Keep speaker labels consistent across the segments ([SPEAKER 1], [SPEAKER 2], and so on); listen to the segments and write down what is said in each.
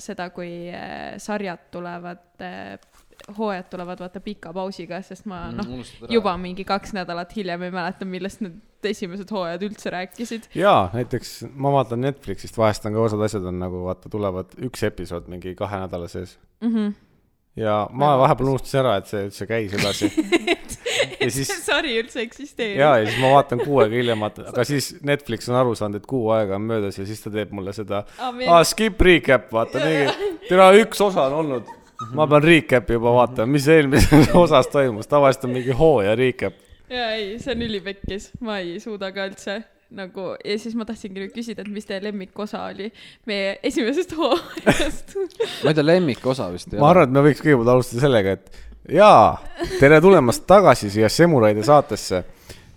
[SPEAKER 1] seda , kui äh, sarjad tulevad , hooajad tulevad vaata pika pausiga , sest ma noh ,
[SPEAKER 2] Mm.
[SPEAKER 1] juba . mingi kaks nädalat hiljem ei mäleta , millest need esimesed hooajad üldse rääkisid .
[SPEAKER 2] jaa , näiteks ma vaatan Netflixist , vahest on ka osad asjad on nagu vaata , tulevad üks episood mingi kahe nädala sees
[SPEAKER 1] Mm -hmm.
[SPEAKER 2] ja ma vahepeal unustasin ära , et see üldse käis edasi . ja siis
[SPEAKER 1] see sari üldse eksisteerib .
[SPEAKER 2] ja , ja siis ma vaatan kuu aega hiljem , vaatan , aga siis Netflix on aru saanud , et kuu aega on möödas ja siis ta teeb mulle seda aa , skip recap , vaata , mingi , täna üks osa on olnud . ma pean recap'i juba vaatama , mis eelmises osas toimus , tavaliselt on mingi hooaja recap .
[SPEAKER 1] jaa , ei , see on ülipekkis , ma ei suuda ka üldse nagu ja siis ma tahtsingi nüüd küsida , et mis teie lemmikosa oli meie esimesest hooajast .
[SPEAKER 3] ma ei tea , lemmikosa vist ei
[SPEAKER 2] ma arvan , et me võiks kõigepealt alustada sellega , et jaa , tere tulemast tagasi siia Semuraide saatesse .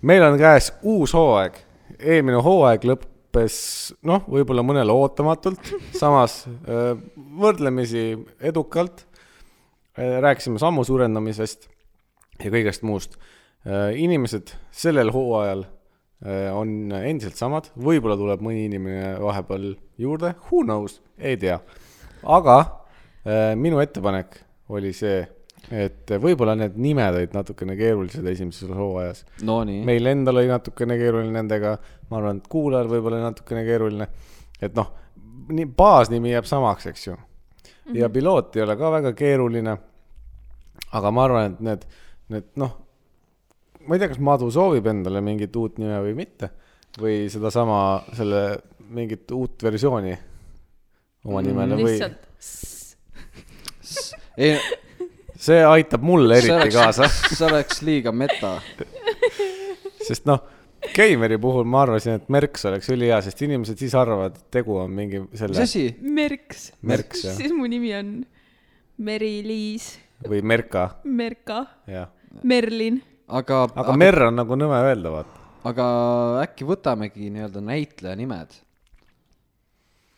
[SPEAKER 2] meil on käes uus hooaeg , eelmine hooaeg lõppes noh , võib-olla mõnele ootamatult , samas öö, võrdlemisi edukalt . rääkisime sammu suurendamisest ja kõigest muust . inimesed sellel hooajal öö, on endiselt samad , võib-olla tuleb mõni inimene vahepeal juurde , who knows , ei tea . aga öö, Äh, minu ettepanek oli see , et võib-olla need nimed olid natukene keerulised esimeses hooajas .
[SPEAKER 3] Nonii ,
[SPEAKER 2] meil endal oli natukene keeruline nendega , ma arvan , et kuulajal võib-olla oli natukene keeruline . et noh , nii baasnimi jääb samaks , eks ju . ja piloot ei ole ka väga keeruline . aga ma arvan , et need , need noh , ma ei tea , kas Madu soovib endale mingit uut nime või mitte või sedasama selle mingit uut versiooni oma
[SPEAKER 3] Mm,
[SPEAKER 2] nimele või
[SPEAKER 1] lihtsalt s-
[SPEAKER 3] ei ,
[SPEAKER 2] see aitab mulle
[SPEAKER 3] see
[SPEAKER 2] eriti
[SPEAKER 3] oleks
[SPEAKER 2] kaasa ,,
[SPEAKER 3] see oleks liiga meta .
[SPEAKER 2] sest noh , Keimeri puhul ma arvasin , et Merks oleks ülihea , sest inimesed siis arvavad , et tegu on mingi
[SPEAKER 3] mis
[SPEAKER 2] selle
[SPEAKER 3] asi ?
[SPEAKER 1] Merks .
[SPEAKER 2] Merks, jah.
[SPEAKER 1] siis mu nimi on Meri-Liis
[SPEAKER 2] või Merka ,
[SPEAKER 1] Merka ,
[SPEAKER 2] jah .
[SPEAKER 1] Merlin .
[SPEAKER 3] aga ,
[SPEAKER 2] aga Mer on nagu nõme öelda , vaata .
[SPEAKER 3] aga äkki võtamegi nii-öelda näitleja nimed ?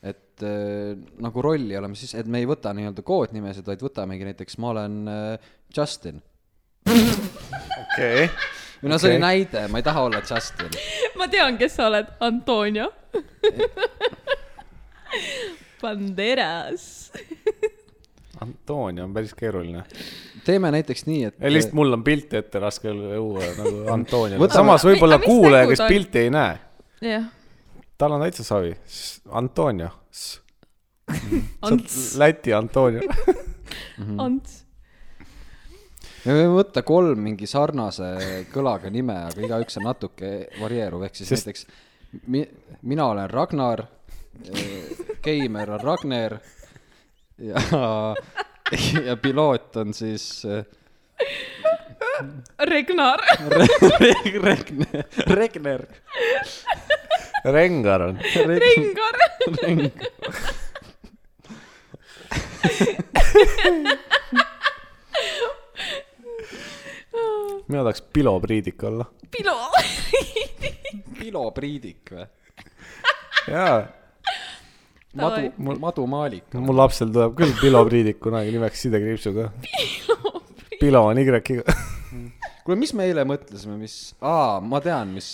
[SPEAKER 3] et äh, nagu rolli oleme siis , et me ei võta nii-öelda koodnimesid , vaid võtamegi näiteks ma olen äh, Justin .
[SPEAKER 2] okei okay. ,
[SPEAKER 3] või no see oli
[SPEAKER 2] Okei.
[SPEAKER 3] näide , ma ei taha olla Justin .
[SPEAKER 1] ma tean , kes sa oled , Antonio . Banderas .
[SPEAKER 2] Antonio on päris keeruline .
[SPEAKER 3] teeme näiteks nii , et
[SPEAKER 2] lihtsalt mul on pilte ette raske luua nagu Antonio .
[SPEAKER 3] Võtame-
[SPEAKER 2] samas võib-olla
[SPEAKER 1] Aga mis
[SPEAKER 2] kuulaja ,
[SPEAKER 1] nägud
[SPEAKER 2] kes
[SPEAKER 1] on?
[SPEAKER 2] pilti ei näe ,
[SPEAKER 1] jah ,
[SPEAKER 2] tal on täitsa savi . Antonio ,
[SPEAKER 1] Ants ,
[SPEAKER 2] Läti Antonio . Mhm.
[SPEAKER 1] Ants .
[SPEAKER 3] me võime võtta kolm mingi sarnase kõlaga nime , aga igaüks on natuke varieeruv , ehk siis Sest...
[SPEAKER 2] Sest-
[SPEAKER 3] näiteks mi, mina olen Ragnar , Keimer on Ragnar ja , ja piloot on siis eh,
[SPEAKER 1] Regnar .
[SPEAKER 3] Re- Regner , Regner .
[SPEAKER 2] Rengar on .
[SPEAKER 1] Rengar .
[SPEAKER 2] mina tahaks Pilo Priidik olla .
[SPEAKER 1] Pilo .
[SPEAKER 3] Pilo Priidik või ?
[SPEAKER 2] jaa ,
[SPEAKER 1] Davai.
[SPEAKER 3] Madu , Madu Maalik .
[SPEAKER 2] mul lapsel tuleb küll Pilo Priidik kunagi nimeks sidekriipsuga . Pilo on Y-iga .
[SPEAKER 3] kuule , mis me eile mõtlesime , mis , aa , ma tean , mis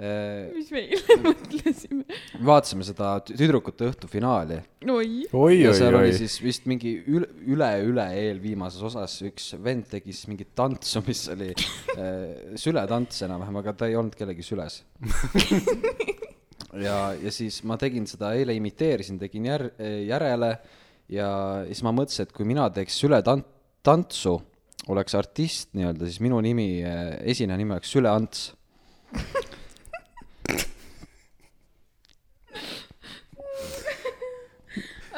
[SPEAKER 3] eh,
[SPEAKER 1] mis me eile mõtlesime ?
[SPEAKER 3] vaatasime seda tü- tüdrukute õhtu finaali
[SPEAKER 1] oi ,
[SPEAKER 2] oi ,
[SPEAKER 3] ja
[SPEAKER 2] oi ,
[SPEAKER 3] seal oli
[SPEAKER 2] oi .
[SPEAKER 3] siis vist mingi üle , üle , üle eelviimases osas üks vend tegi siis mingit tantsu , mis oli äh, sületants enam-vähem , aga ta ei olnud kellegi süles . ja , ja siis ma tegin seda eile imiteerisin , tegin jär- , järele ja siis ma mõtlesin , et kui mina teeks sületant- , tantsu , oleks artist nii-öelda , siis minu nimi , esineja nimi oleks Süle Ants .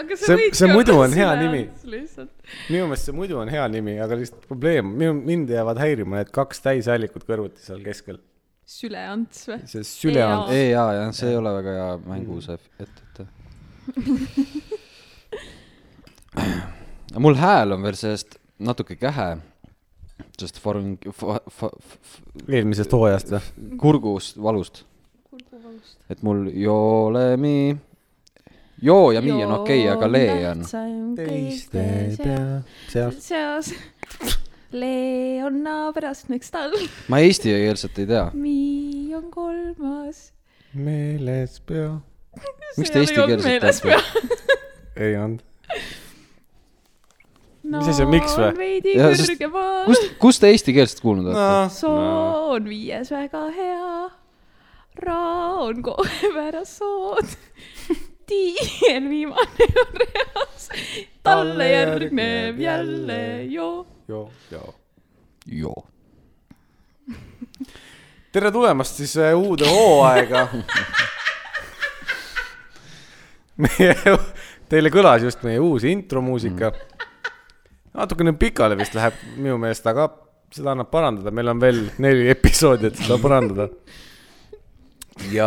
[SPEAKER 1] aga sa
[SPEAKER 2] See-
[SPEAKER 1] võidki
[SPEAKER 2] see muidu
[SPEAKER 1] olla
[SPEAKER 2] on hea
[SPEAKER 1] sina,
[SPEAKER 2] nimi.
[SPEAKER 1] Ants, lihtsalt .
[SPEAKER 2] minu meelest see muidu on hea nimi , aga lihtsalt probleem , minu , mind jäävad häirima need kaks täishäälikut kõrvuti seal keskel .
[SPEAKER 1] Süle Ants või ?
[SPEAKER 2] see süle on ,
[SPEAKER 3] ei , jaa , jaa , Mm. see ei ole väga hea mängu see ettevõte . mul hääl on veel sellest natuke kähe , sest farung- ,
[SPEAKER 2] eelmisest hooajast või ?
[SPEAKER 3] kurgust valust ,
[SPEAKER 1] kurguvalust .
[SPEAKER 3] et mul joole mi , joo ja mi on okei okay, , aga lee on .
[SPEAKER 2] teiste pea , seal .
[SPEAKER 1] seas . Lee on naabriast , miks tal ?
[SPEAKER 3] ma eestikeelset ei tea .
[SPEAKER 1] Mi on kolmas .
[SPEAKER 2] meeles pea .
[SPEAKER 3] miks te eesti keeles
[SPEAKER 1] ütlete ?
[SPEAKER 3] ütlete ?
[SPEAKER 2] ei olnud . Mis asi see on, miks või?
[SPEAKER 1] on veidi
[SPEAKER 3] Jah, sest-
[SPEAKER 1] kõrgemal
[SPEAKER 3] kust , kust te eestikeelset kuulnud
[SPEAKER 2] Noh.
[SPEAKER 3] olete ?
[SPEAKER 1] soo on viies väga hea , ra on kohe pärast sood , tii on viimane on reas , talle järgneb jälle joo .
[SPEAKER 2] joo , joo .
[SPEAKER 3] joo .
[SPEAKER 2] tere tulemast siis äh, uude hooaega . meie , teile kõlas just meie uus intromuusika mm. . natukene pikale vist läheb minu meelest , aga seda annab parandada , meil on veel neli episoodi , et seda parandada . ja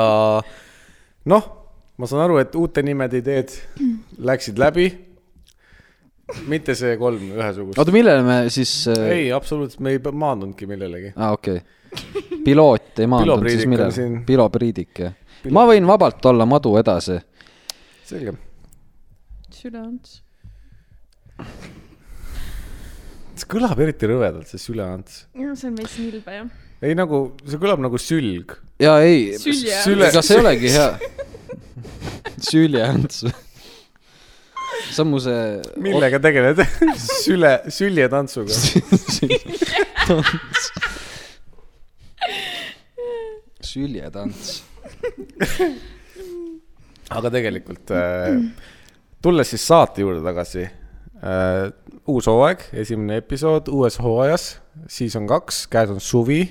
[SPEAKER 2] noh , ma saan aru , et uute nimede ideed läksid läbi . mitte see kolm ühesugust .
[SPEAKER 3] oota , millele me siis äh... ?
[SPEAKER 2] ei , absoluutselt , me ei pe- maandunudki millelegi .
[SPEAKER 3] aa , Ah, okei okay. . piloot ei maandunud
[SPEAKER 2] Pilopriidik
[SPEAKER 3] siis
[SPEAKER 2] on
[SPEAKER 3] millele
[SPEAKER 2] siin. ?
[SPEAKER 3] pilopriidik , jah . ma võin vabalt olla madu edasi .
[SPEAKER 2] selge .
[SPEAKER 1] südants .
[SPEAKER 2] see kõlab eriti rõvedalt , see süleants .
[SPEAKER 1] see on veits nilbe jah .
[SPEAKER 2] ei nagu , see kõlab nagu sülg .
[SPEAKER 3] jaa , ei .
[SPEAKER 1] Sülje.
[SPEAKER 2] Süle-
[SPEAKER 3] kas ei olegi hea ? süljeants . sammu see .
[SPEAKER 2] millega tegeled ? süle , süljetantsuga .
[SPEAKER 3] süljetants .
[SPEAKER 2] aga tegelikult äh, , tulles siis saate juurde tagasi äh, . uus hooaeg , esimene episood uues hooajas , siis on kaks , käes on suvi .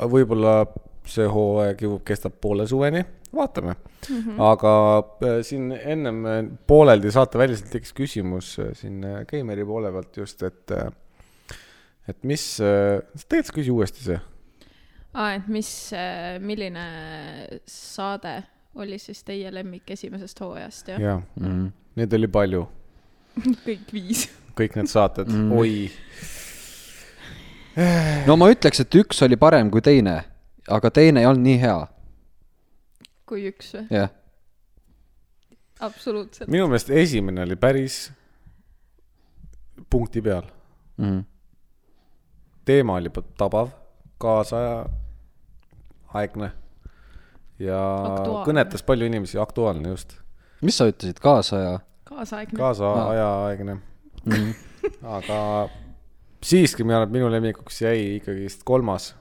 [SPEAKER 2] võib-olla see hooaeg jõuab , kestab poole suveni , vaatame mm . -hmm. aga äh, siin ennem äh, pooleldi saateväliselt tekkis küsimus äh, siin äh, Keimeri poole pealt just , et äh, et mis äh, , tegelikult sa küsi uuesti see .
[SPEAKER 1] aa , et mis , milline saade oli siis teie lemmik esimesest hooajast jah ja. ?
[SPEAKER 2] jaa ,
[SPEAKER 3] Mm.
[SPEAKER 2] neid oli palju ,
[SPEAKER 1] kõik viis .
[SPEAKER 2] kõik need saated
[SPEAKER 3] Mm.
[SPEAKER 2] mm. , oi .
[SPEAKER 3] no ma ütleks , et üks oli parem kui teine , aga teine ei olnud nii hea ,
[SPEAKER 1] kui üks või ?
[SPEAKER 3] jah .
[SPEAKER 1] absoluutselt .
[SPEAKER 2] minu meelest esimene oli päris punkti peal ,
[SPEAKER 3] Mhm.
[SPEAKER 2] teema oli pa- tabav , kaasaja , aegne ja
[SPEAKER 1] Aktuaalne.
[SPEAKER 2] aktuaalne. kõnetas palju inimesi , aktuaalne just ,
[SPEAKER 3] mis sa ütlesid , kaasaja ?
[SPEAKER 1] kaasaegne .
[SPEAKER 2] kaasaajaegne mm. . aga siiski mina , minu lemmikuks jäi ikkagist kolmas ,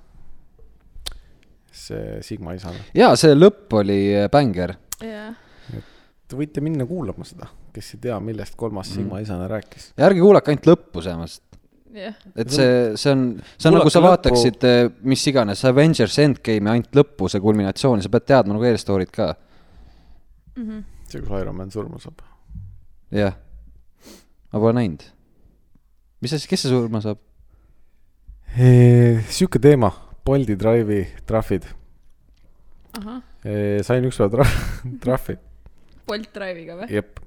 [SPEAKER 2] see Sigma isane .
[SPEAKER 3] jaa , see lõpp oli eh, bänger .
[SPEAKER 1] jah ,
[SPEAKER 2] Te võite minna kuulama seda , kes ei tea , millest kolmas Sigma isane rääkis .
[SPEAKER 3] ja ärge kuulake ainult lõppu samas ,
[SPEAKER 1] jah .
[SPEAKER 3] et see , see on , see on
[SPEAKER 2] Kuulake
[SPEAKER 3] nagu sa
[SPEAKER 2] lõppu.
[SPEAKER 3] vaataksid eh, mis iganes Avengers Endgame'i ainult lõppu , see kulminatsioon , sa pead teadma nagu eelstory'd ka ,
[SPEAKER 1] Mhm.
[SPEAKER 2] see , kus Iron Man surma saab .
[SPEAKER 3] jah . ma pole näinud . mis asi , kes see surma saab ?
[SPEAKER 2] sihuke teema , Bolti Drive'i trahvid .
[SPEAKER 1] ahah ,
[SPEAKER 2] sain ükspäev tra- , trahvi ,
[SPEAKER 1] Bolt Drive'iga või ?
[SPEAKER 2] jep .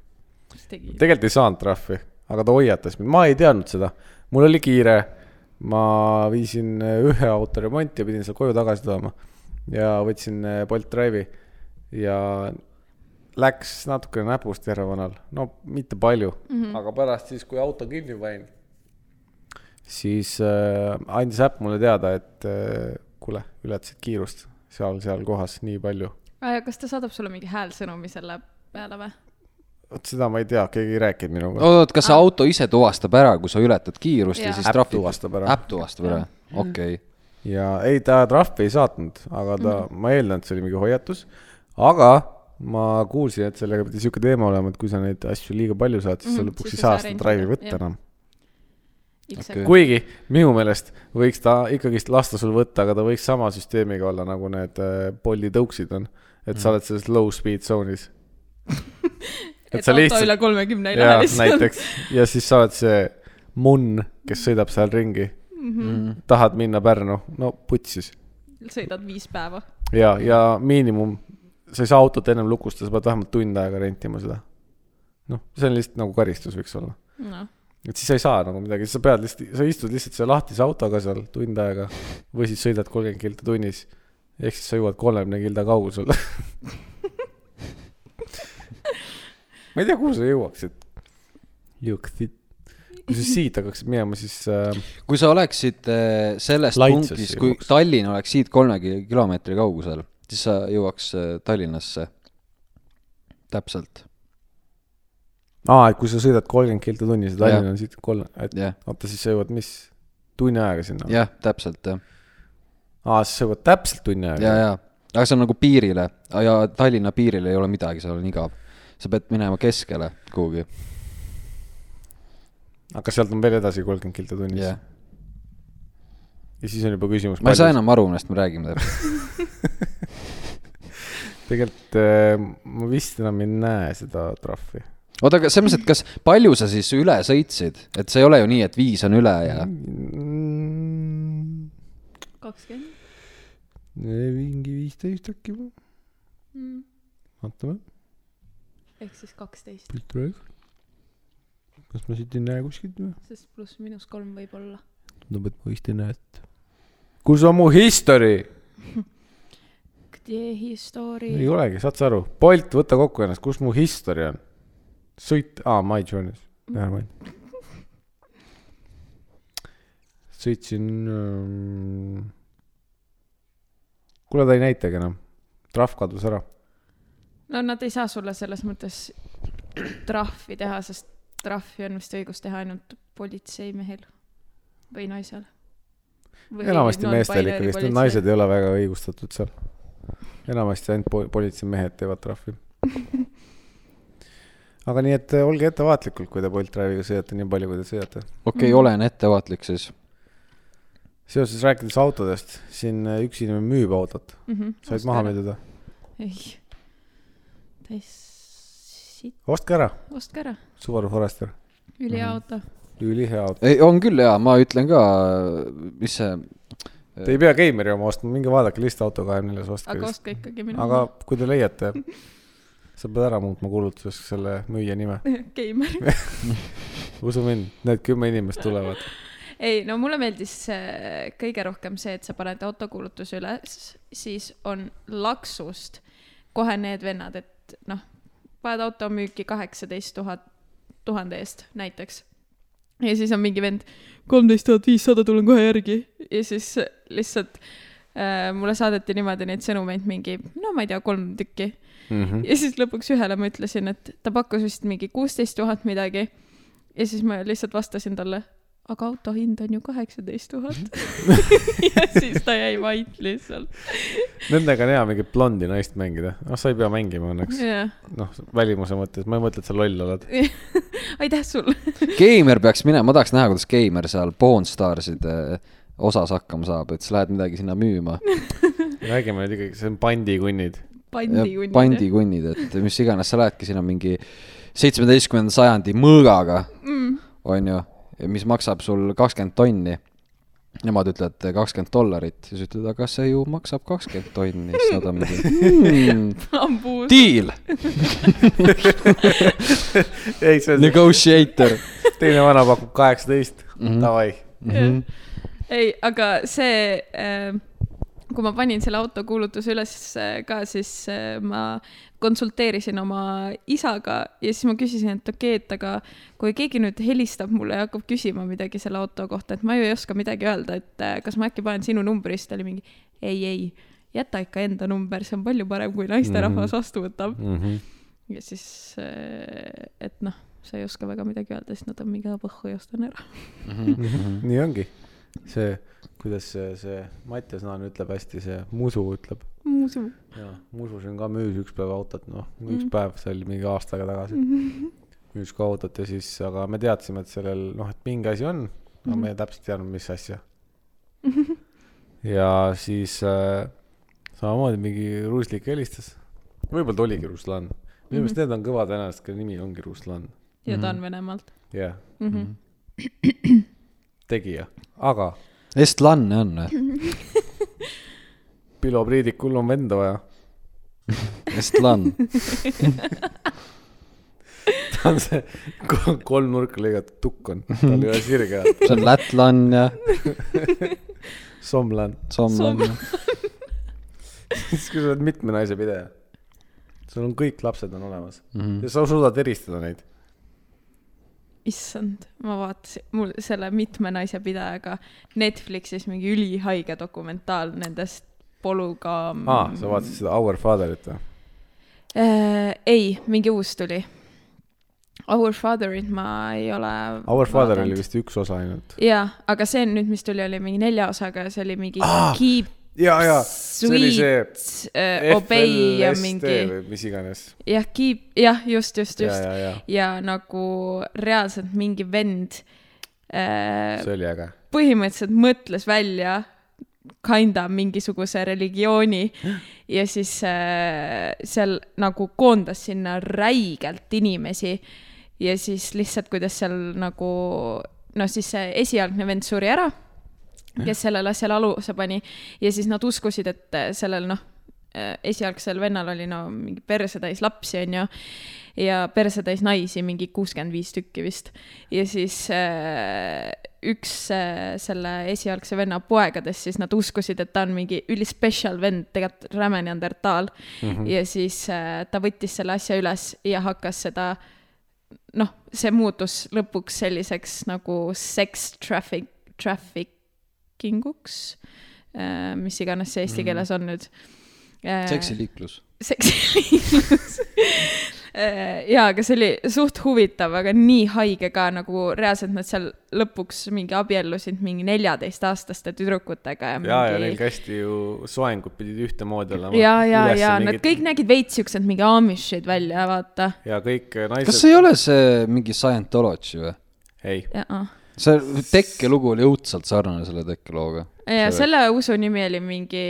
[SPEAKER 1] mis tegi ?
[SPEAKER 2] tegelikult ei saanud trahvi , aga ta hoiatas mind , ma ei teadnud seda . mul oli kiire , ma viisin eh, ühe auto remonti ja pidin selle koju tagasi tooma ja võtsin eh, Bolt Drive'i ja läks natukene näpust järelevalvel , no mitte palju mm , -hmm. aga pärast siis , kui auto kinni panin , siis äh, andis äpp mulle teada , et äh, kuule , ületasid kiirust seal , seal kohas nii palju .
[SPEAKER 1] Äh, kas ta saadab sulle mingi häälsõnumi selle peale või ?
[SPEAKER 2] vot seda ma ei tea , keegi ei rääkinud minuga .
[SPEAKER 3] oot , kas see auto ise tuvastab ära , kui sa ületad kiirust ja,
[SPEAKER 1] Jaa.
[SPEAKER 3] ja siis
[SPEAKER 2] äpp
[SPEAKER 3] trahvid ?
[SPEAKER 2] tuvastab ära .
[SPEAKER 3] äpp tuvastab ära , okei okay. .
[SPEAKER 2] ja ei , ta trahvi ei saatnud , aga ta mm , -hmm.
[SPEAKER 1] Mhm.
[SPEAKER 2] ma eeldan , et see oli mingi hoiatus . aga ma kuulsin , et sellega pidi sihuke teema olema , et kui sa neid asju liiga palju saad , siis mm
[SPEAKER 1] Mhm,
[SPEAKER 2] -hmm. sa lõpuks
[SPEAKER 1] siis
[SPEAKER 2] ei
[SPEAKER 1] sa ei
[SPEAKER 2] saa
[SPEAKER 1] saa
[SPEAKER 2] seda
[SPEAKER 1] rendida,
[SPEAKER 2] drive'i võtta
[SPEAKER 1] jah.
[SPEAKER 2] enam .
[SPEAKER 1] Exactly.
[SPEAKER 2] kuigi minu meelest võiks ta ikkagist lasta sul võtta , aga ta võiks sama süsteemiga olla , nagu need äh, Bolti tõuksid on . et
[SPEAKER 1] Mhm.
[SPEAKER 2] sa oled selles low speed zone'is .
[SPEAKER 1] et sa lihtsalt . üle kolmekümne ei
[SPEAKER 2] jaa
[SPEAKER 1] lähe , lihtsalt .
[SPEAKER 2] näiteks . ja siis sa oled see munn , kes sõidab seal ringi mm . -hmm. tahad minna Pärnu , no putsis
[SPEAKER 1] sõidad viis päeva .
[SPEAKER 2] ja , ja miinimum , sa ei saa autot ennem lukustada , sa pead vähemalt tund aega rentima seda . noh , see on lihtsalt nagu karistus võiks olla .
[SPEAKER 1] noh ,
[SPEAKER 2] et siis sa ei saa nagu midagi , sa pead lihtsalt , sa istud lihtsalt selle lahtise autoga seal tund aega või siis sõidad kolmkümmend kilti tunnis . ehk siis sa jõuad kolmekümne kilda kaugusele . ma ei tea , kuhu sa jõuaksid . jõuaksid . kui sa siit hakkaksid minema , siis äh,
[SPEAKER 3] kui sa oleksid eh, selles
[SPEAKER 2] Laitses
[SPEAKER 3] punktis ,
[SPEAKER 2] ei
[SPEAKER 3] kui
[SPEAKER 2] jõuaks.
[SPEAKER 3] Tallinn oleks siit kolme ki- kilomeetri kaugusel , siis sa jõuaks eh, Tallinnasse . täpselt .
[SPEAKER 2] aa , et kui sa sõidad kolmkümmend kilti tunnis ja Tallinn
[SPEAKER 3] Jah.
[SPEAKER 2] on siit kolm , et
[SPEAKER 3] jah ,
[SPEAKER 2] oota , siis sa jõuad , mis , tunni ajaga sinna ?
[SPEAKER 3] jah , täpselt jah ,
[SPEAKER 2] aa , siis sa jõuad täpselt tunni
[SPEAKER 3] ja ,
[SPEAKER 2] ajaga ?
[SPEAKER 3] ja , aga see on nagu piirile ja Tallinna piiril ei ole midagi , seal on igav . sa pead minema keskele kuhugi ,
[SPEAKER 2] aga sealt on veel edasi kolmkümmend kilti tunnis
[SPEAKER 3] jah .
[SPEAKER 2] ja siis on juba küsimus .
[SPEAKER 3] ma ei saa enam aru , millest me räägime täpselt .
[SPEAKER 2] tegelikult äh, ma vist enam ei näe seda trahvi .
[SPEAKER 3] oota , aga selles mõttes , et kas , palju sa siis üle sõitsid , et see ei ole ju nii , et viis on üle ja
[SPEAKER 2] Mm,
[SPEAKER 1] kakskümmend .
[SPEAKER 2] mingi viisteist äkki või ? vaatame ,
[SPEAKER 1] Mm. ehk siis kaksteist ,
[SPEAKER 2] pilt tuleb . kas ma siit ei näe kuskilt või ?
[SPEAKER 1] sest pluss-miinus kolm võib-olla .
[SPEAKER 2] tundub , et ma vist ei näe , et . kus on mu history ?
[SPEAKER 1] Kde history
[SPEAKER 2] ei olegi , saad sa aru , Bolt , võta kokku ennast , kus mu history on ? sõit , aa , My Journeys , never mind . sõitsin um... . kuule , ta ei näitagi enam , trahv kadus ära .
[SPEAKER 1] no nad ei saa sulle selles mõttes trahvi teha , sest trahvi on vist õigus teha ainult politseimehel või naisel .
[SPEAKER 2] enamasti meestel ikka , kes need naised ei ole väga õigustatud seal . enamasti ainult po- politseimehed teevad trahvi . aga nii , et olge ettevaatlikud , kui te Bolt Drive'iga sõidate nii palju , kui te sõidate .
[SPEAKER 3] okei
[SPEAKER 2] Mm.
[SPEAKER 3] okay, , olen ettevaatlik siis .
[SPEAKER 2] seoses rääkides autodest , siin äh, üks inimene müüb autot , said maha ? müüdida ,
[SPEAKER 1] Mhm. ei , täis siit ,
[SPEAKER 2] ostke ära ,
[SPEAKER 1] ostke ära ,
[SPEAKER 2] Subaru Forester ,
[SPEAKER 1] ülihea auto .
[SPEAKER 2] ülihea auto .
[SPEAKER 3] ei , on küll jaa , ma ütlen ka , mis see ,
[SPEAKER 2] Te ei pea Keimeri oma ostma , minge vaadake listauto kahekümne neljas
[SPEAKER 1] aga
[SPEAKER 2] ostke ,
[SPEAKER 1] ostke ikkagi minu
[SPEAKER 2] aga kui te leiate , sa pead ära muutma kuulutuseks selle müüja nime ,
[SPEAKER 1] Keimer .
[SPEAKER 2] usu mind , need kümme inimest tulevad .
[SPEAKER 1] ei , no mulle meeldis äh, kõige rohkem see , et sa paned autokuulutuse üles , siis on laksust kohe need vennad , et noh , paned auto müüki kaheksateist tuhat , tuhande eest näiteks . ja siis on mingi vend , kolmteist tuhat viissada , tulen kohe järgi . ja siis lihtsalt äh, mulle saadeti niimoodi neid sõnumeid mingi , no ma ei tea , kolm tükki
[SPEAKER 2] Mhm.
[SPEAKER 1] ja siis lõpuks ühele ma ütlesin , et ta pakkus vist mingi kuusteist tuhat midagi . ja siis ma lihtsalt vastasin talle , aga auto hind on ju kaheksateist tuhat . ja siis ta jäi vait lihtsalt .
[SPEAKER 2] Nendega on hea mingit blondi naist mängida , noh , sa ei pea mängima õnneks ,
[SPEAKER 1] jah ,
[SPEAKER 2] noh , välimuse mõttes , ma ei mõtle , et sa loll oled .
[SPEAKER 1] aitäh sulle .
[SPEAKER 3] Keimer peaks minema , ma tahaks näha , kuidas Keimer seal Pornstarsid eh, osas hakkama saab , et sa lähed midagi sinna müüma .
[SPEAKER 2] räägime nüüd ikkagi , see on pandikunnid .
[SPEAKER 1] pandikunnid .
[SPEAKER 3] pandikunnid , et mis iganes , sa lähedki sinna mingi seitsmeteistkümnenda sajandi mõõgaga ,
[SPEAKER 1] mm, .
[SPEAKER 3] onju , mis maksab sul kakskümmend tonni . Nemad ütlevad kakskümmend dollarit , siis ütled , aga see ju maksab kakskümmend tonni , siis nad on mingi .
[SPEAKER 1] bambuus .
[SPEAKER 3] Deal ,
[SPEAKER 2] ei , see on see
[SPEAKER 3] negotiator .
[SPEAKER 2] teine vana pakub kaheksateist ,
[SPEAKER 3] Mhm.
[SPEAKER 2] davai .
[SPEAKER 1] ei , aga see äh, kui ma panin selle autokuulutuse üles äh, ka , siis äh, ma konsulteerisin oma isaga ja siis ma küsisin , et okei okay, , et aga kui keegi nüüd helistab mulle ja hakkab küsima midagi selle auto kohta , et ma ju ei oska midagi öelda , et äh, kas ma äkki panen sinu numbri , siis ta oli mingi ei , ei , jäta ikka enda number , see on palju parem , kui naisterahvas mm -hmm. vastu võtab .
[SPEAKER 2] Mhm.
[SPEAKER 1] ja siis , et noh , sa ei oska väga midagi öelda , siis nad on mingi , põhhu ja ostan ära .
[SPEAKER 3] mhm,
[SPEAKER 2] nii ongi . see , kuidas see , see Mattias Naan ütleb hästi , see Musu ütleb .
[SPEAKER 1] muuseum .
[SPEAKER 2] jaa , Musu siin ka müüs üks päev autot , noh , üks päev , see oli mingi aasta aega tagasi . müüs ka autot ja siis , aga me teadsime , et sellel , noh , et mingi asi on , aga me täpselt ei teadnud , mis asja . ja siis äh, samamoodi mingi Ruuslik helistas . võib-olla ta oligi Ruslan . minu meelest need on kõvad venelast , kelle nimi ongi Ruslan .
[SPEAKER 1] ja ta on Venemaalt . Mhm.
[SPEAKER 2] jah .
[SPEAKER 3] mhm.
[SPEAKER 2] tegija , aga
[SPEAKER 3] Estlanne on või ?
[SPEAKER 2] Pilo Priidikul on venda vaja .
[SPEAKER 3] Estlan .
[SPEAKER 2] ta on see ko- kolmnurka lõigatud tukk on , tal ei ole sirge häält .
[SPEAKER 3] see on Lätlan ja
[SPEAKER 2] Somlan ,
[SPEAKER 3] Somlan .
[SPEAKER 2] siis kui sa oled mitme naise pidaja , sul on kõik lapsed on olemas
[SPEAKER 3] Mhm.
[SPEAKER 2] ja sa suudad eristada neid .
[SPEAKER 1] issand , ma vaatasin , mul selle mitme naise pidajaga Netflixis mingi ülihaige dokumentaal nendest polügaam
[SPEAKER 2] aa , Ah, sa vaatasid seda Our Father'it või ?
[SPEAKER 1] äh, . ei , mingi uus tuli . Our Father'it ma ei ole .
[SPEAKER 2] Our Father oli . vist üks osa ainult .
[SPEAKER 1] jaa , aga see nüüd , mis tuli , oli mingi nelja osaga ja see oli mingi ah, Keep
[SPEAKER 2] ja , ja , see oli see
[SPEAKER 1] Sweet , Äh, Obey ja mingi
[SPEAKER 2] FLSD , või mis iganes .
[SPEAKER 1] jah , Keep , jah , just , just ,
[SPEAKER 2] ja ,
[SPEAKER 1] just .
[SPEAKER 2] ja , ja
[SPEAKER 1] ja nagu reaalselt mingi vend äh,
[SPEAKER 2] see oli äge .
[SPEAKER 1] põhimõtteliselt mõtles välja kinda mingisuguse religiooni ja siis äh, seal nagu koondas sinna räigelt inimesi ja siis lihtsalt , kuidas seal nagu noh , siis see esialgne vend suri ära , kes sellele asjale aluse pani ja siis nad uskusid , et äh, sellel noh , esialgsel vennal oli no mingi persetäis lapsi , onju , ja persetäis naisi mingi kuuskümmend viis tükki vist ja siis äh, üks äh, selle esialgse venna poegadest , siis nad uskusid , et ta on mingi ülispecial vend , tegelikult räme neandertaal mm . -hmm. ja siis äh, ta võttis selle asja üles ja hakkas seda noh , see muutus lõpuks selliseks nagu sex traffic , trafficking uks , äh, mis iganes see
[SPEAKER 2] Mm.
[SPEAKER 1] eesti keeles on nüüd . Äh,
[SPEAKER 3] seksiliiklus .
[SPEAKER 1] seksiliiklus . Äh, jaa , aga see oli suht huvitav , aga nii haige ka nagu reaalselt nad seal lõpuks mingi abiellusid mingi neljateistaastaste tüdrukutega ja mingi...
[SPEAKER 2] ja , ja neil kästi ju soengud pidid ühtemoodi olema .
[SPEAKER 1] ja , ja , ja nad kõik . nägid veits siuksed mingi amishid välja , vaata .
[SPEAKER 2] ja kõik äh,
[SPEAKER 3] kas
[SPEAKER 2] naised
[SPEAKER 3] see . ei ole see mingi Scientology või ?
[SPEAKER 2] ei ,
[SPEAKER 1] ja
[SPEAKER 3] see tekkelugu oli õudselt sarnane selle tekkelooga .
[SPEAKER 1] selle usu nimi oli mingi ,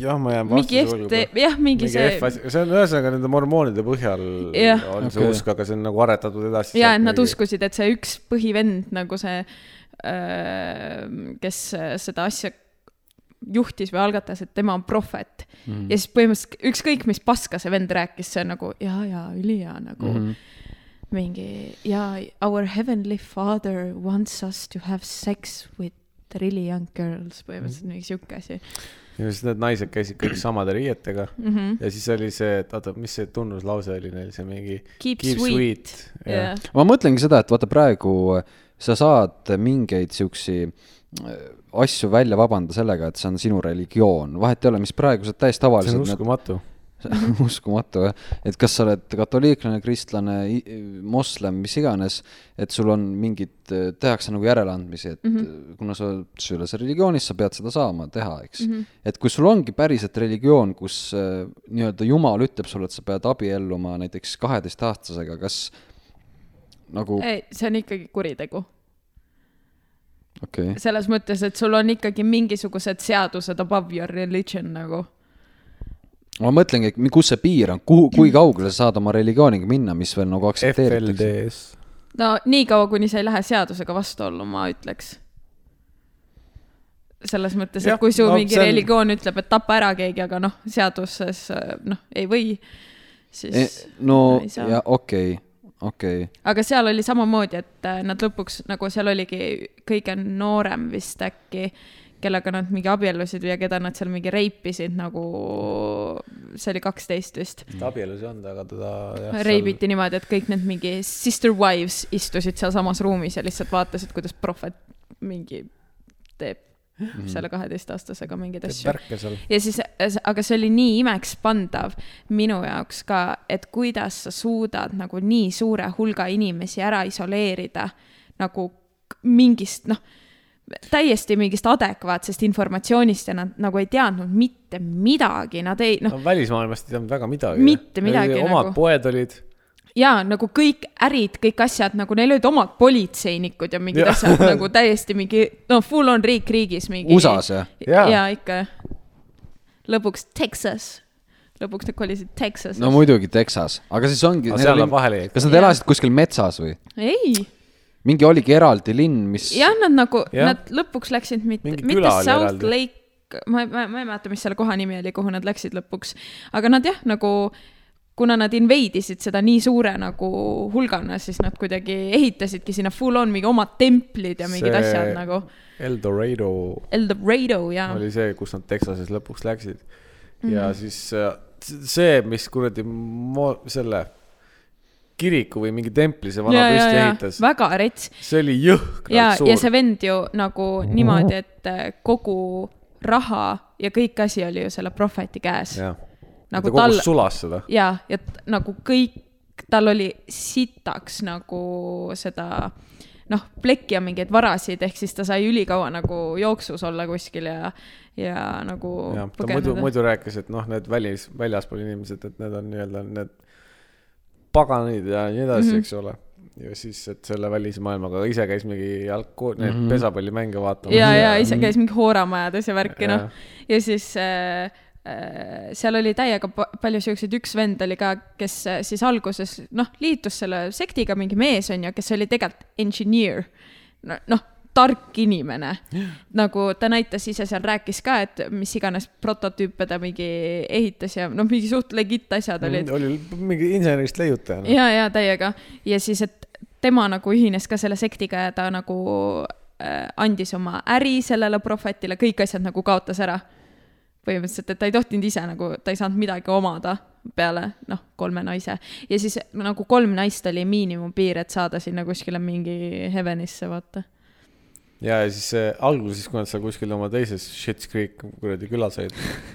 [SPEAKER 2] jah , ma jään
[SPEAKER 1] mingi
[SPEAKER 2] vastuse
[SPEAKER 1] F-
[SPEAKER 2] võlgu .,
[SPEAKER 1] jah , mingi
[SPEAKER 2] mingi
[SPEAKER 1] see
[SPEAKER 2] F , asi , see on ühesõnaga nende mormoonide põhjal
[SPEAKER 1] Jah.
[SPEAKER 2] on see
[SPEAKER 3] Okei.
[SPEAKER 2] usk , aga see on nagu aretatud edasi .
[SPEAKER 1] ja et nad . uskusid , et see üks põhivend nagu see , kes äh, seda asja juhtis või algatas , et tema on prohvet mm. . ja siis põhimõtteliselt ükskõik , mis paska see vend rääkis , see on nagu ja , ja ülihea nagu
[SPEAKER 2] Mhm.
[SPEAKER 3] Mhm.
[SPEAKER 1] mm -hmm. mingi ja our heavenly father wants us to have sex with really young girls ,
[SPEAKER 2] Mhm.
[SPEAKER 1] põhimõtteliselt mingi sihuke asi
[SPEAKER 2] ja siis need naised käisid kõik samade riietega
[SPEAKER 1] mm . -hmm.
[SPEAKER 2] ja siis oli see , et oota , mis see tunnuslause oli neil , see mingi .
[SPEAKER 1] Keep,
[SPEAKER 2] Keep
[SPEAKER 1] sweet,
[SPEAKER 2] sweet,
[SPEAKER 1] jah
[SPEAKER 2] jah.
[SPEAKER 3] ma mõtlengi seda , et vaata praegu äh, sa saad mingeid siuksi äh, asju välja vabanda sellega , et see on sinu religioon , vahet ei ole , mis praegused täiesti
[SPEAKER 2] see on
[SPEAKER 3] tavalised ,
[SPEAKER 2] uskumatu .
[SPEAKER 3] uskumatu jah , et kas sa oled katoliiklane , kristlane , moslem , mis iganes , et sul on mingid , tehakse nagu järeleandmisi , et mm -hmm. kuna sa oled selles religioonis , sa pead seda saama teha , eks
[SPEAKER 1] Mhm.
[SPEAKER 3] mm . -hmm. et kui sul ongi päriselt religioon , kus äh, nii-öelda jumal ütleb sulle , et sa pead abielluma näiteks kaheteistaastasega , kas nagu ,
[SPEAKER 1] ei , see on ikkagi kuritegu
[SPEAKER 3] okei okay. ,
[SPEAKER 1] selles mõttes , et sul on ikkagi mingisugused seadused above your religion nagu .
[SPEAKER 3] ma mõtlengi , et mi- kus see piir on , kuhu , kui kaugele sa saad oma religiooniga minna , mis veel nagu aktsepteeritakse .
[SPEAKER 2] FLD-s .
[SPEAKER 1] no niikaua , kuni sa ei lähe seadusega vastuollu , ma ütleks . selles mõttes , et
[SPEAKER 2] Jah,
[SPEAKER 1] kui su
[SPEAKER 2] no
[SPEAKER 1] no, mingi
[SPEAKER 2] see on-
[SPEAKER 1] on... religioon ütleb , et tapa ära keegi , aga noh , seaduses äh, noh , ei või ,
[SPEAKER 3] E,
[SPEAKER 1] siis e...
[SPEAKER 3] no
[SPEAKER 1] ei saa.
[SPEAKER 3] ja okei okay, , okei okay.
[SPEAKER 1] aga seal oli samamoodi , et äh, nad lõpuks nagu seal oligi kõige noorem vist äkki , kellega nad mingi abiellusid ja keda nad seal mingi reipisid nagu , see oli kaksteist vist .
[SPEAKER 2] ta abielus ei olnud , aga teda jah, seal-
[SPEAKER 1] reibiti niimoodi , et kõik need mingi sister wives istusid sealsamas ruumis ja lihtsalt vaatasid , kuidas prohvet mingi teeb
[SPEAKER 2] Mhm.
[SPEAKER 1] selle kaheteistaastasega mingeid
[SPEAKER 2] teeb
[SPEAKER 1] asju .
[SPEAKER 2] värke seal .
[SPEAKER 1] ja siis , aga see oli nii imekspandav minu jaoks ka , et kuidas sa suudad nagu nii suure hulga inimesi ära isoleerida nagu k- mingist , noh , täiesti mingist adekvaatsest informatsioonist ja nad nagu ei teadnud mitte midagi , nad ei , noh ,
[SPEAKER 2] no välismaailmast ei teadnud väga midagi .
[SPEAKER 1] Mitte midagi
[SPEAKER 2] omad
[SPEAKER 1] nagu.
[SPEAKER 2] poed olid .
[SPEAKER 1] jaa , nagu kõik ärid , kõik asjad , nagu neil olid omad politseinikud ja mingid
[SPEAKER 2] Jaa.
[SPEAKER 1] ja. asjad nagu täiesti mingi , no full on riik riigis mingi .
[SPEAKER 3] USA-s jah ?
[SPEAKER 2] Jaa.
[SPEAKER 1] jaa ja, , ikka . lõpuks Texas , lõpuks nad kolisid Texasse
[SPEAKER 3] no
[SPEAKER 1] no, .
[SPEAKER 3] muidugi Texas , aga siis ongi
[SPEAKER 2] aga . seal on vahele jäi .
[SPEAKER 3] kas nad
[SPEAKER 1] Jah.
[SPEAKER 3] elasid kuskil metsas või ?
[SPEAKER 1] ei ,
[SPEAKER 3] mingi oligi eraldi linn , mis .
[SPEAKER 1] jah , nad nagu ,
[SPEAKER 2] Jah.
[SPEAKER 1] nad lõpuks läksid mitte
[SPEAKER 2] Mingi ,
[SPEAKER 1] mitte
[SPEAKER 2] küla oli
[SPEAKER 1] South
[SPEAKER 2] eraldi.
[SPEAKER 1] eraldi. Lake , ma , ma , ma ei mäleta , mis selle koha nimi oli , kuhu nad läksid lõpuks , aga nad jah , nagu kuna nad inveidisid seda nii suure nagu hulgana , siis nad kuidagi ehitasidki sinna full on mingi omad templid ja mingid
[SPEAKER 2] See-
[SPEAKER 1] see... asjad nagu
[SPEAKER 2] Eldorado
[SPEAKER 1] El Dorado ja
[SPEAKER 2] oli see , kus nad Texases lõpuks läksid . ja
[SPEAKER 1] Mhm.
[SPEAKER 2] siis äh, s- see , mis kuradi mo- , selle kiriku või mingi templi see vana
[SPEAKER 1] ja , ja ,
[SPEAKER 2] püsti
[SPEAKER 1] ja
[SPEAKER 2] ehitas .
[SPEAKER 1] väga rets
[SPEAKER 2] see oli
[SPEAKER 1] ja
[SPEAKER 2] jõhkralt ,
[SPEAKER 1] ja
[SPEAKER 2] suur
[SPEAKER 1] see . vend ju nagu niimoodi , et äh, kogu raha ja kõik asi oli ju selle prohveti käes ja,
[SPEAKER 2] jah ,
[SPEAKER 1] Nagu
[SPEAKER 2] ta kogus
[SPEAKER 1] tal-
[SPEAKER 2] sulas seda .
[SPEAKER 1] ja et nagu kõik tal oli sitaks nagu seda noh , plekki ja mingeid varasid , ehk siis ta sai ülikaua nagu jooksus olla kuskil ja , ja nagu
[SPEAKER 2] jah , ta muidu , muidu rääkis , et noh , need välis , väljaspool inimesed , et need on nii-öelda need paganid ja nii edasi
[SPEAKER 1] Mhm.
[SPEAKER 2] mm , -hmm. eks ole . ja siis , et selle välismaailmaga aga ise käis mingi jalgkool , neid
[SPEAKER 1] Mhm.
[SPEAKER 2] mm -hmm. pesapallimänge vaatamas .
[SPEAKER 1] ja , ja ise käis mingi hooramajades ja värki ,
[SPEAKER 2] Jaa.
[SPEAKER 1] noh . ja siis äh, äh, seal oli täiega pa- palju siukseid , üks vend oli ka , kes äh, siis alguses noh , liitus selle sektiga , mingi mees on ju , kes oli tegelikult engineer no, . noh , tark inimene . nagu ta näitas ise seal , rääkis ka , et mis iganes prototüüpe ta mingi ehitas ja noh , mingi suht legit asjad olid .
[SPEAKER 2] Mm, oli mingi insenerist leiutaja no. .
[SPEAKER 1] ja , ja täiega ja siis , et tema nagu ühines ka selle sektiga ja ta nagu äh, andis oma äri sellele prohvetile , kõik asjad nagu kaotas ära . põhimõtteliselt , et ta ei tohtinud ise nagu , ta ei saanud midagi omada peale noh , kolme naise ja siis nagu kolm naist oli miinimumpiir , et saada sinna kuskile mingi heavenisse , vaata .
[SPEAKER 2] ja , ja siis äh, alguses , kui nad seal kuskil oma teises Shit's Creek kuradi külas olid ,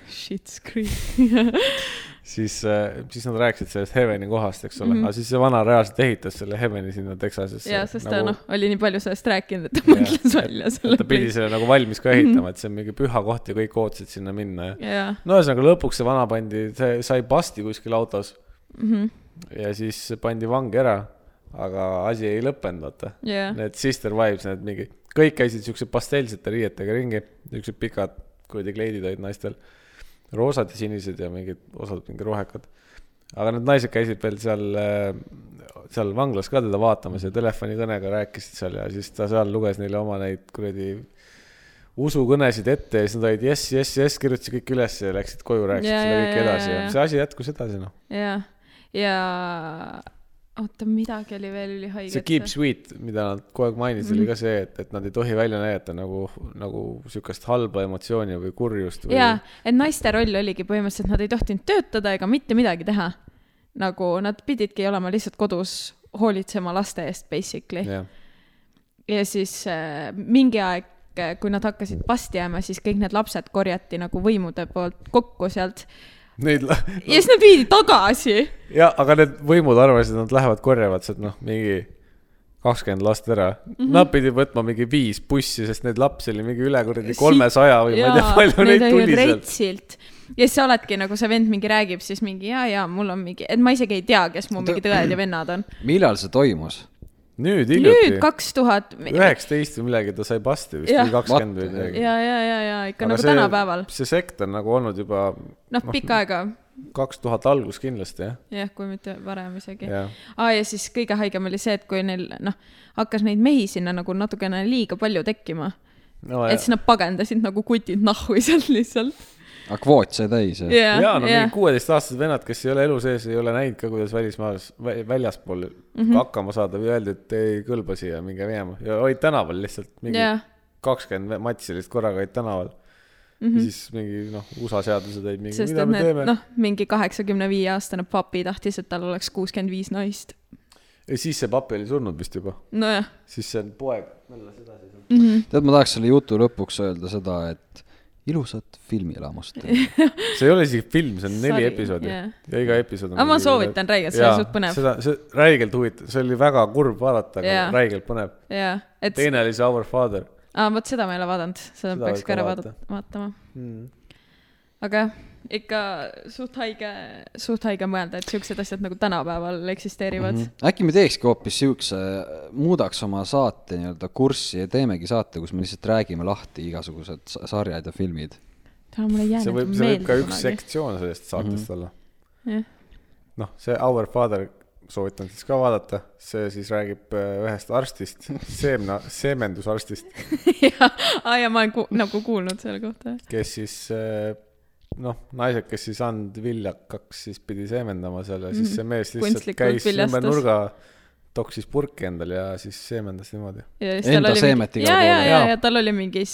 [SPEAKER 1] Shit's creep .
[SPEAKER 2] siis , siis nad rääkisid sellest Heaveni kohast , eks
[SPEAKER 1] Mhm.
[SPEAKER 2] ole mm , -hmm. aga siis see vana reaalselt ehitas selle Heaveni sinna Texasesse .
[SPEAKER 1] ja , sest ta noh , oli nii palju sellest rääkinud , et ta mõtles välja selle
[SPEAKER 2] Nagu- ta pidi . selle nagu valmis ka
[SPEAKER 1] Mhm.
[SPEAKER 2] ehitama , et see on mingi püha koht ja kõik ootasid sinna minna ja .
[SPEAKER 1] jaa ,
[SPEAKER 2] no ühesõnaga lõpuks see vana pandi , see sai pasti kuskil autos
[SPEAKER 1] mhm,
[SPEAKER 2] ja siis pandi vangi ära , aga asi ei lõppenud , vaata .
[SPEAKER 1] jaa .
[SPEAKER 2] Need sister vibes , need mingi , kõik käisid siukse pastellsete riietega ringi , siuksed pikad kuradi kleidid olid naistel . roosad ja sinised ja mingid osad mingi rohekad . aga need naised käisid veel seal , seal vanglas ka teda vaatamas ja telefonikõnega rääkisid seal ja siis ta seal luges neile oma neid kuradi usukõnesid ette ja siis nad olid jess , jess , jess , kirjutasid kõik üles ja läksid koju , rääkisid
[SPEAKER 1] Jaa,
[SPEAKER 2] seda
[SPEAKER 1] jaa,
[SPEAKER 2] kõike
[SPEAKER 1] jaa,
[SPEAKER 2] edasi ja
[SPEAKER 1] jaa.
[SPEAKER 2] see asi jätkus edasi noh .
[SPEAKER 1] jah , ja oota , midagi oli veel ülihaiget .
[SPEAKER 2] see Keep . Sweet , mida nad kogu aeg mainisid ,
[SPEAKER 1] Mhm.
[SPEAKER 2] oli ka see , et , et nad ei tohi välja näidata nagu , nagu sihukest halba emotsiooni või kurjust või
[SPEAKER 1] jaa , et naiste roll oligi põhimõtteliselt , nad ei tohtinud töötada ega mitte midagi teha . nagu nad pididki olema lihtsalt kodus hoolitsema laste eest basically .
[SPEAKER 2] jah ,
[SPEAKER 1] ja siis äh, mingi aeg , kui nad hakkasid pasti jääma , siis kõik need lapsed korjati nagu võimude poolt kokku sealt
[SPEAKER 2] neid ,
[SPEAKER 1] ja siis nad viidi tagasi .
[SPEAKER 2] ja aga need võimud arvasid , et nad lähevad korjavad sealt noh , mingi kakskümmend last ära mm .
[SPEAKER 1] Mhm.
[SPEAKER 2] -hmm. Nad pidid võtma mingi viis bussi , sest neid lapsi oli mingi üle kuradi
[SPEAKER 1] Si-
[SPEAKER 2] kolmesaja või ma ei tea , palju neid tuli sealt .
[SPEAKER 1] reitsilt . ja siis sa oledki nagu see vend mingi räägib , siis mingi ja , ja mul on mingi , et ma isegi ei tea , kes mu
[SPEAKER 3] Ta-
[SPEAKER 1] mingid õed ja vennad on .
[SPEAKER 3] millal see toimus ?
[SPEAKER 2] nüüd
[SPEAKER 1] nüüd
[SPEAKER 2] hiljuti ,
[SPEAKER 1] kaks tuhat . ja ,
[SPEAKER 2] üheksateist või midagi ta sai pasti vist ,
[SPEAKER 1] Jah.
[SPEAKER 2] või kakskümmend või
[SPEAKER 3] What?
[SPEAKER 2] midagi .
[SPEAKER 1] ja , ja , ja ikka nagu see... tänapäeval ,
[SPEAKER 2] see sekt on nagu olnud juba
[SPEAKER 1] noh , pikka aega ,
[SPEAKER 2] kaks tuhat algus kindlasti jah
[SPEAKER 1] jah , kui mitte varem isegi .
[SPEAKER 2] jah ,
[SPEAKER 1] aa , ja siis kõige haigem oli see , et kui neil noh , hakkas neid mehi sinna nagu natukene liiga palju tekkima ,
[SPEAKER 2] no,
[SPEAKER 1] et
[SPEAKER 2] ja-
[SPEAKER 1] siis nad pagendasid nagu kutid nahhu sealt lihtsalt .
[SPEAKER 3] aga kvoot sai täis , jah ?
[SPEAKER 1] ja ,
[SPEAKER 2] jaa , no
[SPEAKER 1] ja
[SPEAKER 2] mingi , kuueteistaastased vennad , kes ei ole elu sees , ei ole näinud ka , kuidas välismaalas , väljaspool mm
[SPEAKER 1] Mhm.
[SPEAKER 2] -hmm. hakkama saada või öeldi , et ei kõlba siia , minge minema ja olid tänaval lihtsalt mingi
[SPEAKER 1] Jah.
[SPEAKER 2] kakskümmend matsi lihtsalt korraga olid tänaval mm . -hmm. siis mingi noh , USA seadused olid mingi ,
[SPEAKER 1] Mhm. sest
[SPEAKER 2] mida
[SPEAKER 1] et
[SPEAKER 2] me
[SPEAKER 1] need
[SPEAKER 2] teeme no.
[SPEAKER 1] noh , mingi kaheksakümne viie aastane papi tahtis , et tal oleks kuuskümmend viis naist .
[SPEAKER 2] ja siis see papi oli surnud vist juba ,
[SPEAKER 1] nojah ,
[SPEAKER 2] siis see on poeg .
[SPEAKER 3] tead , ma tahaks selle jutu lõpuks öelda seda , et ilusat filmielamust .
[SPEAKER 2] see ei ole isegi film , see on neli
[SPEAKER 1] Sari,
[SPEAKER 2] episoodi Nagu
[SPEAKER 1] jah.
[SPEAKER 2] ja iga episood on .
[SPEAKER 1] Aga ma soovitan räigelt, see oli suht põnev.
[SPEAKER 2] seda , see räigelt huvitav , see oli väga kurb vaadata , aga
[SPEAKER 1] Jaa.
[SPEAKER 2] räigelt põnev .
[SPEAKER 1] jaa , et
[SPEAKER 2] teine oli see Our Father
[SPEAKER 1] aa , vot seda ma ei ole vaadanud , seda
[SPEAKER 2] Seda
[SPEAKER 1] peaks
[SPEAKER 2] võib
[SPEAKER 1] ka
[SPEAKER 2] ka
[SPEAKER 1] ära
[SPEAKER 2] vaadata.
[SPEAKER 1] vaadata , vaatama .
[SPEAKER 2] mm. .
[SPEAKER 1] aga jah , ikka suht haige , suht haige mõelda , et siuksed asjad nagu tänapäeval eksisteerivad
[SPEAKER 2] Mhm.
[SPEAKER 1] mm .
[SPEAKER 3] Mhm. äkki me teekski hoopis siukse , muudaks oma saate nii-öelda kurssi ja teemegi saate , kus me lihtsalt räägime lahti igasugused sa- sarjad ja filmid .
[SPEAKER 1] -hmm. mul ei jää
[SPEAKER 2] see võib ,
[SPEAKER 1] nagu
[SPEAKER 2] see võib ka
[SPEAKER 1] meelde
[SPEAKER 2] üks
[SPEAKER 1] kunagi .
[SPEAKER 2] sektsioon sellest saatest mm -hmm. olla .
[SPEAKER 1] jah ,
[SPEAKER 2] noh , see Our Father soovitan siis ka vaadata , see siis räägib äh, ühest arstist , seemna , seemendusarstist ,
[SPEAKER 1] aa ja ma olen ku- , nagu kuulnud selle kohta .
[SPEAKER 2] kes siis äh, noh , naised , kes siis and viljakaks siis pidi seemendama seal ja siis see mees lihtsalt
[SPEAKER 1] Mhm. Kunstlikult
[SPEAKER 2] käis ümber
[SPEAKER 1] viljastas.
[SPEAKER 2] nurga , toksis purki endale ja siis seemendas niimoodi .
[SPEAKER 1] ja
[SPEAKER 3] Enda seemet
[SPEAKER 1] mingi , ja ,
[SPEAKER 3] igale
[SPEAKER 1] ja ,
[SPEAKER 3] poole.
[SPEAKER 1] ja
[SPEAKER 2] Jaa. ,
[SPEAKER 1] ja tal oli mingi ,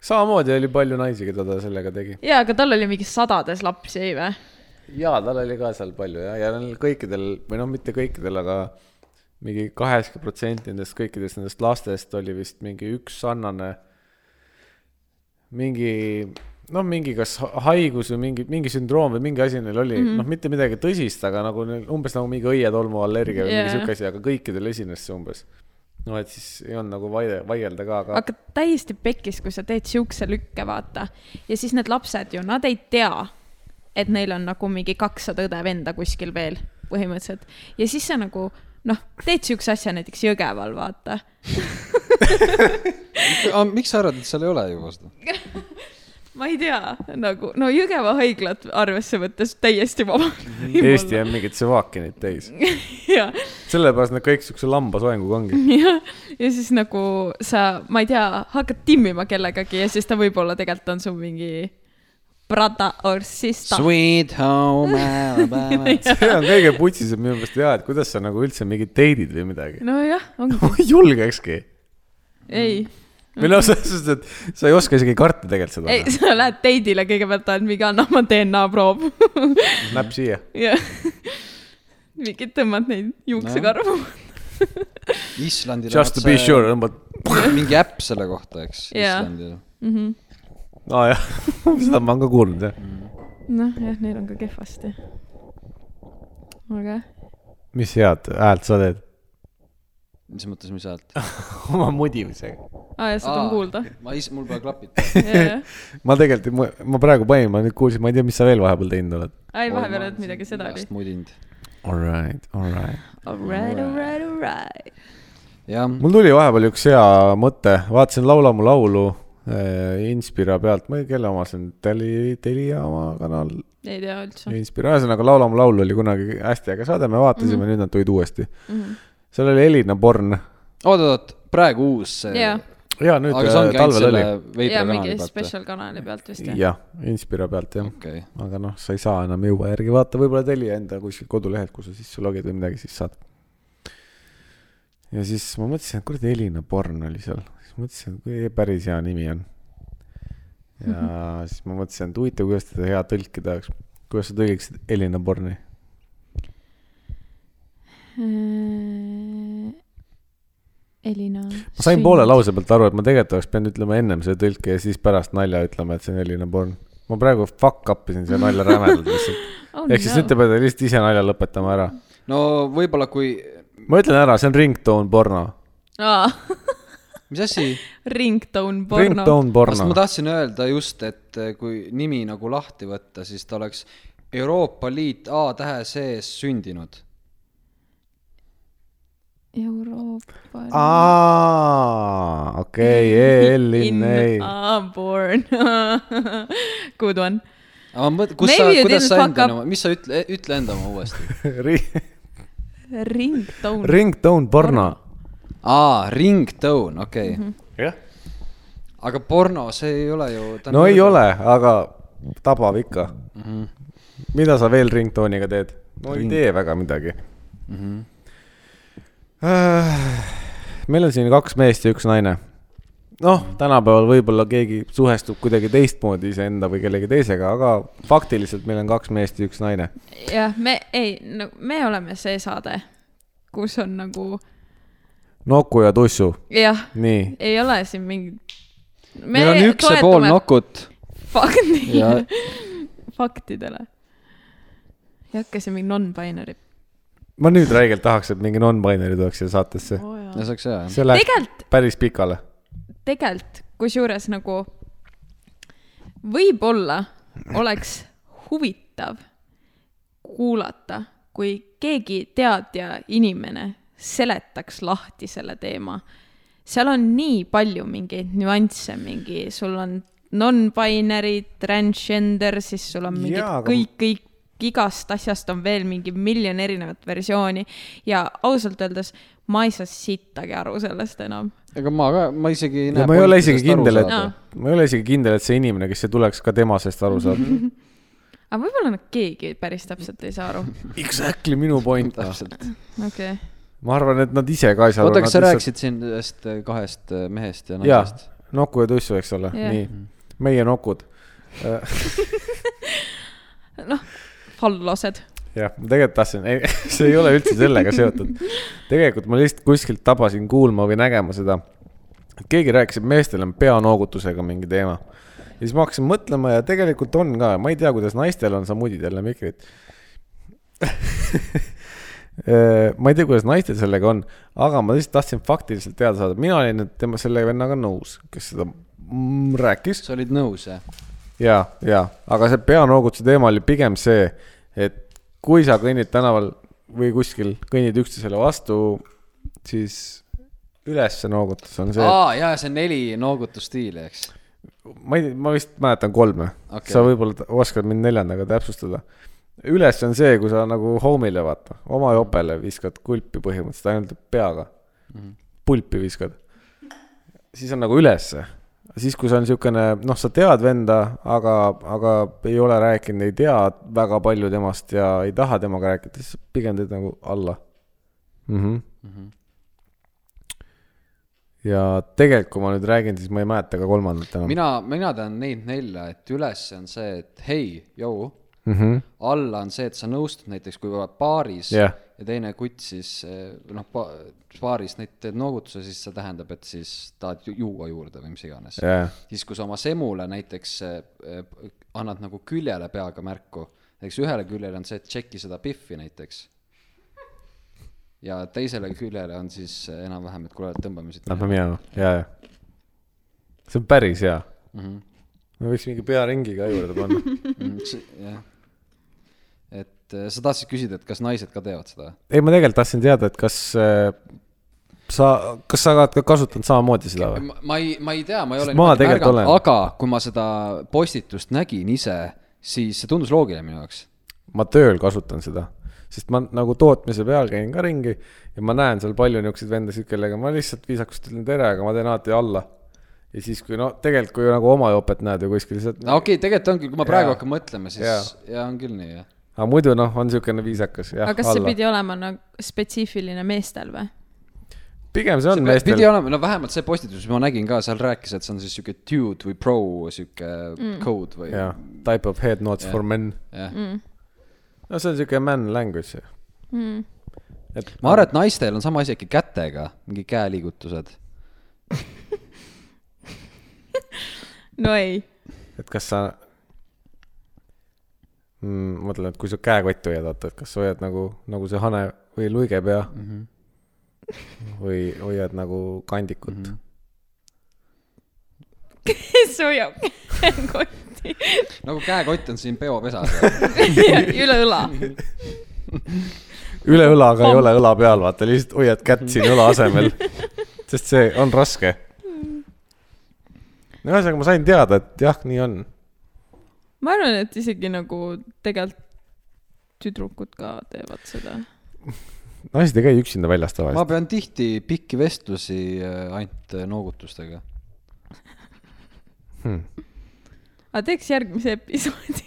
[SPEAKER 2] samamoodi oli palju naisi , keda ta sellega tegi .
[SPEAKER 1] jaa , aga tal oli mingi sadades lapsi , ei vä ?
[SPEAKER 2] jaa , tal oli ka seal palju ja , ja neil kõikidel või noh , mitte kõikidel , aga mingi kaheksakümmend protsenti nendest kõikidest nendest lastest oli vist mingi üks sarnane , mingi noh , mingi kas ha- haigus või mingi , mingi sündroom või mingi asi neil oli mm , -hmm. noh , mitte midagi tõsist , aga nagu neil umbes nagu mingi õietolmu allergia või yeah. mingi
[SPEAKER 1] Jaa.
[SPEAKER 2] sihuke asi , aga kõikidel esines see umbes . no et siis ei olnud nagu vaide , vaielda ka , aga
[SPEAKER 1] aga täiesti pekkis , kui sa teed siukse lükke , vaata . ja siis need lapsed ju , nad ei tea , et neil on nagu mingi kakssada õde-venda kuskil veel põhimõtteliselt . ja siis sa nagu noh , teed siukse asja näiteks Jõgeval , vaata .
[SPEAKER 3] Ah, miks sa arvad , et seal ei ole juba seda ?
[SPEAKER 1] ma ei tea , nagu no Jõgeva haiglat arvesse võttes täiesti vaba .
[SPEAKER 2] Eesti on mingit sevaakinit täis .
[SPEAKER 1] jah ,
[SPEAKER 2] sellepärast nad kõik siukse lambasoenguga ongi .
[SPEAKER 1] ja , ja siis nagu sa , ma ei tea , hakkad timmima kellegagi ja siis ta võib-olla tegelikult on sul mingi brada or sista .
[SPEAKER 3] Sweet home Alabama .
[SPEAKER 2] see on kõige putsisem minu meelest jaa , et kuidas sa nagu üldse mingid date'id või midagi .
[SPEAKER 1] nojah , ongi ,
[SPEAKER 2] ma ei julgekski .
[SPEAKER 1] ei
[SPEAKER 2] või noh , selles suhtes , et sa ei oska isegi karta tegelikult
[SPEAKER 1] ei ,
[SPEAKER 2] seda .
[SPEAKER 1] sa lähed date'ile kõigepealt ainult mingi anna oma DNA proov
[SPEAKER 2] noh, näpp siia .
[SPEAKER 1] ja mingi tõmbad neid juuksekarvu no. .
[SPEAKER 3] Islandil
[SPEAKER 2] Just to be sure , tõmbad ,
[SPEAKER 3] mingi äpp selle kohta , eks
[SPEAKER 1] Jaa.
[SPEAKER 3] Islandil .
[SPEAKER 1] Mhm.
[SPEAKER 2] aa jah , seda ma olen ka kuulnud jah .
[SPEAKER 3] Mhm.
[SPEAKER 1] noh , jah , neil on ka kehvasti . aga
[SPEAKER 2] mis head häält sa teed ?
[SPEAKER 3] mis mõttes , mis häält ?
[SPEAKER 2] oma mudimisega .
[SPEAKER 1] ah, , ja seda on kuulda .
[SPEAKER 3] ma is- , mul pole klapid .
[SPEAKER 1] ei ,
[SPEAKER 2] ma tegelikult , ma, ma praegu panin , ma nüüd kuulsin , ma ei tea , mis sa veel vahepeal teinud oled .
[SPEAKER 1] vahepeal ei olnud midagi , seda oli .
[SPEAKER 3] mudinud .
[SPEAKER 2] Alright , alright .
[SPEAKER 1] Alright , alright , alright .
[SPEAKER 3] jah ,
[SPEAKER 2] mul tuli vahepeal üks hea mõte , vaatasin Laula mu laulu äh, Inspira pealt , ma ei , kelle oma see on , Teli , Telia oma kanal ,
[SPEAKER 1] ei tea üldse .
[SPEAKER 2] Inspira , ühesõnaga Laula mu laul oli kunagi hästi äge saade , me vaatasime
[SPEAKER 3] Mhm.
[SPEAKER 2] mm , -hmm. nüüd nad tulid uuesti mm .
[SPEAKER 1] Mhm.
[SPEAKER 2] -hmm. seal oli Elina Born
[SPEAKER 3] oot-oot , praegu uus see
[SPEAKER 1] Jaa.
[SPEAKER 2] ja nüüd
[SPEAKER 3] aga
[SPEAKER 2] äh,
[SPEAKER 3] see ongi ainult
[SPEAKER 2] talvel
[SPEAKER 3] selle
[SPEAKER 2] oli .
[SPEAKER 1] ja
[SPEAKER 3] veidra
[SPEAKER 1] mingi
[SPEAKER 3] kanali pealt .
[SPEAKER 1] spetsial kanali pealt vist jah ?
[SPEAKER 2] jah , Inspira pealt jah .
[SPEAKER 3] okei ,
[SPEAKER 2] aga noh , sa ei saa enam jõua järgi , vaata võib-olla Telia enda kuskil kodulehelt , kui sa sisse logid või midagi , siis saad . ja siis ma mõtlesin , et kuradi Elina Born oli seal , siis mõtlesin , et kui päris hea nimi on . ja siis ma mõtlesin , et huvitav , kuidas teda hea tõlkida oleks , kuidas sa tõlgiksid Elina Borni ?
[SPEAKER 1] Äh, Elina .
[SPEAKER 2] ma sain poole . lause pealt aru , et ma tegelikult oleks pidanud ütlema ennem selle tõlke ja siis pärast nalja ütlema , et see on Elina Born . ma praegu fuck up isin selle nalja rämedalt lihtsalt .
[SPEAKER 1] Oh,
[SPEAKER 2] ehk siis nüüd te peate lihtsalt ise nalja lõpetama ära .
[SPEAKER 3] no võib-olla kui ,
[SPEAKER 2] ma ütlen ära , see on ringtone porno .
[SPEAKER 3] mis asi ,
[SPEAKER 1] Ringtone porno .
[SPEAKER 2] ringtone
[SPEAKER 3] sest ma
[SPEAKER 2] porno .
[SPEAKER 3] tahtsin öelda just , et äh, kui nimi nagu lahti võtta , siis ta oleks Euroopa Liit A tähe sees sündinud .
[SPEAKER 1] Euroopa .
[SPEAKER 2] aa , okei , E EL-in , ei .
[SPEAKER 1] Born Good one .
[SPEAKER 3] aga ma mõtlen , kus
[SPEAKER 1] Maybe
[SPEAKER 3] sa ,
[SPEAKER 1] you
[SPEAKER 3] kuidas
[SPEAKER 1] didn't
[SPEAKER 3] sa
[SPEAKER 1] fuck
[SPEAKER 3] enda
[SPEAKER 1] up.
[SPEAKER 3] oma , mis sa ütle , ütle enda oma uuesti .
[SPEAKER 1] Ringtone .
[SPEAKER 2] ringtone porno .
[SPEAKER 3] aa , ringtone , okei
[SPEAKER 1] Mhm.
[SPEAKER 3] okay. .
[SPEAKER 2] jah .
[SPEAKER 3] aga porno , see ei ole ju .
[SPEAKER 2] no ei . ole , aga tabab ikka . mida sa veel ringtone'iga teed ? no ei tee väga midagi . meil on siin kaks meest ja üks naine noh , tänapäeval võib-olla keegi suhestub kuidagi teistmoodi iseenda või kellegi teisega , aga faktiliselt meil on kaks meest ja üks naine .
[SPEAKER 1] jah , me ei no, , me oleme see saade , kus on nagu
[SPEAKER 2] Noku ja Tussu ,
[SPEAKER 1] jah ,
[SPEAKER 2] nii
[SPEAKER 1] ei ole siin mingit .
[SPEAKER 3] meil on üks ja pool nokut ja
[SPEAKER 1] faktidele , faktidele . ei hakka siin mingi non-binary .
[SPEAKER 2] ma nüüd räigelt tahaks , et mingi non-binary tuleks siia saatesse .
[SPEAKER 3] ja see oleks hea jah .
[SPEAKER 2] see läheb
[SPEAKER 1] Tegelikult-
[SPEAKER 2] päris pikale .
[SPEAKER 1] tegelikult , kusjuures nagu võib-olla oleks huvitav kuulata , kui keegi teadja inimene seletaks lahti selle teema . seal on nii palju mingeid nüansse , mingi sul on non-binary , transgender , siis sul on mingid
[SPEAKER 2] Jaa, aga-
[SPEAKER 1] kõik , kõik , igast asjast on veel mingi miljon erinevat versiooni ja ausalt öeldes ma ei saa sittagi aru sellest enam .
[SPEAKER 3] ega ma ka , ma isegi ei
[SPEAKER 2] ja
[SPEAKER 3] näe .
[SPEAKER 2] ma ei ole isegi kindel , et
[SPEAKER 1] saada. ,
[SPEAKER 2] ma ei ole isegi kindel , et see inimene , kes siia tuleks , ka tema sellest aru saab .
[SPEAKER 1] aga võib-olla nad keegi päris täpselt ei saa aru .
[SPEAKER 2] Exactly minu point .
[SPEAKER 3] täpselt .
[SPEAKER 1] okei okay. .
[SPEAKER 2] ma arvan , et nad ise ka ei saa aru .
[SPEAKER 3] oota , kas sa rääkisid siin ühest kahest äh, mehest ja
[SPEAKER 2] jaa
[SPEAKER 3] naisest ?,
[SPEAKER 2] Noku ja Tussu , eks ole ,
[SPEAKER 1] Jah.
[SPEAKER 2] nii .
[SPEAKER 3] Mhm.
[SPEAKER 2] meie nokud .
[SPEAKER 1] noh , fallosed .
[SPEAKER 2] jah , ma tegelikult tahtsin , see ei ole üldse sellega seotud . tegelikult ma lihtsalt kuskilt tabasin kuulma või nägema seda , et keegi rääkis , et meestel on peanoogutusega mingi teema . ja siis ma hakkasin mõtlema ja tegelikult on ka , ma ei tea , kuidas naistel on , sa mudid jälle mikrit . Äh, ma ei tea , kuidas naistel sellega on , aga ma lihtsalt tahtsin faktiliselt teada saada , mina olin nüüd tema selle vennaga nõus , kes seda mm, rääkis
[SPEAKER 3] sa olid nõus , jah ?
[SPEAKER 2] ja , ja , aga see peanoogutuse teema oli pigem see , et kui sa kõnnid tänaval või kuskil , kõnnid üksteisele vastu , siis ülesse noogutus on see et... .
[SPEAKER 3] aa , jaa , see on neli noogutusstiili , eks .
[SPEAKER 2] ma ei , ma vist mäletan kolme okay. ,
[SPEAKER 3] Okei.
[SPEAKER 2] sa võib-olla t- oskad mind neljandaga täpsustada . üles on see , kui sa nagu homile vaata , oma jopele viskad kulpi põhimõtteliselt ainult peaga mm . -hmm. pulpi viskad . siis on nagu ülesse , siis kui see on siukene , noh , sa tead venda , aga , aga ei ole rääkinud , ei tea väga palju temast ja ei taha temaga rääkida , siis pigem teed nagu alla mm . -hmm ja tegelikult , kui ma nüüd räägin , siis ma ei mäleta ka kolmandat enam .
[SPEAKER 3] mina , mina tean neid nelja , et üles on see , et hei , jõu .
[SPEAKER 2] mm . -hmm.
[SPEAKER 3] alla on see , et sa nõustud näiteks , kui oled baaris
[SPEAKER 2] Jah.
[SPEAKER 3] ja teine kutt siis eh, noh ba, , baaris neid teed noogutuse , siis see tähendab , et siis tahad ju- juua juurde või mis iganes .
[SPEAKER 2] jah ,
[SPEAKER 3] siis , kui sa oma semule näiteks eh, eh, annad nagu küljele peaga märku , näiteks ühele küljele on see , et tšeki seda pihvi näiteks . ja teisele küljele on siis eh, enam-vähem , et kuule , tõmbame siit .
[SPEAKER 2] lähme minema , ja , ja . see on päris hea .
[SPEAKER 3] mm . -hmm.
[SPEAKER 2] me võiks mingi pearingi ka juurde panna .
[SPEAKER 3] Mm, see- jah . et eh, sa tahtsid küsida , et kas naised ka teevad seda ?
[SPEAKER 2] ei , ma tegelikult tahtsin teada , et kas äh, sa , kas sa oled ka kasutanud samamoodi seda või ?
[SPEAKER 3] ma ma ei , ma ei tea , ma ei
[SPEAKER 2] Sest
[SPEAKER 3] ole
[SPEAKER 2] ma
[SPEAKER 3] niimoodi
[SPEAKER 2] tegelikult
[SPEAKER 3] märganud ,
[SPEAKER 2] olen.
[SPEAKER 3] aga kui ma seda postitust nägin ise , siis see tundus loogiline minu jaoks .
[SPEAKER 2] ma tööl kasutan seda , sest ma nagu tootmise peal käin ka ringi ja ma näen seal palju niisuguseid vendasid , kellega ma lihtsalt viisakust ütlen tere , aga ma teen alati alla . ja siis , kui no tegelikult , kui nagu oma jopet näed ju kuskil , noh. siis ,
[SPEAKER 3] no okei okay, , tegelikult ongi , kui ma praegu
[SPEAKER 2] Jaa.
[SPEAKER 3] hakkan mõtlema , siis
[SPEAKER 2] Jaa.
[SPEAKER 3] yeah. ja on küll nii jah .
[SPEAKER 2] aga muidu noh , on niisugune viisakas , jah ,
[SPEAKER 1] aga kas see
[SPEAKER 2] alla .
[SPEAKER 1] pidi olema nagu spetsiifiline meestel või ?
[SPEAKER 2] pigem see on
[SPEAKER 3] see pidi
[SPEAKER 2] meestel ,
[SPEAKER 3] olema , no vähemalt see postitus , mis ma nägin ka , seal rääkis , et see on siis sihuke dude või pro sihuke mm. code või
[SPEAKER 2] jah , type of head notes
[SPEAKER 3] Jah.
[SPEAKER 2] for men .
[SPEAKER 3] jah.
[SPEAKER 1] Mm.
[SPEAKER 2] no see on niisugune man language .
[SPEAKER 1] Mm.
[SPEAKER 2] et
[SPEAKER 3] ma arvan , et naistel on sama asi äkki kätega , mingi käeliigutused .
[SPEAKER 1] no ei ,
[SPEAKER 2] et kas sa mm, , mõtlen , et kui sa käekotti hoiad , vaata , et kas sa hoiad nagu , nagu see hane või luige pea mm -hmm. või hoiad nagu kandikut mm . -hmm.
[SPEAKER 1] kes hoiab kotti
[SPEAKER 3] nagu käekott on siin peopesas .
[SPEAKER 1] Ja üle õla ?
[SPEAKER 2] üle õla , aga ei ole õla peal , vaata , lihtsalt hoiad kätt siin õla asemel , sest see on raske . Mhm. no ühesõnaga , ma sain teada , et jah , nii on .
[SPEAKER 1] ma arvan , et isegi nagu tegelikult tüdrukud ka teevad seda .
[SPEAKER 2] naised ei käi üksinda väljas
[SPEAKER 3] ma
[SPEAKER 2] tavaliselt .
[SPEAKER 3] pean tihti pikki vestlusi äh, ainult äh, noogutustega .
[SPEAKER 1] aga teeks järgmise episoodi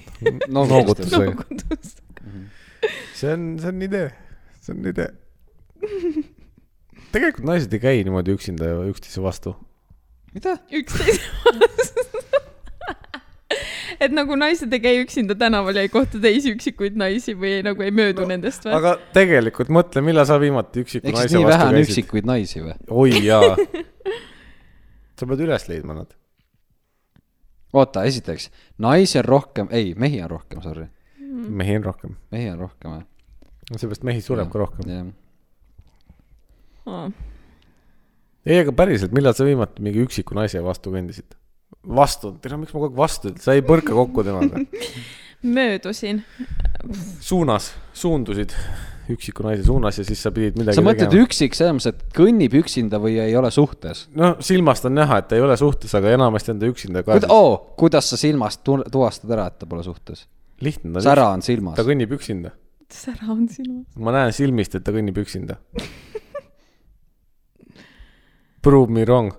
[SPEAKER 2] Noogutustega. See-
[SPEAKER 1] noogutust .
[SPEAKER 2] see on , see on idee , see on idee . tegelikult naised ei käi niimoodi üksinda ja üksteise vastu
[SPEAKER 3] mida ?
[SPEAKER 1] üksteise vastu . et nagu naised ei käi üksinda tänaval ja ei kohta teisi üksikuid naisi või ei, nagu ei möödu no, nendest või ?
[SPEAKER 2] aga tegelikult mõtle , millal sa viimati üksiku
[SPEAKER 3] ehk siis
[SPEAKER 2] naise
[SPEAKER 3] nii vähe
[SPEAKER 2] vastu
[SPEAKER 3] on
[SPEAKER 2] käisid üksik... .
[SPEAKER 3] üksikuid naisi või ?
[SPEAKER 2] oi jaa . sa pead üles leidma nad .
[SPEAKER 3] oota , esiteks , naisi on rohkem , ei , mehi on rohkem , sorry ,
[SPEAKER 2] Mm. mehi on rohkem .
[SPEAKER 3] mehi on rohkem jah .
[SPEAKER 2] seepärast mehi sureb ka rohkem .
[SPEAKER 3] jah ,
[SPEAKER 1] Aa.
[SPEAKER 2] ei , aga päriselt , millal sa viimati mingi üksiku naise vastu kõndisid ? vastu , tead , miks ma kogu aeg vastu ütlen , sa ei põrka kokku temaga .
[SPEAKER 1] möödusin .
[SPEAKER 2] suunas , suundusid üksiku naise suunas ja siis sa pidid midagi
[SPEAKER 3] sa mõtled ? üksik selles mõttes , et kõnnib üksinda või ei ole suhtes ?
[SPEAKER 2] no silmast on näha , et ei ole suhtes , aga enamasti on ta üksinda ka
[SPEAKER 3] Kuid, . oo , kuidas sa silmast tu- tuvastad ära , et ta pole suhtes ?
[SPEAKER 2] lihtne ta on ,
[SPEAKER 3] sära on silmas
[SPEAKER 2] ta . kõnnib üksinda .
[SPEAKER 1] sära on silmas .
[SPEAKER 2] ma näen silmist , et ta kõnnib üksinda . Prove me wrong .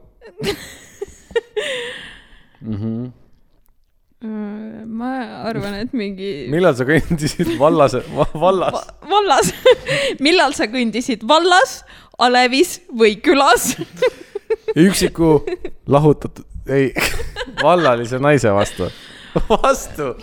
[SPEAKER 3] Mhm.
[SPEAKER 1] ma arvan , et mingi
[SPEAKER 2] millal sa kõndisid vallas , vallas
[SPEAKER 1] Va- ? vallas , millal sa kõndisid vallas , alevis või külas ?
[SPEAKER 2] üksiku lahutatud , ei , vallalise naise vastu . vastu .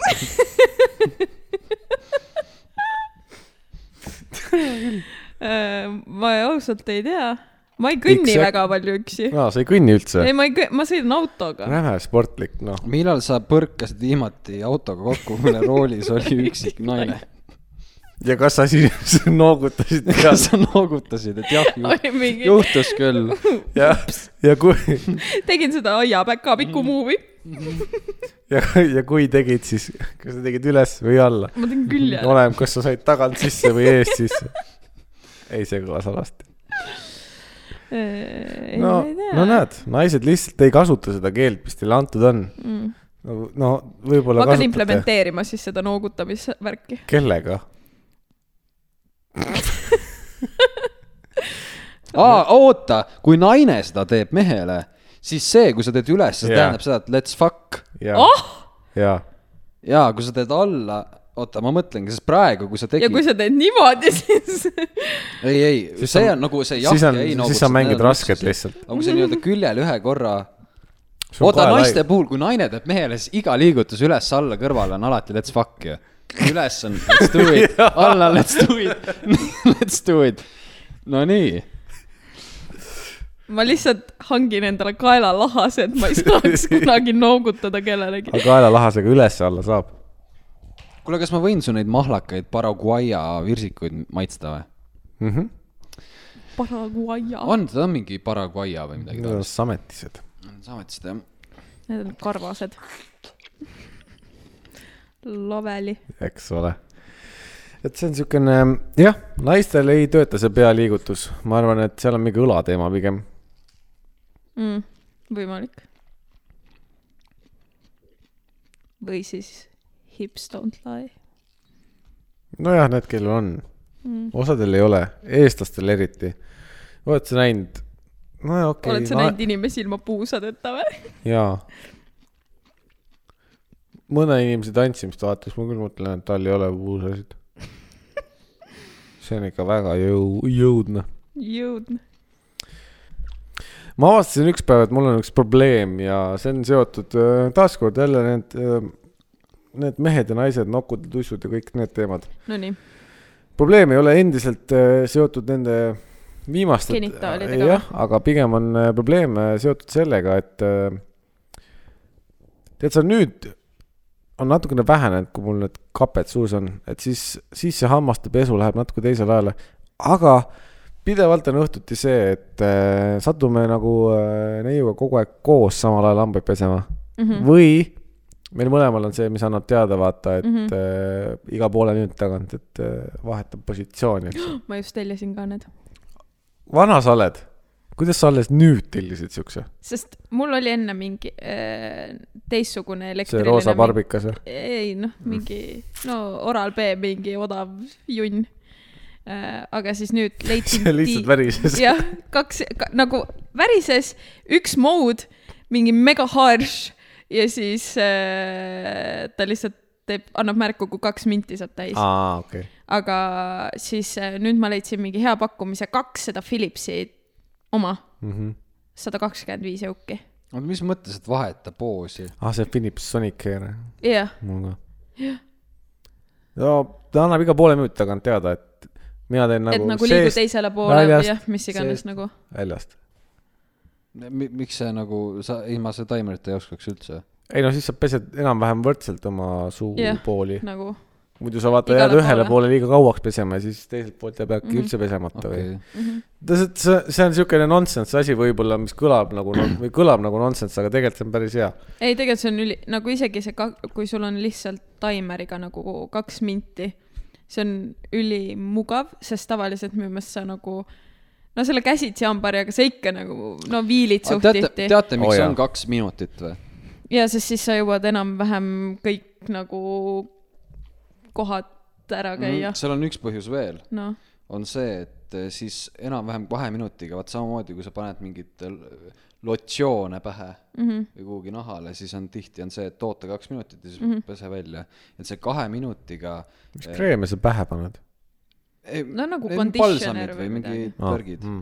[SPEAKER 1] ma ausalt ei tea . ma ei kõnni
[SPEAKER 2] Üks sek-
[SPEAKER 1] väga palju üksi .
[SPEAKER 2] aa , sa ei kõnni üldse
[SPEAKER 1] ei ,? ma ei kõnni , ma sõidan autoga .
[SPEAKER 2] räme sportlik , noh .
[SPEAKER 3] millal sa põrkasid viimati autoga kokku , mille roolis oli üksik naine ?
[SPEAKER 2] ja kas sa siis noogutasid ja ,
[SPEAKER 3] kas sa noogutasid , et jah ju, ,
[SPEAKER 1] oli mingi ,
[SPEAKER 3] juhtus küll .
[SPEAKER 2] ja , ja kui ,
[SPEAKER 1] tegin seda aiapäka pikku muuvi ,
[SPEAKER 2] ja , ja kui tegid , siis kas sa tegid üles või alla ?
[SPEAKER 1] ma tegin külje .
[SPEAKER 2] oleneb , kas sa said tagant sisse või eest sisse . ei , see kõlas alasti .
[SPEAKER 1] ei , ma
[SPEAKER 2] no
[SPEAKER 1] Äh, ei ,
[SPEAKER 2] no
[SPEAKER 1] tea .
[SPEAKER 2] näed , naised lihtsalt ei kasuta seda keelt , mis teile antud on . no , no
[SPEAKER 1] Mm. ma
[SPEAKER 2] võib-olla
[SPEAKER 1] hakkan
[SPEAKER 2] kasutate .
[SPEAKER 1] implementeerima siis seda noogutamisvärki .
[SPEAKER 2] kellega ?
[SPEAKER 3] aa , oota , kui naine seda teeb mehele , siis see , kui sa teed üles , see
[SPEAKER 2] Jaa.
[SPEAKER 3] tähendab seda , et let's fuck .
[SPEAKER 2] ja
[SPEAKER 1] Oh! ,
[SPEAKER 2] ja ,
[SPEAKER 3] ja kui sa teed alla , oota , ma mõtlengi , sest praegu , kui sa
[SPEAKER 1] ja
[SPEAKER 3] tegid
[SPEAKER 1] kui , sa teed niimoodi , siis
[SPEAKER 3] ei , ei ,
[SPEAKER 2] Siis
[SPEAKER 3] see
[SPEAKER 2] on-
[SPEAKER 3] on nagu see jah
[SPEAKER 2] siis
[SPEAKER 3] ja
[SPEAKER 2] on
[SPEAKER 3] ei ,
[SPEAKER 2] siis sa mängid rasket . lihtsalt .
[SPEAKER 3] aga kui sa nii-öelda küljel ühe korra , oota naiste puhul , kui naine teeb mehele , siis iga liigutus üles-alla kõrvale on alati let's fuck ju . üles on let's do it , alla let's do it , let's do it . Nonii ,
[SPEAKER 1] ma lihtsalt hangin endale kaelalahase , et ma ei saaks kunagi noogutada kellelegi .
[SPEAKER 2] aga kaelalahasega üles-alla saab .
[SPEAKER 3] kuule , kas ma võin su neid mahlakaid Paraguaya virsikuid maitsta või ?
[SPEAKER 2] Mhm.
[SPEAKER 1] Paraguaya .
[SPEAKER 3] on , ta on mingi Paraguaya või midagi
[SPEAKER 2] Need on sametised .
[SPEAKER 3] taolist . sa ametist jah ?
[SPEAKER 1] Need on karvased . Loveli .
[SPEAKER 2] eks ole . et see on siukene , jah , naistel ei tööta see pealiigutus , ma arvan , et seal on mingi õlateema pigem .
[SPEAKER 1] mm, . võimalik . või siis hips don't lie .
[SPEAKER 2] nojah , need , kellel on mm. , osadel ei ole , eestlastel eriti . oled sa näinud ? no jaa, okei
[SPEAKER 1] oled sa
[SPEAKER 2] na-
[SPEAKER 1] näinud inimesi ilma puusadeta või ?
[SPEAKER 2] jaa . mõne inimese tantsimist vaadates ma küll mõtlen , et tal ei ole puusasid . see on ikka väga jõu- , jõudne .
[SPEAKER 1] jõudnud .
[SPEAKER 2] ma avastasin ükspäev , et mul on üks probleem ja see on seotud äh, taaskord jälle need , need mehed ja naised , nokud ja tussud ja kõik need teemad .
[SPEAKER 1] Nonii ,
[SPEAKER 2] probleem ei ole endiselt äh, seotud nende viimaste .
[SPEAKER 1] Genitaalidega või?
[SPEAKER 2] jah , aga pigem on äh, probleem äh, seotud sellega , et äh, tead sa nüüd on natukene vähenenud , kui mul need kaped suus on , et siis , siis see hammaste pesu läheb natuke teisele ajale , aga pidevalt on õhtuti see , et äh, satume nagu äh, neiuga kogu aeg koos samal ajal hambaid pesema mm
[SPEAKER 1] Mhm.
[SPEAKER 2] -hmm. või meil mõlemal on see , mis annab teada , vaata , et
[SPEAKER 1] Mhm.
[SPEAKER 2] mm -hmm. äh, iga poole minuti tagant , et äh, vahetab positsiooni .
[SPEAKER 1] ma just tellisin ka need .
[SPEAKER 2] vana sa oled , kuidas sa alles nüüd tellisid siukse ,
[SPEAKER 1] sest mul oli enne mingi äh, teistsugune
[SPEAKER 2] see
[SPEAKER 1] elektriline .
[SPEAKER 2] roosa . parbikas või ?
[SPEAKER 1] ei noh , mingi no Oral B mingi odav junn äh, . aga siis nüüd leidsin .
[SPEAKER 2] see lihtsalt värises .
[SPEAKER 1] jah , kaks ka, nagu värises , üks mood , mingi mega harš ja siis äh, ta lihtsalt teeb , annab märku , kui kaks minti saab täis .
[SPEAKER 2] aa , okei .
[SPEAKER 1] aga siis äh, nüüd ma leidsin mingi hea pakkumise , kaks seda Philipsi oma ,
[SPEAKER 2] Mhm.
[SPEAKER 1] sada kakskümmend viis euki .
[SPEAKER 3] oota , mis mõttes , et vaheta poosi ?
[SPEAKER 2] aa , Ah, see Philips Sonic Air ,
[SPEAKER 1] jah ,
[SPEAKER 2] mul ka . no ta annab iga poole minuti tagant teada , et mina teen
[SPEAKER 1] et
[SPEAKER 2] nagu,
[SPEAKER 1] nagu liigu
[SPEAKER 2] seest
[SPEAKER 1] teisele poole
[SPEAKER 2] väljast,
[SPEAKER 1] või jah , mis iganes
[SPEAKER 2] seest.
[SPEAKER 1] nagu .
[SPEAKER 2] väljast .
[SPEAKER 3] miks see nagu , sa , ei ma seda taimerit ei oskaks üldse .
[SPEAKER 2] ei no siis sa pesed enam-vähem võrdselt oma
[SPEAKER 1] Jah.
[SPEAKER 2] suupooli .
[SPEAKER 1] nagu
[SPEAKER 2] muidu sa vaata
[SPEAKER 1] Igale
[SPEAKER 2] jääd ühele
[SPEAKER 1] poole.
[SPEAKER 2] poole liiga kauaks pesema ja siis teiselt poolt jääb äkki üldse pesemata või
[SPEAKER 3] okei .
[SPEAKER 2] tähendab , see , see on niisugune nonsense asi võib-olla , mis kõlab nagu non- või kõlab nagu nonsense , aga tegelikult see on päris hea .
[SPEAKER 1] ei , tegelikult see on üli , nagu isegi see , kui sul on lihtsalt taimeriga nagu kaks minti , see on ülimugav , sest tavaliselt minu meelest sa nagu , no selle käsitsi hambaharjaga sa ikka nagu , no viilid suht
[SPEAKER 3] teate ,
[SPEAKER 1] tihti .
[SPEAKER 3] teate ,
[SPEAKER 2] Oo,
[SPEAKER 3] miks see
[SPEAKER 2] jaa.
[SPEAKER 3] on kaks minutit või ?
[SPEAKER 1] ja sest siis sa jõuad enam-vähem kõik nagu kohad ära käia .
[SPEAKER 3] Mhm. seal on üks põhjus veel ,
[SPEAKER 1] noh ,
[SPEAKER 3] on see , et eh, siis enam-vähem kahe minutiga , vaat samamoodi , kui sa paned mingit l- lotsioone pähe mm
[SPEAKER 1] mhm.
[SPEAKER 3] -hmm. või kuhugi nahale , siis on tihti on see , et oota kaks minutit ja siis
[SPEAKER 1] Mhm.
[SPEAKER 3] mm -hmm. pese välja . et see kahe minutiga .
[SPEAKER 2] mis kreeme sa pähe paned ?
[SPEAKER 1] No nagu conditioner
[SPEAKER 3] e-,
[SPEAKER 1] või
[SPEAKER 3] või mingi
[SPEAKER 1] midagi.
[SPEAKER 3] värgid ah, .
[SPEAKER 2] mm.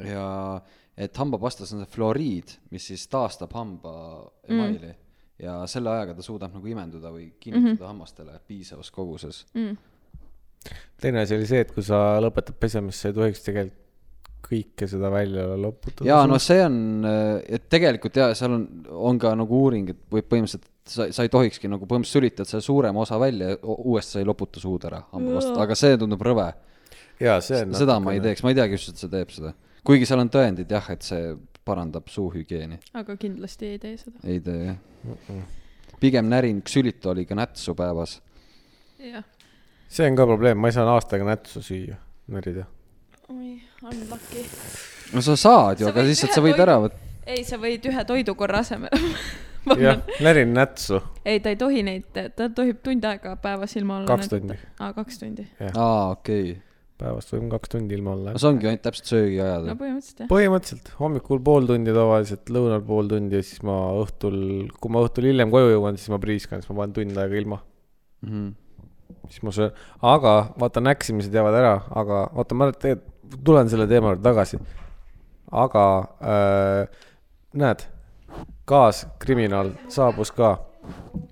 [SPEAKER 3] Mm. ja et hambapastas on see fluoriid , mis siis taastab hamba emaili mm. ja selle ajaga ta suudab nagu imenduda või
[SPEAKER 1] Mhm.
[SPEAKER 3] kinnitada mm -hmm. hammastele piisavas koguses .
[SPEAKER 1] Mm,
[SPEAKER 2] teine asi oli see , et kui sa lõpetad pesemist , sa ei tohiks tegelikult kõike seda välja loputada .
[SPEAKER 3] ja no see on , et tegelikult ja seal on , on ka nagu uuring , et võib põhimõtteliselt sa , sa ei tohikski nagu põhimõtteliselt sülitad selle suurema osa välja , uuesti sa ei loputa suud ära hamba vastu , aga see tundub rõve .
[SPEAKER 2] ja see on
[SPEAKER 3] seda ma ei . teeks , ma ei teagi just , et see teeb seda . kuigi seal on tõendid jah , et see parandab suuhügieeni .
[SPEAKER 1] aga kindlasti ei tee seda .
[SPEAKER 3] ei tee jah . pigem närin ksülitooliga nätsu päevas .
[SPEAKER 1] jah .
[SPEAKER 2] see on ka probleem , ma ei saa aastaga nätsu süüa , närida .
[SPEAKER 1] oi , unlucky .
[SPEAKER 3] no sa saad ju ,
[SPEAKER 1] Sa
[SPEAKER 3] aga
[SPEAKER 1] võid
[SPEAKER 3] lihtsalt
[SPEAKER 1] ühe
[SPEAKER 3] sa võid
[SPEAKER 1] toidu-
[SPEAKER 3] ära võtta .
[SPEAKER 1] ei , sa võid ühe toidu korra asemel
[SPEAKER 2] jah , närin nätsu ,
[SPEAKER 1] ei , ta ei tohi neid , ta tohib tund aega päevas ilma olla .
[SPEAKER 2] kaks . tundi
[SPEAKER 1] aa , kaks tundi .
[SPEAKER 3] aa , okei okay. .
[SPEAKER 2] päevast võime kaks tundi ilma olla
[SPEAKER 3] no . see ongi ainult täpselt söögiajad
[SPEAKER 1] no
[SPEAKER 3] no, .
[SPEAKER 1] põhimõtteliselt jah .
[SPEAKER 2] põhimõtteliselt hommikul pool tundi tavaliselt , lõunal pool tundi ja siis ma õhtul , kui ma õhtul hiljem koju jõuan , siis ma priiskan , siis ma panen tund aega ilma ,
[SPEAKER 3] Mm -hmm.
[SPEAKER 2] siis ma söön . aga vaata , näksimised jäävad ära , aga oota , ma tegelikult tulen selle teema juurde tagasi . aga äh, näed , kaaskriminaal saabus ka ,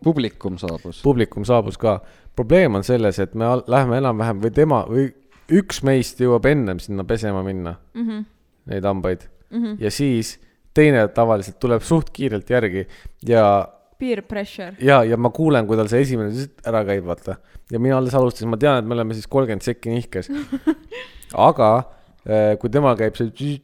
[SPEAKER 3] publikum saabus .
[SPEAKER 2] publikum saabus ka . probleem on selles , et me al- lähme enam-vähem või tema või üks meist jõuab ennem sinna pesema minna
[SPEAKER 1] Mhm,
[SPEAKER 2] neid hambaid mm -hmm. ja siis teine tavaliselt tuleb suht kiirelt järgi ja ,
[SPEAKER 1] Peer pressure .
[SPEAKER 2] ja , ja ma kuulen , kui tal see esimene zzt ära käib , vaata . ja mina alles alustasin , ma tean , et me oleme siis kolmkümmend sekki nihkes . aga eh, kui temal käib see ,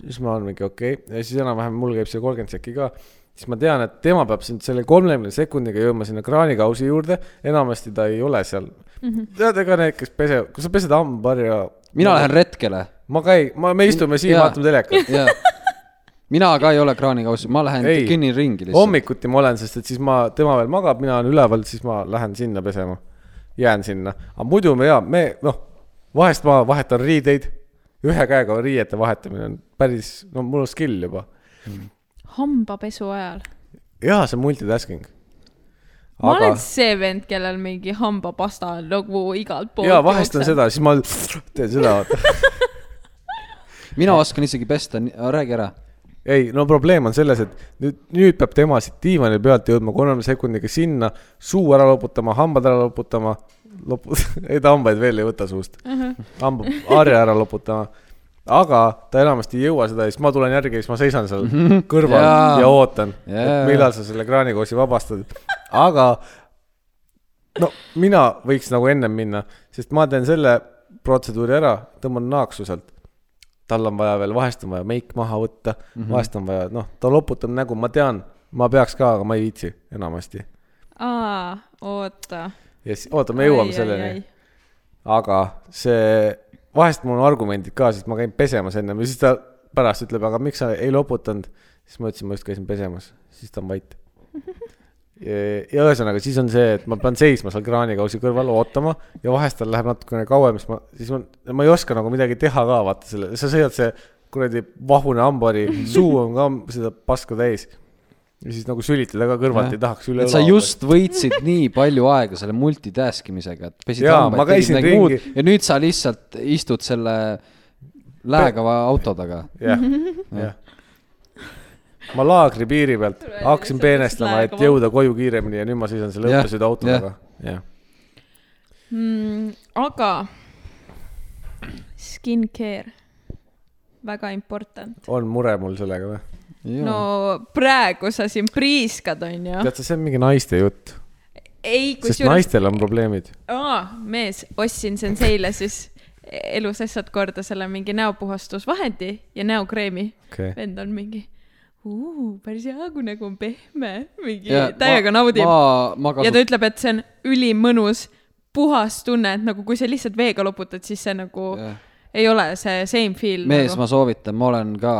[SPEAKER 2] siis ma olen mingi okei okay. ja siis enam-vähem mul käib see kolmkümmend sekki ka siis ma tean , et tema peab sind selle kolmekümne sekundiga jõudma sinna kraanikausi juurde , enamasti ta ei ole seal mm . -hmm. tead , ega need , kes pese , kui sa pesed hambaharja .
[SPEAKER 3] mina lähen retkele
[SPEAKER 2] ma käin , ma , me istume siin ,
[SPEAKER 3] Jaa.
[SPEAKER 2] vaatame telekat .
[SPEAKER 3] jaa . mina ka ei ole kraanikaussis , ma lähen
[SPEAKER 2] Ei.
[SPEAKER 3] kõnnin ringi lihtsalt .
[SPEAKER 2] hommikuti ma olen , sest et siis ma , tema veel magab , mina olen üleval , siis ma lähen sinna pesema . jään sinna , aga muidu me ja me noh , vahest ma vahetan riideid , ühe käega riiete vahetamine on päris , no mul on skill juba .
[SPEAKER 1] hambapesu ajal .
[SPEAKER 2] jaa , see on multitasking .
[SPEAKER 1] ma olen see vend , kellel mingi hambapasta on nagu igalt poolt .
[SPEAKER 2] jaa , vahest on . seda , siis ma teen seda , vaata .
[SPEAKER 3] mina oskan isegi pesta , räägi ära .
[SPEAKER 2] ei , no probleem on selles , et nüüd , nüüd peab tema siit diivani pealt jõudma kolme sekundiga sinna , suu ära loputama , hambad ära loputama , lopu- , ei ta hambaid veel ei võta suust hamba , harja ära loputama . aga ta enamasti ei jõua seda ja siis ma tulen järgi ja siis ma seisan seal kõrval ja,
[SPEAKER 3] Jaa.
[SPEAKER 2] ja ootan ,
[SPEAKER 3] Jaa.
[SPEAKER 2] et millal sa selle kraanikoosi vabastad . aga no mina võiks nagu ennem minna , sest ma teen selle protseduuri ära , tõmban naaksu sealt . tal on vaja veel , vahest on vaja meik maha võtta mm , -hmm. vahest on vaja , noh , ta loputab nägu , ma tean , ma peaks ka , aga ma ei viitsi enamasti .
[SPEAKER 1] aa , oota .
[SPEAKER 2] ja siis , oota , me jõuame selleni aga see , vahest mul on argumendid ka , sest ma käin pesemas ennem ja siis ta pärast ütleb , aga miks sa ei loputanud . siis ma ütlesin , ma just käisin pesemas , siis ta on vait . ja ühesõnaga , siis on see , et ma pean seisma seal kraanikausi kõrval ootama ja vahest tal läheb natukene kauem , siis ma , siis ma , ma ei oska nagu midagi teha ka , vaata selle , sa sõidad see kuradi vahune hambari , suu on ka seda paska täis . ja siis nagu sülitada ka kõrvalt ei tahaks üle
[SPEAKER 3] et sa . just võitsid nii palju aega selle multitask imisega , et pesid
[SPEAKER 2] Jaa, ma käisin
[SPEAKER 3] midagi muud
[SPEAKER 2] ringi.
[SPEAKER 3] ja nüüd sa lihtsalt istud selle läägava auto taga .
[SPEAKER 2] jah , jah . ma laagri piiri pealt
[SPEAKER 1] Tule,
[SPEAKER 2] hakkasin
[SPEAKER 1] sa
[SPEAKER 2] peenestama , et
[SPEAKER 1] peaksid
[SPEAKER 2] jõuda koju kiiremini ja nüüd ma seisan selle
[SPEAKER 3] Jah,
[SPEAKER 2] õppesõidu auto
[SPEAKER 3] jah.
[SPEAKER 2] taga . jah ,
[SPEAKER 1] mm, . aga skincare , väga important .
[SPEAKER 2] on mure mul sellega või ?
[SPEAKER 1] no praegu sa siin priiskad , onju .
[SPEAKER 2] tead sa , see on mingi naiste jutt ,
[SPEAKER 1] ei ,
[SPEAKER 2] sest
[SPEAKER 1] kusjuures ,
[SPEAKER 2] naistel on probleemid .
[SPEAKER 1] mees , ostsin Senseile siis elus asjad korda selle mingi näopuhastusvahendi ja näokreemi .
[SPEAKER 2] okei okay. ,
[SPEAKER 1] vend on mingi , päris hea , kui nägu on pehme , mingi
[SPEAKER 3] Jaa,
[SPEAKER 1] täiega
[SPEAKER 3] ma-
[SPEAKER 1] naudib .
[SPEAKER 3] ma , ma
[SPEAKER 1] ja ta
[SPEAKER 3] kasutan ,
[SPEAKER 1] ütleb , et see on ülimõnus , puhas tunne , et nagu kui sa lihtsalt veega loputad , siis see nagu
[SPEAKER 3] Jah.
[SPEAKER 1] ei ole see same feel .
[SPEAKER 3] mees ,
[SPEAKER 1] nagu.
[SPEAKER 3] ma soovitan , ma olen ka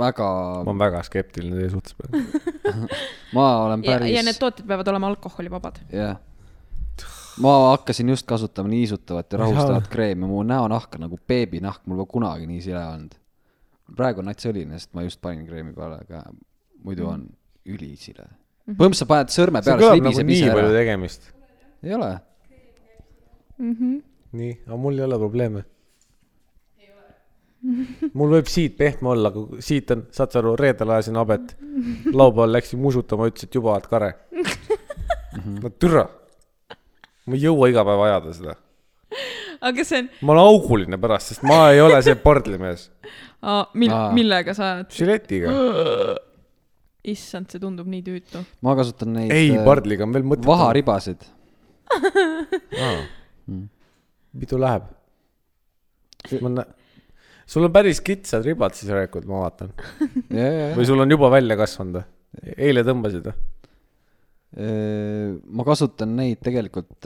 [SPEAKER 3] väga ,
[SPEAKER 2] ma olen väga skeptiline teie suhtes praegu .
[SPEAKER 3] ma olen
[SPEAKER 1] ja ,
[SPEAKER 3] päris .
[SPEAKER 1] ja need tooted peavad olema alkoholivabad .
[SPEAKER 3] jah . ma hakkasin just kasutama niisutavat ja rahustavat kreemi , mu näonahk on nagu beebinahk , mul pole kunagi nii sile olnud . praegu on nats õline , sest ma just panin kreemi peale , aga muidu on ülisile . põhimõtteliselt sa paned sõrme
[SPEAKER 2] see
[SPEAKER 3] peale , siis
[SPEAKER 2] kõlab nagu
[SPEAKER 3] libiseb
[SPEAKER 2] nii
[SPEAKER 3] ise
[SPEAKER 2] palju
[SPEAKER 3] ära .
[SPEAKER 2] tegemist .
[SPEAKER 3] ei ole ?
[SPEAKER 2] nii , aga mul ei ole probleeme . mul võib siit pehme olla , aga siit on , saad sa aru , reedel ajasin habet , laupäeval läksin musutama , ütles , et juba oled kare . Mhm. no türa , ma ei jõua iga päev ajada seda
[SPEAKER 1] aga see on ,
[SPEAKER 2] ma olen auguline pärast , sest ma ei ole see pardlimees .
[SPEAKER 1] mil-
[SPEAKER 3] Aa. ,
[SPEAKER 1] millega sa ajad ?
[SPEAKER 2] žiletiga .
[SPEAKER 1] issand , see tundub nii tüütu .
[SPEAKER 3] ma kasutan neid
[SPEAKER 2] ei ,
[SPEAKER 3] äh,
[SPEAKER 2] pardliga on veel mõtet .
[SPEAKER 3] vaharibasid .
[SPEAKER 2] mitu läheb ? ma näen , sul on päris kitsad ribad siis järelikult , ma vaatan . või sul on juba välja kasvanud või ? eile tõmbasid või ?
[SPEAKER 3] ma kasutan neid tegelikult ,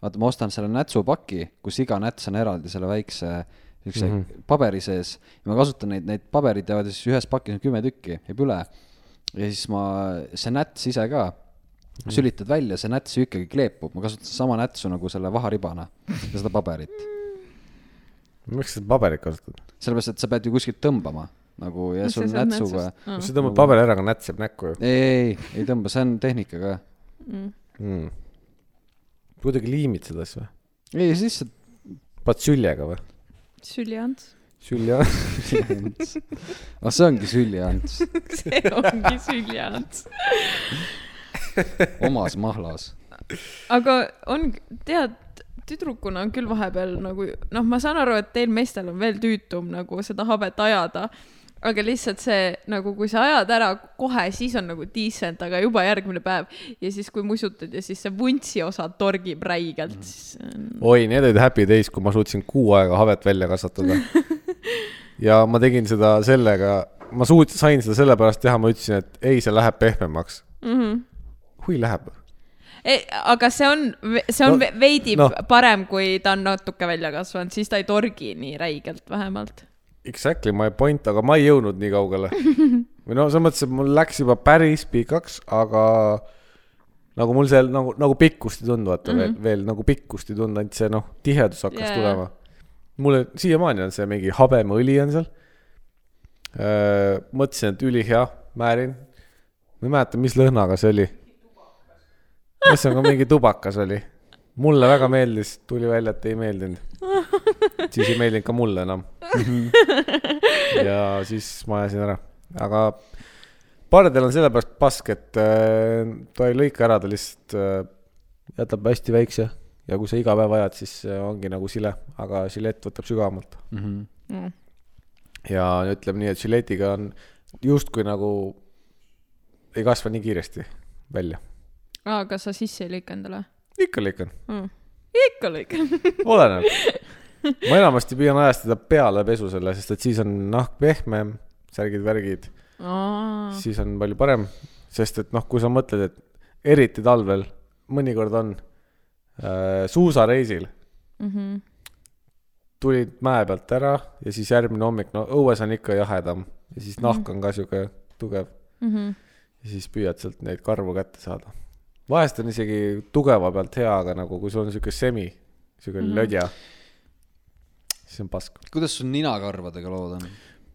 [SPEAKER 3] vaata , ma ostan selle nätsupaki , kus iga näts on eraldi selle väikse siukse mm -hmm. paberi sees ja ma kasutan neid , need paberid jäävad siis ühes pakis on kümme tükki , jääb üle . ja siis ma , see näts ise ka , sülitad välja , see näts ju ikkagi kleepub , ma kasutan sama nätsu nagu selle vaharibana ja seda paberit .
[SPEAKER 2] miks sa seda paberit kasutad ?
[SPEAKER 3] sellepärast , et sa pead ju kuskilt tõmbama nagu ja
[SPEAKER 1] No
[SPEAKER 3] sul
[SPEAKER 1] see saab
[SPEAKER 3] nätsuga .
[SPEAKER 1] nätsust. Aa.
[SPEAKER 2] sa tõmbad paberi ära , aga näts jääb näkku ju
[SPEAKER 3] ei , ei , ei tõmba , see on tehnika ka .
[SPEAKER 2] mm. . kuidagi liimid seda asja või ?
[SPEAKER 3] ei , siis sa
[SPEAKER 2] paned süljega või ?
[SPEAKER 1] süljants .
[SPEAKER 2] sülje on .
[SPEAKER 3] süljants . ah , see ongi süljeants ,
[SPEAKER 1] see ongi süljants .
[SPEAKER 3] omas mahlas .
[SPEAKER 1] aga on , tead , tüdrukuna on küll vahepeal nagu noh , ma saan aru , et teil meestel on veel tüütum nagu seda habet ajada , aga lihtsalt see nagu , kui sa ajad ära kohe , siis on nagu decent , aga juba järgmine päev ja siis , kui musutad ja siis see vuntsi osa torgib räigelt , siis on-
[SPEAKER 2] oi , need olid happy days , kui ma suutsin kuu aega habet välja kasvatada . ja ma tegin seda sellega , ma suut- , sain seda sellepärast teha , ma ütlesin , et ei , see läheb pehmemaks mm . -hmm. kui läheb ?
[SPEAKER 1] ei, E, aga see on , see on
[SPEAKER 2] No,
[SPEAKER 1] no, veidi no.
[SPEAKER 2] noh.
[SPEAKER 1] parem , kui ta on natuke välja kasvanud , siis ta ei torgi nii räigelt vähemalt .
[SPEAKER 2] Exactly my point , aga ma ei jõudnud nii kaugele . või no selles mõttes , et mul läks juba päris pikaks , aga nagu mul seal nagu , nagu pikkust ei tulnud , vaata mm -hmm. veel , veel nagu pikkust ei tulnud , ainult see noh , tihedus hakkas
[SPEAKER 1] Mhm. Jaa,
[SPEAKER 2] yeah.
[SPEAKER 1] jaa.
[SPEAKER 2] tulema . mulle siiamaani on see mingi habemeõli on seal . mõtlesin , et ülihea , määrin . ma ei mäleta , mis lõhnaga see oli . ühesõnaga mingi tubakas oli . mulle väga meeldis , tuli välja , et ei meeldinud . siis ei meeldinud ka mulle enam . ja siis ma ajasin ära , aga pardel on sellepärast pask , et äh, ta ei lõika ära , ta lihtsalt äh, jätab hästi väikse ja kui sa iga päev ajad , siis äh, ongi nagu sile , aga žilett võtab sügavamalt
[SPEAKER 1] Mm.
[SPEAKER 2] ja ütleme nii , et žiletiga on justkui nagu ei kasva nii kiiresti välja .
[SPEAKER 1] aga sa sisse ei lõika endale
[SPEAKER 2] ikka lõikan ,
[SPEAKER 1] mm. ? ikka lõikan .
[SPEAKER 2] oleneb . ma enamasti püüan ajastada peale pesu selle , sest et siis on nahk pehmem , särgid-värgid
[SPEAKER 1] aa ,
[SPEAKER 2] siis on palju parem , sest et noh , kui sa mõtled , et eriti talvel mõnikord on äh, suusareisil mm
[SPEAKER 1] Mhm.
[SPEAKER 2] tulid mäe pealt ära ja siis järgmine hommik , no õues on ikka jahedam ja siis nahk on ka sihuke tugev
[SPEAKER 1] Mhm.
[SPEAKER 2] ja siis püüad sealt neid karvu kätte saada . vahest on isegi tugeva pealt hea , aga nagu kui sul on sihuke semi , sihuke mm -hmm. lödja , siis on pask ,
[SPEAKER 3] kuidas sul ninakarvadega lood on ?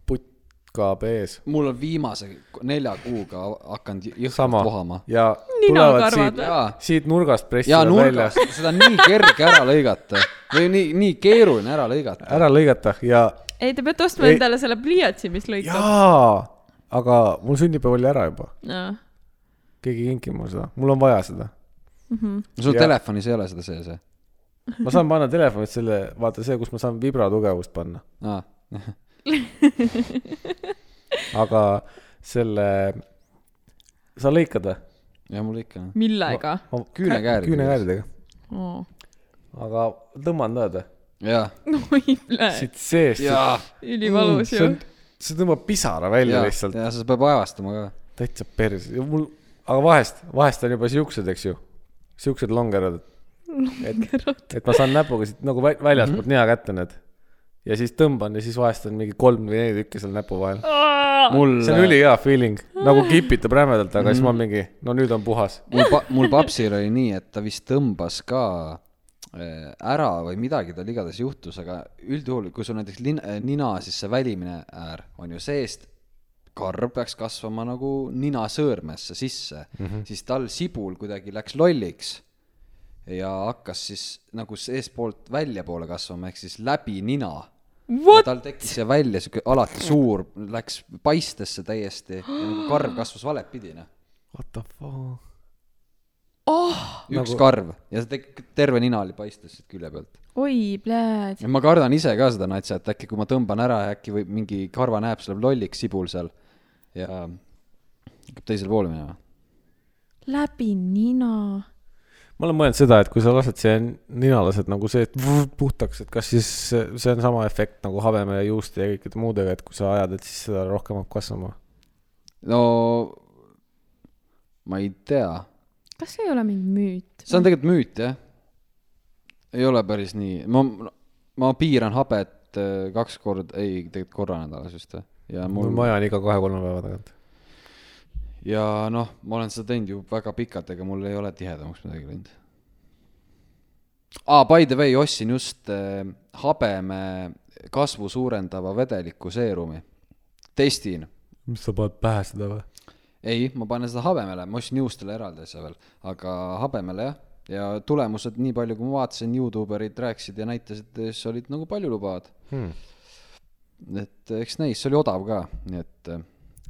[SPEAKER 2] putkab ees
[SPEAKER 3] mul on viimase nelja kuuga hakanud jõhkralt
[SPEAKER 2] sama
[SPEAKER 3] vohama .
[SPEAKER 2] ja tulevad
[SPEAKER 1] Ninakarvad
[SPEAKER 2] siit ,
[SPEAKER 3] jaa ,
[SPEAKER 2] siit nurgast
[SPEAKER 3] jaa ,
[SPEAKER 2] pressivad välja
[SPEAKER 3] nurgast , seda on nii kerge ära lõigata või nii , nii keeruline ära lõigata .
[SPEAKER 2] ära lõigata ja ,
[SPEAKER 1] ei , te peate ostma
[SPEAKER 2] Ei.
[SPEAKER 1] ei. endale selle pliiatsi , mis lõikab .
[SPEAKER 2] jaa , aga mul sünnipäev oli ära juba ,
[SPEAKER 1] jaa .
[SPEAKER 2] keegi ei kinkinud mulle seda , mul on vaja seda .
[SPEAKER 3] sul
[SPEAKER 2] Jaa.
[SPEAKER 3] telefonis ei ole seda sees või ?
[SPEAKER 2] ma saan panna telefonid selle , vaata see , kus ma saan vibra tugevust panna ,
[SPEAKER 3] aa ,
[SPEAKER 2] aga selle , sa lõikad või ?
[SPEAKER 3] ja mul ikka .
[SPEAKER 1] millega ?
[SPEAKER 3] Küünekääridega.
[SPEAKER 2] küünekääridega ,
[SPEAKER 1] oo .
[SPEAKER 2] aga tõmban tahad või ?
[SPEAKER 3] jaa ,
[SPEAKER 1] oi , plee ,
[SPEAKER 2] siit seest ,
[SPEAKER 3] jaa ,
[SPEAKER 1] ülivalus ju .
[SPEAKER 2] Mm, see tõmbab pisara välja
[SPEAKER 3] jaa ,
[SPEAKER 2] lihtsalt ,
[SPEAKER 3] ja seda peab ajastama ka .
[SPEAKER 2] täitsa pers- , mul , aga vahest , vahest on juba siuksed , eks ju , siuksed longerad , et et ma saan näpuga siit nagu vä- väljaspoolt mm -hmm. nina kätte need ja siis tõmban ja siis vahest on mingi kolm või neli tükki seal näpu vahel .
[SPEAKER 3] mul ,
[SPEAKER 2] see on ülihea feeling , nagu kipitab rämedalt , aga mm -hmm. siis ma mingi , no nüüd on puhas .
[SPEAKER 3] mul pa- , mul papsil oli nii , et ta vist tõmbas ka äh, ära või midagi tal igatahes juhtus , aga üldjuhul , kui sul näiteks lin- , nina , siis see välimine äär on ju seest , karv peaks kasvama nagu ninasõõrmesse sisse mm , -hmm. siis tal sibul kuidagi läks lolliks ja hakkas siis nagu seestpoolt väljapoole kasvama , ehk siis läbi nina .
[SPEAKER 1] What ?
[SPEAKER 3] tal tekkis see välja siuke alati suur , läks paistesse täiesti ja nagu karv kasvas valepidi , noh .
[SPEAKER 2] What the fuck ?
[SPEAKER 1] oh ,
[SPEAKER 3] üks karv ja see tek- terve nina oli paistes siit külje pealt
[SPEAKER 1] oi , pljääd .
[SPEAKER 3] ja ma kardan ise ka seda natsa , et äkki kui ma tõmban ära , äkki võib mingi karvanääps läheb lolliks sibul seal ja hakkab teisele poole minema .
[SPEAKER 1] läbi nina .
[SPEAKER 2] ma olen mõelnud seda , et kui sa lased see nina , lased nagu see et vr- puhtaks , et kas siis see on sama efekt nagu habeme ja juuste ja kõikide muudega , et kui sa ajad , et siis seda rohkem hakkab kasvama .
[SPEAKER 3] no ma ei tea ,
[SPEAKER 1] kas see ei ole mingi müüt ?
[SPEAKER 3] see on tegelikult müüt jah . ei ole päris nii , ma , ma piiran habet äh, kaks korda , ei tegelikult korra nädalas vist või ja
[SPEAKER 2] mul
[SPEAKER 3] mul ,
[SPEAKER 2] maja on iga kahe-kolme päeva tagant .
[SPEAKER 3] ja noh , ma olen seda teinud ju väga pikalt , ega mul ei ole tihedamaks midagi läinud . ah, . By the way , ostsin just äh, habeme kasvu suurendava vedeliku seerumi . testin .
[SPEAKER 2] mis sa paned pähe seda või ?
[SPEAKER 3] ei , ma panen seda habemele , ma ostsin juustele eraldi asja veel , aga habemele jah . ja tulemused , nii palju kui ma vaatasin , Youtube erid rääkisid ja näitasid , siis olid nagu paljulubavad .
[SPEAKER 2] Hmm.
[SPEAKER 3] et eh, eks näis , see oli odav ka , nii et äh,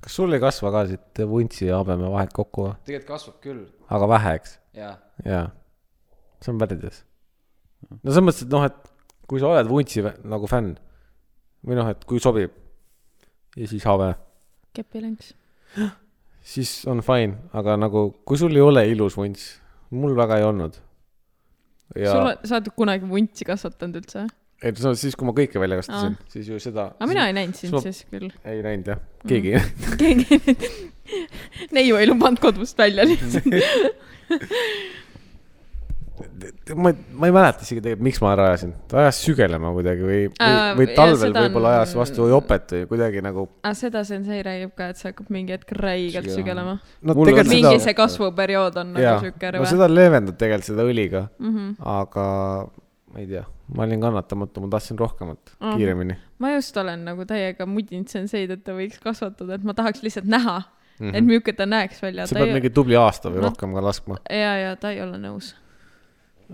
[SPEAKER 2] kas sul ei kasva ka siit vuntsi ja habeme vahelt kokku või ?
[SPEAKER 3] tegelikult kasvab küll ,
[SPEAKER 2] aga vähe , eks ?
[SPEAKER 3] jah .
[SPEAKER 2] jaa , see on pärides . no selles mõttes , et noh , et kui sa oled vuntsi vä- nagu fänn või noh , et kui sobib ja siis habe ,
[SPEAKER 1] kepilõnks .
[SPEAKER 2] siis on fine , aga nagu kui sul ei ole ilus vunts , mul väga ei olnud . ja
[SPEAKER 1] sul , on , sa oled kunagi vuntsi kasvatanud üldse ?
[SPEAKER 2] et see on siis , kui ma kõike välja kastasin , siis ju seda
[SPEAKER 1] aga Ah. mina ei näinud sind
[SPEAKER 2] Sul-
[SPEAKER 1] siis küll .
[SPEAKER 2] ei näinud jah , keegi mm. .
[SPEAKER 1] keegi neiu ei lubanud kodust
[SPEAKER 2] Mm.
[SPEAKER 1] välja lihtsalt .
[SPEAKER 2] ma , ma ei mäleta isegi tegelikult , miks ma ära ajasin , ta ajas sügelema kuidagi või , või,
[SPEAKER 1] Aa,
[SPEAKER 2] või
[SPEAKER 1] jaa,
[SPEAKER 2] talvel
[SPEAKER 1] seda on-
[SPEAKER 2] võib-olla ajas vastu jopet või kuidagi nagu .
[SPEAKER 1] aga Ah, seda sensei räägib ka , et see hakkab mingi hetk räigelt
[SPEAKER 3] Jaa.
[SPEAKER 1] sügelema .
[SPEAKER 2] no
[SPEAKER 3] Mul
[SPEAKER 2] tegelikult
[SPEAKER 3] oli-
[SPEAKER 2] seda
[SPEAKER 1] mingi , see kasvuperiood on
[SPEAKER 2] jaa
[SPEAKER 1] nagu , siuke
[SPEAKER 2] no
[SPEAKER 1] rõve .
[SPEAKER 2] seda leevendab tegelikult seda õliga ,
[SPEAKER 1] Mm -hmm.
[SPEAKER 2] aga ma ei tea , ma olin kannatamatu , ma tahtsin rohkemat
[SPEAKER 1] Mm.
[SPEAKER 2] mm. , kiiremini
[SPEAKER 1] ma just olen nagu täiega mudinud senseid , et ta võiks kasvatada , et ma tahaks lihtsalt näha mm ,
[SPEAKER 2] mm .
[SPEAKER 1] -hmm. et milline ta näeks välja .
[SPEAKER 2] sa pead ei... mingi tubli aasta või
[SPEAKER 1] No-
[SPEAKER 2] no. rohkem ka laskma ,
[SPEAKER 1] ja , ja ta ei ole nõus .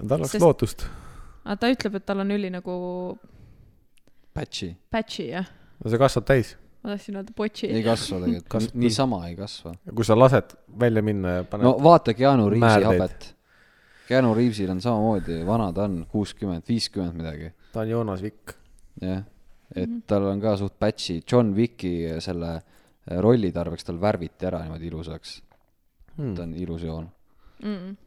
[SPEAKER 2] tal oleks
[SPEAKER 1] Sest-
[SPEAKER 2] Sest... lootust .
[SPEAKER 1] aga ta ütleb , et tal on üli nagu
[SPEAKER 3] Patch'i
[SPEAKER 1] patchy jah ,
[SPEAKER 2] no see kasvab täis ,
[SPEAKER 1] ma tahtsin öelda botchi .
[SPEAKER 3] ei kasva
[SPEAKER 2] Kasv-
[SPEAKER 3] tegelikult , niisama ei kasva .
[SPEAKER 2] kui sa lased välja minna ja paned
[SPEAKER 3] no
[SPEAKER 2] no.
[SPEAKER 3] vaata Keanu Reavesi
[SPEAKER 2] Määrdeid.
[SPEAKER 3] habet . Keanu Reavesil on samamoodi , vana ta on , kuuskümmend , viiskümmend midagi ,
[SPEAKER 2] ta on Joonas Vikk .
[SPEAKER 3] jah . et tal on ka suht patch'i , John Wicki selle äh, rolli tarveks tal värviti ära niimoodi ilusaks
[SPEAKER 2] Hmm.
[SPEAKER 3] hmm. . ta on ilus joon .
[SPEAKER 1] mm. .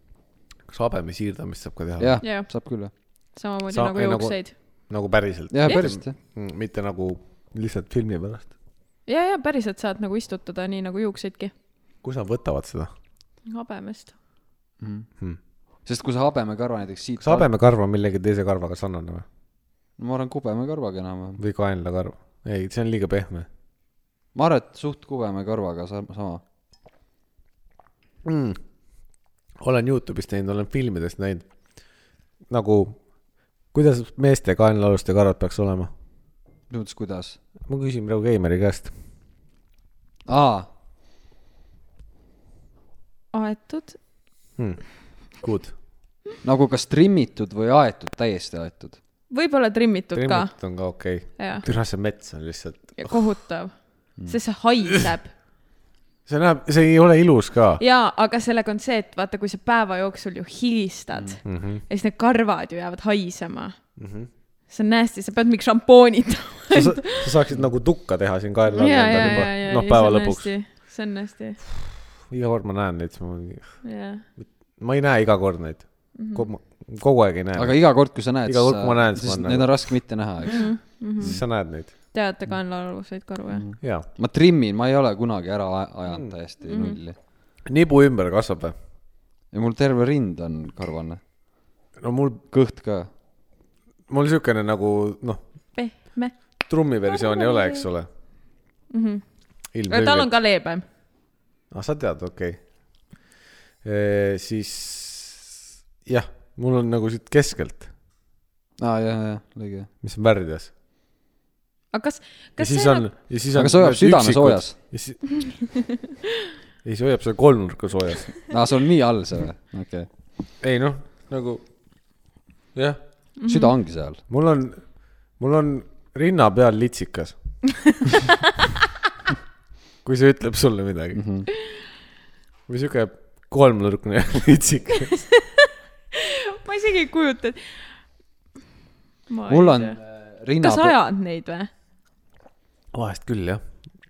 [SPEAKER 2] kas habeme siirdamist saab ka teha ?
[SPEAKER 3] jah
[SPEAKER 1] Jah.
[SPEAKER 3] yeah. , saab küll jah .
[SPEAKER 1] samamoodi
[SPEAKER 2] Sa-
[SPEAKER 1] Sa, nagu
[SPEAKER 2] ei, nagu-
[SPEAKER 1] juukseid nagu... .
[SPEAKER 2] nagu päriselt ,
[SPEAKER 3] jah , päriselt jah .
[SPEAKER 2] mitte nagu lihtsalt filmi pärast .
[SPEAKER 1] ja , ja päriselt saad nagu istutada nii nagu juukseidki .
[SPEAKER 2] kus nad võtavad seda ?
[SPEAKER 1] habemest .
[SPEAKER 2] Hmm.
[SPEAKER 3] Mhm. sest kui sa habemekarva näiteks siit
[SPEAKER 2] kas habemekarv on millegi teise karvaga sarnane või ?
[SPEAKER 3] ma arvan kubemekarvaga enam-vähem .
[SPEAKER 2] või kaenlakarv ? ei , see on liiga pehme
[SPEAKER 3] ma arvan , et suht kubemekarvaga sa- sama .
[SPEAKER 2] mm. . olen Youtube'is näinud , olen filmidest näinud nagu , kuidas meeste kaenlaaluste karvad peaks olema .
[SPEAKER 3] mis mõttes , kuidas ?
[SPEAKER 2] ma küsin praegu Keimeri käest .
[SPEAKER 3] aa ,
[SPEAKER 1] aetud
[SPEAKER 2] Hmm. Good .
[SPEAKER 3] nagu kas trimmitud või aetud , täiesti aetud .
[SPEAKER 1] võib-olla trimmitud Trimmit.
[SPEAKER 2] trimmit on ka okei okay. .
[SPEAKER 1] ka , jah ,
[SPEAKER 2] türa , see mets on lihtsalt ,
[SPEAKER 1] kohutav mm. , sest see haiseb
[SPEAKER 2] see näeb , see ei ole ilus ka .
[SPEAKER 1] jaa , aga sellega on see , et vaata , kui sa päeva jooksul ju hilistad mm ,
[SPEAKER 2] Mhm.
[SPEAKER 1] -hmm. ja siis need karvad ju jäävad haisema mm . -hmm. see on nasty , sa pead mingi šampoonitama .
[SPEAKER 2] Sa, sa saaksid nagu tukka teha siin kaela all
[SPEAKER 1] ja , ja ,
[SPEAKER 2] endal
[SPEAKER 1] ja ,
[SPEAKER 2] juba ,
[SPEAKER 1] ja ,
[SPEAKER 2] noh , päeva lõpuks .
[SPEAKER 1] see on nasty ,
[SPEAKER 2] iga kord ma näen neid , siis ma mingi ,
[SPEAKER 1] jah .
[SPEAKER 2] ma ei näe iga kord neid mm . -hmm. kogu aeg ei näe
[SPEAKER 3] aga
[SPEAKER 2] Aga... ,
[SPEAKER 3] iga kord , kui sa näed ,
[SPEAKER 2] Iga kord, kui ma näen, siis
[SPEAKER 3] siis
[SPEAKER 2] ma
[SPEAKER 3] neid
[SPEAKER 2] nagu-
[SPEAKER 3] on raske mitte näha , eks .
[SPEAKER 2] siis sa näed neid
[SPEAKER 1] teate ka on laulusid karvu , jah ?
[SPEAKER 2] ja
[SPEAKER 3] ma trimmin , ma ei ole kunagi ära a- ajanud täiesti mm. nulli .
[SPEAKER 2] nibu ümber kasvab või ?
[SPEAKER 3] ja mul terve rind on karvane ,
[SPEAKER 2] no mul ,
[SPEAKER 3] kõht ka .
[SPEAKER 2] mul siukene nagu noh ,
[SPEAKER 1] pehme .
[SPEAKER 2] trummiversioon ei ole , eks ole mm . -hmm.
[SPEAKER 1] tal on
[SPEAKER 2] ilmselgelt .
[SPEAKER 1] ka leebem .
[SPEAKER 2] ah , sa tead , okei okay. . siis jah , mul on nagu siit keskelt ,
[SPEAKER 3] aa , jah , jah , õige .
[SPEAKER 2] mis on värvides .
[SPEAKER 1] aga kas ,
[SPEAKER 2] ja
[SPEAKER 1] kas
[SPEAKER 2] siis
[SPEAKER 1] see nagu, on
[SPEAKER 2] on , ja siis on .
[SPEAKER 3] aga see hoiab südame . soojas .
[SPEAKER 2] ja siis , ja siis hoiab seda kolmnurka soojas .
[SPEAKER 3] aa , sul on nii all see või ? okei okay.
[SPEAKER 2] ei noh , nagu jah ,
[SPEAKER 3] mm -hmm. , süda ongi seal .
[SPEAKER 2] mul on , mul on rinna peal litsikas . kui see ütleb
[SPEAKER 3] Mhm.
[SPEAKER 2] sulle midagi mm . -hmm. või sihuke kolmnurkne litsikas .
[SPEAKER 1] isegi ei kujuta , et .
[SPEAKER 3] mul on äh, rinna .
[SPEAKER 1] kas ajad neid või ?
[SPEAKER 2] vahest küll , jah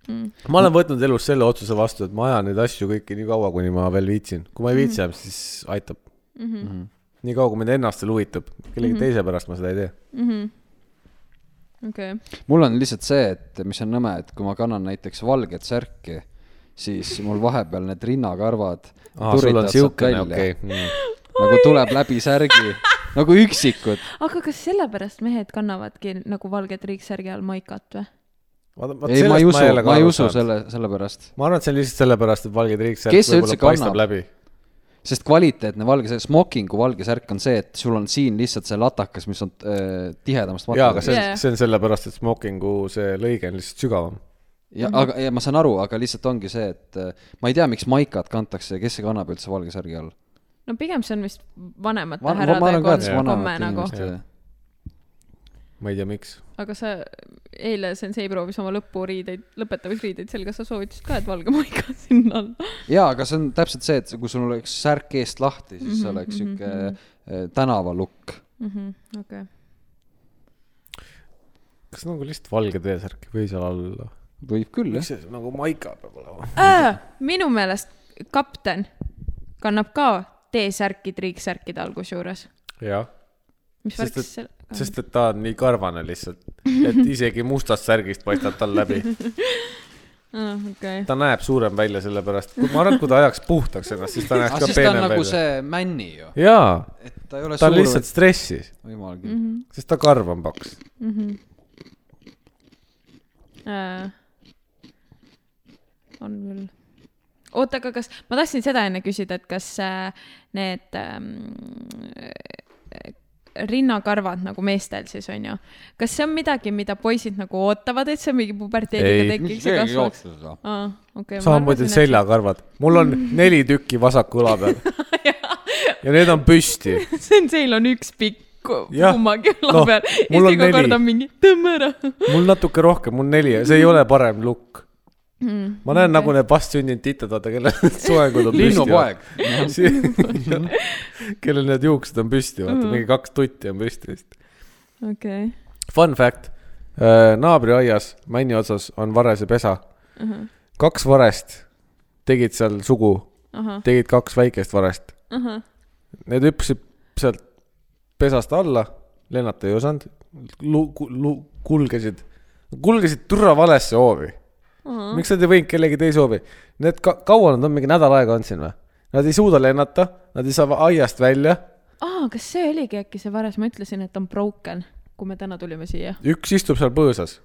[SPEAKER 2] mm. . ma olen võtnud elus selle otsuse vastu , et ma ajan neid asju kõiki nii kaua , kuni ma veel viitsin . kui ma ei viitsi enam , siis aitab mm .
[SPEAKER 3] Mhm.
[SPEAKER 2] -hmm. nii kaua , kui mind ennast veel huvitab . kellegi mm -hmm. teise pärast ma seda ei tee .
[SPEAKER 1] Mhm. okei .
[SPEAKER 3] mul on lihtsalt see , et mis on nõme , et kui ma kannan näiteks valget särki , siis mul vahepeal need rinnakarvad
[SPEAKER 2] aa , sul on siukene , okei . Mm.
[SPEAKER 3] nagu tuleb läbi särgi , nagu üksikud .
[SPEAKER 1] aga kas sellepärast mehed kannavadki nagu valget riigsärgi all maikat või ?
[SPEAKER 3] ei , ma ei usu , ma ei usu . selle , sellepärast .
[SPEAKER 2] ma arvan , et see on lihtsalt sellepärast , et valged riigid .
[SPEAKER 3] Kes see üldse kannab?
[SPEAKER 2] läbi
[SPEAKER 3] sest kvaliteetne valge särk , smokingu valge särk on see , et sul on siin lihtsalt see latakas , mis on äh, tihedamast
[SPEAKER 2] jaa , aga
[SPEAKER 3] materjalist .
[SPEAKER 2] see on
[SPEAKER 1] Jajah.
[SPEAKER 2] yeah. , see on sellepärast , et smokingu see lõige on lihtsalt sügavam .
[SPEAKER 3] ja aga , ja ma saan aru , aga lihtsalt ongi see , et äh, ma ei tea , miks maikat kantakse ja kes see kannab üldse valge särgi all .
[SPEAKER 1] no pigem see on vist vanemate
[SPEAKER 3] ma
[SPEAKER 1] härrade
[SPEAKER 3] arvan ka , et see
[SPEAKER 1] kon- komme
[SPEAKER 3] vanemate
[SPEAKER 1] nagu .
[SPEAKER 3] inimeste .
[SPEAKER 2] ma ei tea , miks .
[SPEAKER 1] aga sa , eile sensei proovis oma lõpuriideid , lõpetamisriideid selga , sa soovitasid ka , et valge maika sinna alla .
[SPEAKER 3] jaa , aga see on täpselt see , et kui sul oleks särk eest lahti , siis
[SPEAKER 1] Mhm,
[SPEAKER 3] mm -hmm, oleks sihuke mm -hmm. tänavalukk .
[SPEAKER 1] okei .
[SPEAKER 2] kas nagu lihtsalt valged veesärki või seal all ?
[SPEAKER 3] võib küll , jah
[SPEAKER 2] miks . see nagu maika peab olema ?
[SPEAKER 1] Äh, minu meelest kapten kannab ka T-särki triiksärkide all kusjuures .
[SPEAKER 2] jah ,
[SPEAKER 1] mis
[SPEAKER 2] Sest
[SPEAKER 1] värk
[SPEAKER 2] et-
[SPEAKER 1] siis selle ?
[SPEAKER 2] sest et ta on nii karvane lihtsalt , et isegi mustast särgist paistab tal läbi .
[SPEAKER 1] Ah, okei .
[SPEAKER 2] ta näeb suurem välja sellepärast , ma arvan , et kui ta ajaks puhtaks ennast , siis ta näeks
[SPEAKER 3] aga
[SPEAKER 2] ka
[SPEAKER 3] siis ta on
[SPEAKER 2] peenem
[SPEAKER 3] nagu
[SPEAKER 2] välja see... .
[SPEAKER 3] see männi ju ,
[SPEAKER 2] jaa ,
[SPEAKER 3] et ta ei ole
[SPEAKER 2] ta on
[SPEAKER 3] suur
[SPEAKER 2] lihtsalt stressis ,
[SPEAKER 3] jumal küll
[SPEAKER 1] Mhm.
[SPEAKER 3] mm .
[SPEAKER 2] sest ta karv on paks .
[SPEAKER 1] Äh, on küll . oota , aga kas , ma tahtsin seda enne küsida , et kas äh, need ähm, rinnakarvad nagu meestel siis on ju , kas see on midagi , mida poisid nagu ootavad , et see mingi
[SPEAKER 2] Ei.
[SPEAKER 1] puberteediga tekiks ja
[SPEAKER 3] -hmm.
[SPEAKER 1] kasvaks ? aa , okei .
[SPEAKER 2] samamoodi . seljakarvad , mul on
[SPEAKER 3] Mm.
[SPEAKER 2] neli tükki vasaku õla peal ja need on püsti
[SPEAKER 1] Senseil on üks pikk ku-
[SPEAKER 2] Jah.
[SPEAKER 1] kummagi õla
[SPEAKER 2] Noh,
[SPEAKER 1] peal ja
[SPEAKER 2] mul on
[SPEAKER 1] siis iga kord
[SPEAKER 2] neli.
[SPEAKER 1] on mingi tõmba ära .
[SPEAKER 2] mul natuke rohkem , mul neli , see ei ole parem lukk mm, . ma näen okay. nagu need vastsündinud titad , vaata kellel soengud on püsti .
[SPEAKER 3] linnupoeg .
[SPEAKER 2] linnupoeg . kellel need juuksed on püsti , vaata mingi kaks tutti on püsti vist .
[SPEAKER 1] okei .
[SPEAKER 2] Fun fact , naabriaias Männi otsas on varese pesa uh . -huh. kaks varest tegid seal sugu ,
[SPEAKER 1] ahah ,
[SPEAKER 2] tegid kaks väikest varest .
[SPEAKER 1] ahah ,
[SPEAKER 2] Need hüppasid sealt pesast alla , lennata ei osanud , lu- , lu- , kulgesid , kulgesid türa valesse hoovi
[SPEAKER 1] ahah .
[SPEAKER 2] miks nad ei võinud kellegi teise hoovi ? Need ka kaua nad on , mingi nädal aega on siin või ? Nad ei suuda lennata , nad ei saa va- aiast välja ,
[SPEAKER 1] aa , kas see oligi äkki see vares , ma ütlesin , et on broken , kui me täna tulime siia .
[SPEAKER 2] üks istub seal põõsas .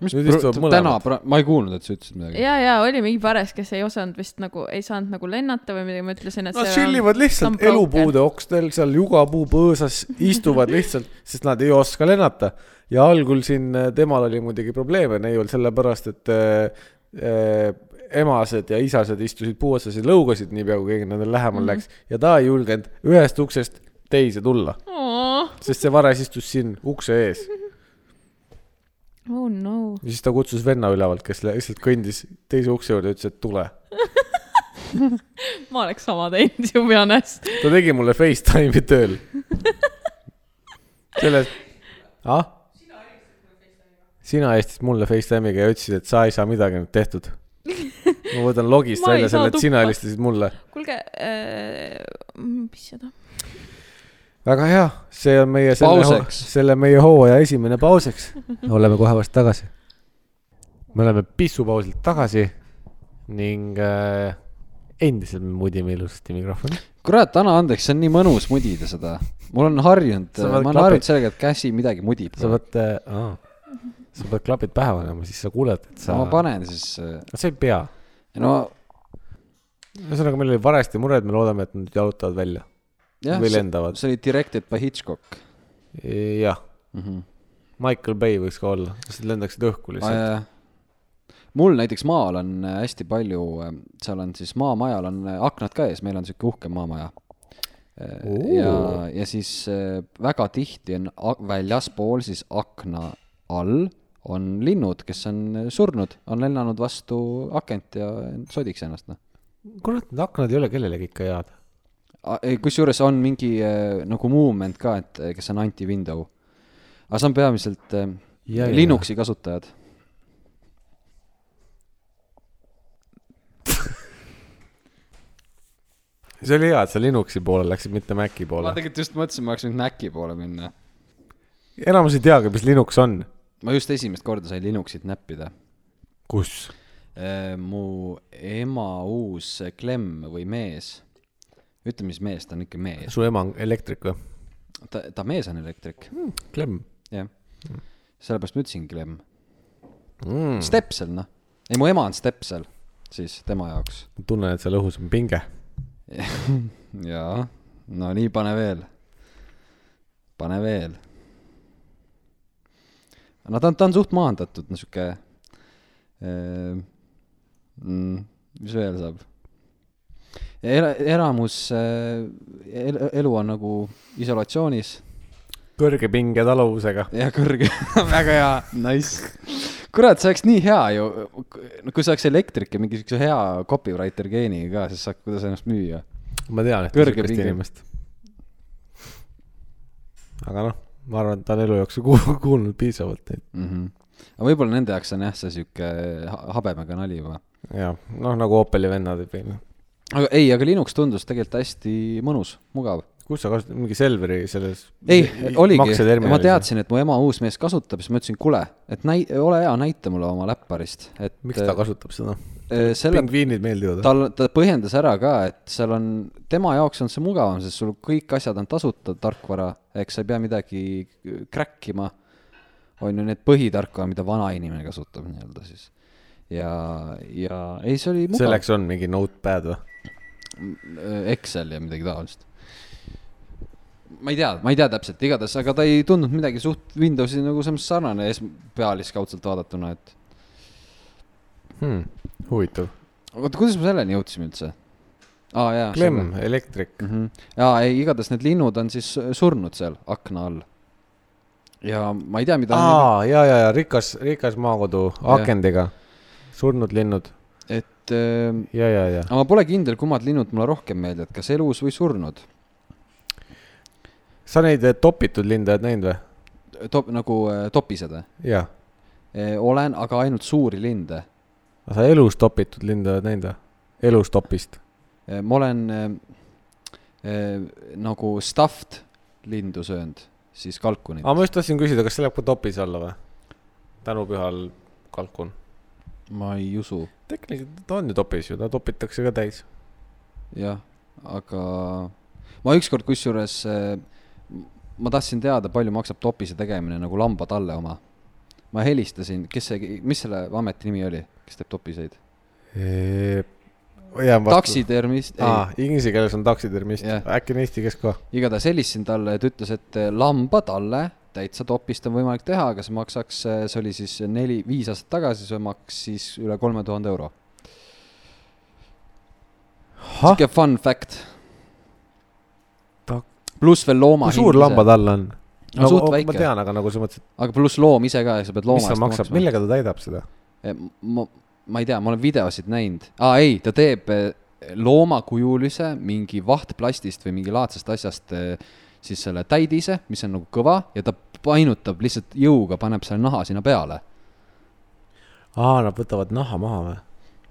[SPEAKER 3] mis
[SPEAKER 2] Nüüd
[SPEAKER 3] pr-
[SPEAKER 2] istuvad
[SPEAKER 3] t-
[SPEAKER 2] mõlemad.
[SPEAKER 3] täna , ma ei kuulnud , et sa ütlesid midagi .
[SPEAKER 1] ja , ja oli mingi vares , kes ei osanud vist nagu , ei saanud nagu lennata või midagi , ma ütlesin , et
[SPEAKER 2] Nad tšillivad lihtsalt elupuude . okstel seal jugapuu põõsas , istuvad lihtsalt , sest nad ei oska lennata . ja algul siin äh, temal oli muidugi probleeme neiul , sellepärast et äh, äh, emased ja isased istusid puu otsas ja lõugasid niipea , kui keegi nendele lähemal läks ja ta ei julgenud ühest uksest teise tulla ,
[SPEAKER 1] oh
[SPEAKER 2] sest see vares istus siin ukse ees
[SPEAKER 1] Oh, no .
[SPEAKER 2] ja siis ta kutsus venna ülevalt , kes lihtsalt kõndis teise ukse juurde ja ütles , et tule .
[SPEAKER 1] ma oleks sama teinud , to be honest .
[SPEAKER 2] ta tegi mulle Facetime'i tööl . selles , ah ? sina helistasid mulle Facetime'iga ja ütlesid , et sa ei saa midagi nüüd tehtud . ma võtan logist
[SPEAKER 1] Ma ei
[SPEAKER 2] välja
[SPEAKER 1] saa
[SPEAKER 2] selle , et sina
[SPEAKER 1] tuppa.
[SPEAKER 2] helistasid mulle .
[SPEAKER 1] kuulge äh, , mis seda ?
[SPEAKER 2] väga hea , see on meie selle ,
[SPEAKER 3] Pauseks.
[SPEAKER 2] selle meie hooaja esimene pauseks . oleme kohe varsti tagasi . me oleme pissupausilt tagasi ning äh, endiselt me mudime ilusasti mikrofoni .
[SPEAKER 3] kurat , anna andeks , see on nii mõnus mudida seda . mul on harjunud ,
[SPEAKER 2] Sa
[SPEAKER 3] ma
[SPEAKER 2] paned
[SPEAKER 3] olen
[SPEAKER 2] klapid-
[SPEAKER 3] harjunud sellega , et käsi midagi mudib .
[SPEAKER 2] sa pead , sa pead klapid pähe panema , siis sa kuuled , et sa .
[SPEAKER 3] ma panen siis ,
[SPEAKER 2] sa ei pea .
[SPEAKER 3] no
[SPEAKER 2] ühesõnaga , meil oli varajasti mured , me loodame , et nad jalutavad välja .
[SPEAKER 3] jah ,
[SPEAKER 2] Või
[SPEAKER 3] see
[SPEAKER 2] lendavad.
[SPEAKER 3] see oli directed by Hitchcock .
[SPEAKER 2] E, jah . Michael Bay võiks ka olla , sest nad lendaksid õhku lihtsalt .
[SPEAKER 3] äh, mul näiteks maal on äh, hästi palju , seal on siis maamajal on äh, aknad ka ees , meil on sihuke uhke maamaja . ja , ja siis äh, väga tihti on a- väljaspool siis akna all on linnud , kes on äh, surnud , on lennanud vastu akent ja sodiks ennast , noh .
[SPEAKER 2] kurat , need aknad ei ole kellelegi ikka head .
[SPEAKER 3] kusjuures on mingi äh, nagu movement ka , et äh, kes on anti-window . aga see on peamiselt äh,
[SPEAKER 2] Ja, ja.
[SPEAKER 3] Linuxi kasutajad .
[SPEAKER 2] see oli hea , et sa Linuxi poole läksid , mitte Maci
[SPEAKER 3] ma
[SPEAKER 2] poole .
[SPEAKER 3] tegelikult just mõtlesin , ma oleks võinud Maci poole minna .
[SPEAKER 2] enamus ei teagi , mis Linux on .
[SPEAKER 3] ma just esimest korda sain Linuxit näppida .
[SPEAKER 2] kus ?
[SPEAKER 3] mu ema uus klemm või mees , ütleme siis mees , ta on ikka mees ,
[SPEAKER 2] su ema on elektrik või ?
[SPEAKER 3] ta , ta mees on elektrik ,
[SPEAKER 2] Klemm
[SPEAKER 3] jah . sellepärast ma ütlesin klemm .
[SPEAKER 2] mm. .
[SPEAKER 3] stepsel , noh . ei , mu ema on stepsel , siis tema jaoks .
[SPEAKER 2] tunnen , et seal õhus on pinge .
[SPEAKER 3] jaa , no nii , pane veel . pane veel . no ta on , ta on suht maandatud , no sihuke äh, . Mm, mis veel saab ? Era- , elamus äh, , el- , elu on nagu isolatsioonis
[SPEAKER 2] kõrge pinge taluvusega .
[SPEAKER 3] ja kõrge , väga hea , nice . kurat , see oleks nii hea ju , no kui see oleks elektrik ja mingi siukse hea copywriter geeniga ka , siis saab , kuidas ennast müüa .
[SPEAKER 2] ma tean , et
[SPEAKER 3] Kõrge
[SPEAKER 2] niisugust
[SPEAKER 3] pinge.
[SPEAKER 2] inimest . aga noh , ma arvan , et ta on elu jooksul kuul- kuulnud piisavalt neid .
[SPEAKER 3] mm . -hmm. aga võib-olla nende jaoks on jah , see sihuke ha- habemega nali juba .
[SPEAKER 2] jah , noh nagu Opeli vennad või noh .
[SPEAKER 3] aga ei , aga Linux tundus tegelikult hästi mõnus , mugav .
[SPEAKER 2] kus sa kasutad , mingi Selveri selles ?
[SPEAKER 3] ei , oligi , ma . teadsin , et mu ema uus mees kasutab , siis ma ütlesin , kuule , et näi- , ole hea , näita mulle oma läpparist , et .
[SPEAKER 2] miks ta kasutab seda ?
[SPEAKER 3] kasutab ? selle ,
[SPEAKER 2] pingviinid meeldivad või ?
[SPEAKER 3] tal , ta põhjendas ära ka , et seal on , tema jaoks on see mugavam , sest sul kõik asjad on tasuta tarkvara , eks sa ei pea midagi crack ima . on ju need põhitarkvara , mida vanainimene kasutab nii-öelda siis . ja , ja ei , see oli mugav .
[SPEAKER 2] selleks on mingi notepad või ?
[SPEAKER 3] Äh, Excel ja midagi taolist . ma ei tea , ma ei tea täpselt , igatahes , aga ta ei tundnud midagi suht Windowsi nagu selles mõttes sarnane ees- , pealiskaudselt vaadatuna , et .
[SPEAKER 2] hmm. . huvitav .
[SPEAKER 3] oota , kuidas me selleni jõudsime üldse ? aa jaa .
[SPEAKER 2] Klemm , elektrik .
[SPEAKER 3] mm . -hmm. jaa , ei igatahes need linnud on siis surnud seal akna all . ja ma ei tea , mida .
[SPEAKER 2] aa , ja , ja , ja rikas , rikas maakodu akendiga . surnud linnud
[SPEAKER 3] et äh,
[SPEAKER 2] ja , ja , ja .
[SPEAKER 3] aga ma pole kindel , kummad linnud mulle rohkem meeldivad , kas elus või surnud .
[SPEAKER 2] sa neid eh, topitud linde oled näinud või ?
[SPEAKER 3] top- , nagu äh, topised või ?
[SPEAKER 2] jah .
[SPEAKER 3] olen , aga ainult suuri linde .
[SPEAKER 2] sa elus topitud linde oled näinud või ? elus topist .
[SPEAKER 3] ma olen äh, äh, nagu stuffed lindu söönud , siis kalkunit
[SPEAKER 2] aga . ma just tahtsin küsida , kas see läheb ka topis alla või ? tänupühal kalkun .
[SPEAKER 3] ma ei usu ,
[SPEAKER 2] tegelikult ta on ju topis ju , ta topitakse ka täis .
[SPEAKER 3] jah , aga ma ükskord kusjuures äh, ma tahtsin teada , palju maksab topise tegemine nagu lambatalle oma . ma helistasin , kes see , mis selle ameti nimi oli , kes teeb topiseid ?
[SPEAKER 2] jään vastu .
[SPEAKER 3] taksitermist ,
[SPEAKER 2] aa , inglise keeles on taksitermist
[SPEAKER 3] Jah. ,
[SPEAKER 2] äkki on eesti keeles ka .
[SPEAKER 3] igatahes helistasin talle ja ta ütles , et lambatalle täitsa topist on võimalik teha , aga see maksaks , see oli siis neli , viis aastat tagasi , see maksis üle kolme tuhande euro . sihuke fun fact
[SPEAKER 2] Ta- .
[SPEAKER 3] pluss veel looma .
[SPEAKER 2] kui suur lamba ? tal on ?
[SPEAKER 3] No suht väike.
[SPEAKER 2] ma tean , aga nagu sa mõtlesid ,
[SPEAKER 3] aga pluss loom ise ka , sa pead looma Eh,
[SPEAKER 2] mis see maksab , millega ta täidab seda ?
[SPEAKER 3] ma , ma ei tea , ma olen videosid näinud . aa , ei , ta teeb eh, loomakujulise mingi vahtplastist või mingi laadsest asjast eh, siis selle täidise , mis on nagu kõva ja ta painutab lihtsalt jõuga , paneb selle naha sinna peale .
[SPEAKER 2] aa , nad võtavad naha maha või ?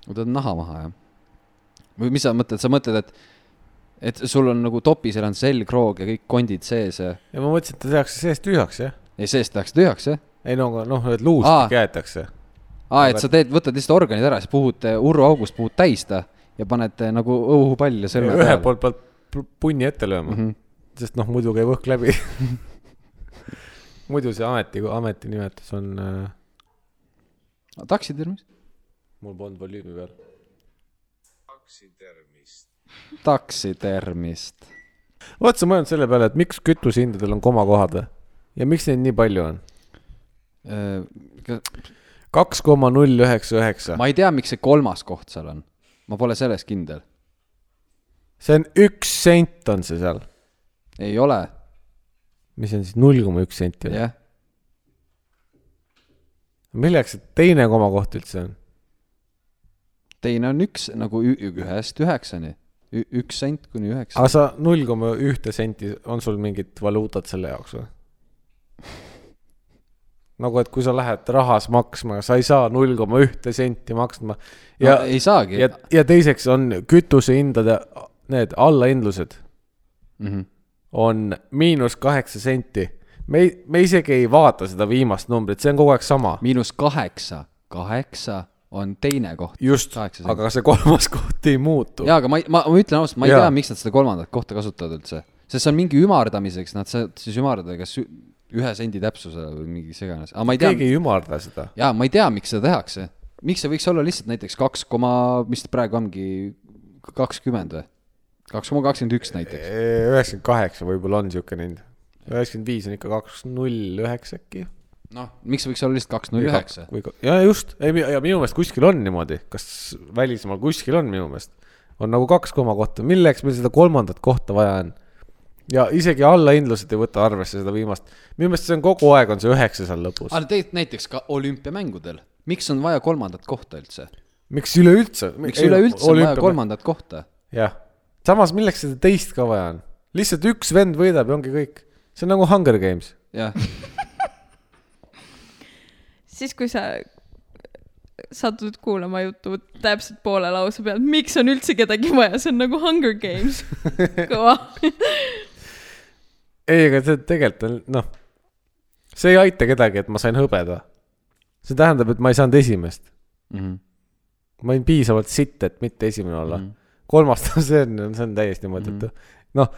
[SPEAKER 3] võtad naha maha , jah . või mis sa mõtled , sa mõtled , et , et sul on nagu topis , seal on selgroog ja kõik kondid sees ja ,
[SPEAKER 2] ja ma mõtlesin , et ta tehakse seest tühjaks , jah .
[SPEAKER 3] ja seest tehakse tühjaks , jah ?
[SPEAKER 2] ei no , aga noh , et
[SPEAKER 3] Aa.
[SPEAKER 2] luustik jäetakse .
[SPEAKER 3] aa , et sa teed , võtad lihtsalt organid ära , siis puhud eh, urruaugust , puhud täis ta ja paned eh, nagu õhupalli selle
[SPEAKER 2] ühe . poolt peab pu- punni ette lööma mm ,
[SPEAKER 3] Mhm.
[SPEAKER 2] -hmm. sest noh , muidu käib õhk läbi . muidu see ameti , ameti nimetus on äh... ,
[SPEAKER 3] taksitermis ?
[SPEAKER 2] mul polnud volüümi peal .
[SPEAKER 3] taksitermist .
[SPEAKER 2] oled sa mõelnud selle peale , et miks kütusehindadel on komakohad või ? ja miks neid nii palju on ?
[SPEAKER 3] Äh,
[SPEAKER 2] kaks koma null üheksa üheksa .
[SPEAKER 3] ma ei tea , miks see kolmas koht seal on . ma pole selles kindel .
[SPEAKER 2] see on üks sent on see seal ,
[SPEAKER 3] ei ole ,
[SPEAKER 2] mis on siis null koma üks senti .
[SPEAKER 3] jah .
[SPEAKER 2] milleks see teine komakoht üldse on ?
[SPEAKER 3] teine on üks nagu ü- ühest üheksani . üks sent kuni üheksa .
[SPEAKER 2] aga sa null koma ühte senti , on sul mingit valuutat selle jaoks või ? nagu , et kui sa lähed rahas maksma , sa ei saa null koma ühte senti maksma
[SPEAKER 3] ja
[SPEAKER 2] ja
[SPEAKER 3] no, , ei saagi
[SPEAKER 2] ja , ja teiseks on kütusehindade need allahindlused
[SPEAKER 3] mm . -hmm.
[SPEAKER 2] on miinus kaheksa senti . me ei , me isegi ei vaata seda viimast numbrit , see on kogu aeg sama .
[SPEAKER 3] miinus kaheksa , kaheksa on teine koht .
[SPEAKER 2] just ,
[SPEAKER 3] Kaheksa senti.
[SPEAKER 2] aga see kolmas koht ei muutu .
[SPEAKER 3] jaa , aga ma , ma , ma ütlen ausalt , ma ei
[SPEAKER 2] Jaa.
[SPEAKER 3] tea , miks nad seda kolmandat kohta kasutavad üldse . sest see on mingi ümardamiseks , nad sa- siis ümardada , kas ü- ühe sendi täpsusele või mingi seganes , aga ma ei tea
[SPEAKER 2] keegi ei ümarda seda .
[SPEAKER 3] jaa , ma ei tea , miks seda tehakse . miks see võiks olla lihtsalt näiteks kaks koma , mis ta praegu ongi , kakskümmend või ? kaks koma kakskümmend üks näiteks .
[SPEAKER 2] üheksakümmend kaheksa võib-olla on niisugune hind . üheksakümmend viis on ikka kaks null üheksa äkki .
[SPEAKER 3] noh , miks see võiks olla lihtsalt kaks null üheksa ?
[SPEAKER 2] või , ja just , ei , ja minu meelest kuskil on niimoodi , kas välismaal kuskil on minu meelest , on nagu kaks koma kohta , milleks meil seda kolmandat kohta vaja on ? ja isegi allahindlused ei võta arvesse seda viimast , minu meelest see on kogu aeg on see üheksa seal lõpus .
[SPEAKER 3] aga tegelikult näiteks ka olümpiamängudel , miks on vaja kolmandat kohta üldse ?
[SPEAKER 2] miks üleüldse ?
[SPEAKER 3] miks üleüldse on vaja ? kolmandat kohta ?
[SPEAKER 2] jah , samas milleks seda teist ka vaja on ? lihtsalt üks vend võidab ja ongi kõik . see on nagu Hunger Games .
[SPEAKER 3] jah ,
[SPEAKER 1] siis , kui sa satud kuulama juttu täpselt poole lause pealt , miks on üldse kedagi vaja , see on nagu Hunger Games . kõva .
[SPEAKER 2] ei , aga see tegelikult on , noh , see ei aita kedagi , et ma sain hõbeda . see tähendab , et ma ei saanud esimest . ma olin piisavalt sitt , et mitte esimene olla mm .
[SPEAKER 3] Mhm.
[SPEAKER 2] -hmm. kolmas , see on , see on täiesti mõttetu mm . -hmm. noh ,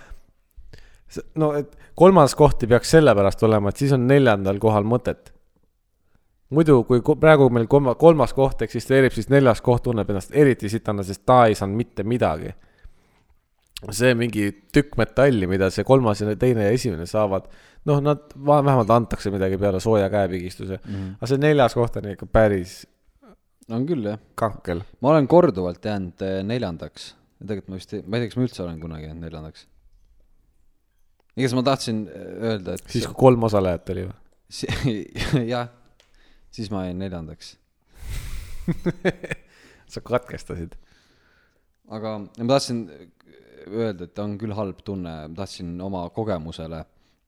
[SPEAKER 2] no et kolmas koht ei peaks sellepärast olema , et siis on neljandal kohal mõtet . muidu , kui ko- praegu meil kolma- kolmas koht eksisteerib , siis neljas koht tunneb ennast eriti sitana , sest ta ei saanud mitte midagi . see mingi tükk metalli , mida see kolmas ja teine ja esimene saavad , noh , nad va- vähemalt antakse midagi peale sooja käepigistuse mm . -hmm. aga see neljas koht on ikka päris
[SPEAKER 3] mhm. on küll jah .
[SPEAKER 2] kankel .
[SPEAKER 3] ma olen korduvalt jäänud eh, neljandaks . tegelikult ma vist , ma ei tea , kas ma üldse olen kunagi jäänud neljandaks . igatahes ma tahtsin eh, öelda , et
[SPEAKER 2] siis , kui kolm osalejat oli või ?
[SPEAKER 3] si- jah , siis ma jäin neljandaks .
[SPEAKER 2] sa katkestasid .
[SPEAKER 3] aga ma tahtsin eh, öelda , et on küll halb tunne , ma tahtsin oma kogemusele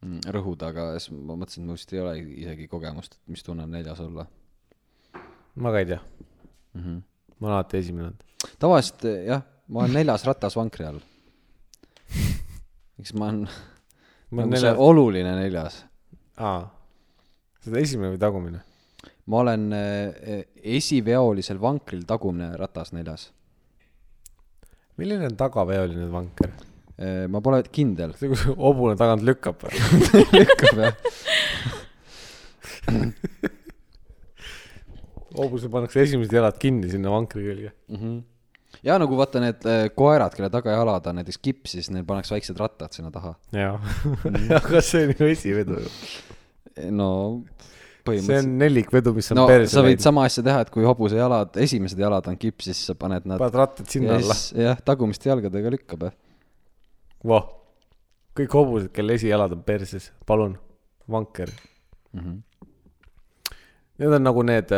[SPEAKER 3] mm, rõhuda , aga siis ma mõtlesin , et mul vist ei ole isegi kogemust , et mis tunne on neljas olla
[SPEAKER 2] ma ka ei tea ,
[SPEAKER 3] mm . -hmm.
[SPEAKER 2] ma olen alati esimene olnud .
[SPEAKER 3] tavaliselt eh, jah , ma olen neljas ratas vankri all . eks ma olen
[SPEAKER 2] ma olen
[SPEAKER 3] nagu see
[SPEAKER 2] neljas ,
[SPEAKER 3] oluline neljas .
[SPEAKER 2] aa , seda esimene või tagumine ?
[SPEAKER 3] ma olen eh, eh, esiveolisel vankril tagumine ratas neljas .
[SPEAKER 2] milline on tagaveoline vanker ?
[SPEAKER 3] Eh, ma pole kindel ,
[SPEAKER 2] see , kus hobune tagant lükkab või ?
[SPEAKER 3] lükkab jah .
[SPEAKER 2] hobusel pannakse esimesed jalad kinni sinna vankri külge .
[SPEAKER 3] mm . -hmm. ja nagu vaata need äh, koerad , kelle tagajalad on näiteks kipsis , neil pannakse väiksed rattad sinna taha .
[SPEAKER 2] jaa , aga see on ju esivedu ju .
[SPEAKER 3] Eh, no
[SPEAKER 2] see
[SPEAKER 3] põhimõtteliselt .
[SPEAKER 2] on nelikvedu , mis on
[SPEAKER 3] no
[SPEAKER 2] perse
[SPEAKER 3] sa võid
[SPEAKER 2] läinud.
[SPEAKER 3] sama asja teha , et kui hobuse jalad , esimesed jalad on kipsis , sa paned nad
[SPEAKER 2] paned rattad sinna alla .
[SPEAKER 3] jah , tagumiste jalgadega lükkab jah .
[SPEAKER 2] voh , kõik hobused , kelle esijalad on perses , palun , vanker .
[SPEAKER 3] Mm -hmm.
[SPEAKER 2] Need on nagu need ,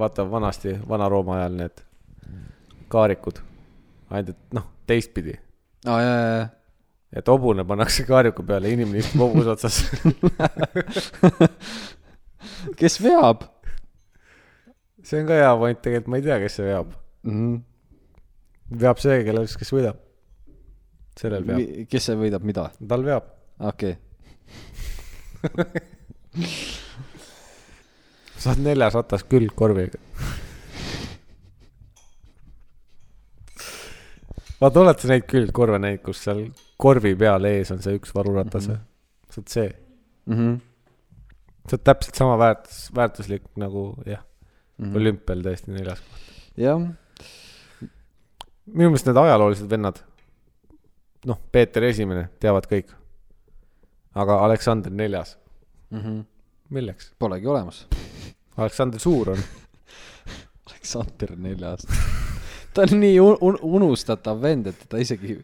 [SPEAKER 2] vaata vanasti , Vana-Rooma ajal need kaarikud , ainult et noh , teistpidi
[SPEAKER 3] aa jaa , jaa , jaa .
[SPEAKER 2] et hobune pannakse kaariku peale , inimene istub hobuse otsas .
[SPEAKER 3] kes veab
[SPEAKER 2] see on ka hea point , tegelikult ma ei tea , kes see veab .
[SPEAKER 3] mm ?
[SPEAKER 2] Mhm.
[SPEAKER 3] -hmm.
[SPEAKER 2] veab see , kellel , kes võidab . sellel veab ,
[SPEAKER 3] kes see võidab mida ?
[SPEAKER 2] tal veab .
[SPEAKER 3] okei okay. ,
[SPEAKER 2] saad neljas ratas külgkorviga . vaata , oled sa neid külgkorve näinud , kus seal korvi peal ees on see üks varuratas või mm -hmm. ? see on see ,
[SPEAKER 3] mm -hmm.
[SPEAKER 2] see on täpselt sama väärtus , väärtuslik nagu jah mm
[SPEAKER 3] Mhm.
[SPEAKER 2] -hmm. olümpial tõesti neljas .
[SPEAKER 3] jah ,
[SPEAKER 2] minu meelest need ajaloolised vennad , noh , Peeter Esimene , teavad kõik . aga Aleksander Neljas ,
[SPEAKER 3] mm -hmm.
[SPEAKER 2] milleks ?
[SPEAKER 3] polegi olemas .
[SPEAKER 2] Aleksander Suur on ,
[SPEAKER 3] Aleksander Neljas . ta on nii un un unustatav vend , et ta isegi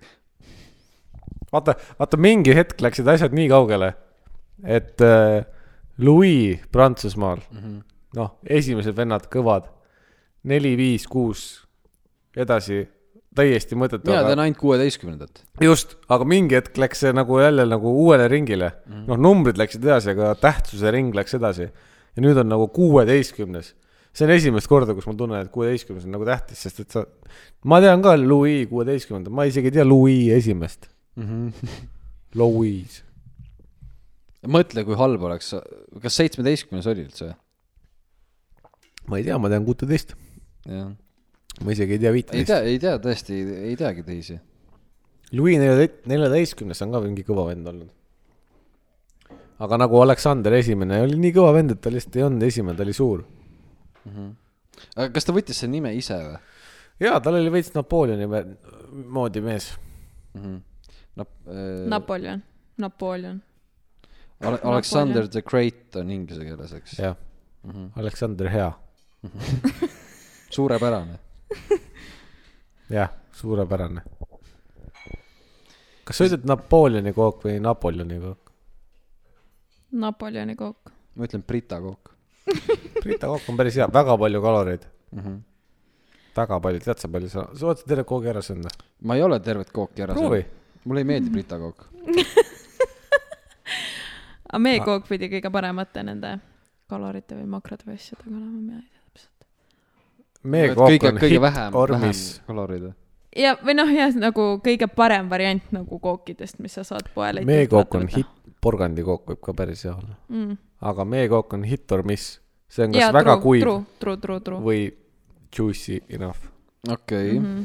[SPEAKER 2] vaata , vaata mingi hetk läksid asjad nii kaugele , et äh, Louis Prantsusmaal ,
[SPEAKER 3] mm . -hmm.
[SPEAKER 2] noh , esimesed vennad kõvad , neli , viis , kuus , edasi täiesti mõttetu ,
[SPEAKER 3] mina tean
[SPEAKER 2] aga
[SPEAKER 3] ainult kuueteistkümnendat .
[SPEAKER 2] just , aga mingi hetk läks see nagu jälle nagu uuele ringile mm. . noh , numbrid läksid edasi , aga tähtsuse ring läks edasi . ja nüüd on nagu kuueteistkümnes . see on esimest korda , kus ma tunnen , et kuueteistkümnes on nagu tähtis , sest et sa , ma tean ka Louis kuueteistkümnendat , ma isegi ei tea Louis esimest .
[SPEAKER 3] Mhm.
[SPEAKER 2] Louis .
[SPEAKER 3] mõtle , kui halb oleks , kas seitsmeteistkümnes oli üldse ?
[SPEAKER 2] ma ei tea , ma tean kuuteteist ,
[SPEAKER 3] jah .
[SPEAKER 2] ma isegi ei tea
[SPEAKER 3] ei
[SPEAKER 2] viiteist .
[SPEAKER 3] tea , ei tea tõesti , ei teagi teisi .
[SPEAKER 2] Louis neljateist , neljateistkümnes on ka mingi kõva vend olnud . aga nagu Aleksander Esimene oli nii kõva vend , et ta lihtsalt ei olnud esimene , ta oli suur .
[SPEAKER 3] Mhm. aga kas ta võttis selle nime ise või
[SPEAKER 2] jaa , tal oli veits Napoleoni me- moodi mees .
[SPEAKER 3] mm ? -hmm. Nap- äh, ,
[SPEAKER 1] Napoleon , Napoleon .
[SPEAKER 3] Ale- , Alexander the Great on inglise keeles , eks ?
[SPEAKER 2] jah mm
[SPEAKER 3] Mhm.
[SPEAKER 2] -hmm. , Aleksander Hea .
[SPEAKER 3] suurepärane .
[SPEAKER 2] jah , suurepärane . kas sa ütled Napoleoni kook või Napoleoni kook ?
[SPEAKER 1] Napoleoni kook .
[SPEAKER 3] ma ütlen Brita kook
[SPEAKER 2] Brita kook on päris hea , väga palju kaloreid .
[SPEAKER 3] mm . -hmm.
[SPEAKER 2] väga palju , tead sa palju sa , sa oled terve koogi ära söönud või ?
[SPEAKER 3] ma ei ole tervet kooki ära
[SPEAKER 2] proovi ..
[SPEAKER 3] mulle ei meeldi Brita kook .
[SPEAKER 1] aga meie kook pidi kõige paremate nende kalorite või makrode või asjadega olema , mina ei tea täpselt .
[SPEAKER 2] meie kook on
[SPEAKER 3] kõige
[SPEAKER 2] hitt
[SPEAKER 3] vähem , vähem
[SPEAKER 2] ormis .
[SPEAKER 3] kaloreid .
[SPEAKER 1] ja , või noh , jah , nagu kõige parem variant nagu kookidest , mis sa saad poele .
[SPEAKER 2] meie kook on hitt , porgandikook võib ka päris hea olla .
[SPEAKER 1] mm. .
[SPEAKER 2] aga meie kook on hit or miss . see on kas
[SPEAKER 1] jaa
[SPEAKER 2] ja, , väga
[SPEAKER 1] true
[SPEAKER 2] true, , kuiv
[SPEAKER 1] true , true , true , true .
[SPEAKER 2] või juicy enough .
[SPEAKER 3] okei okay. ,
[SPEAKER 1] Mhm.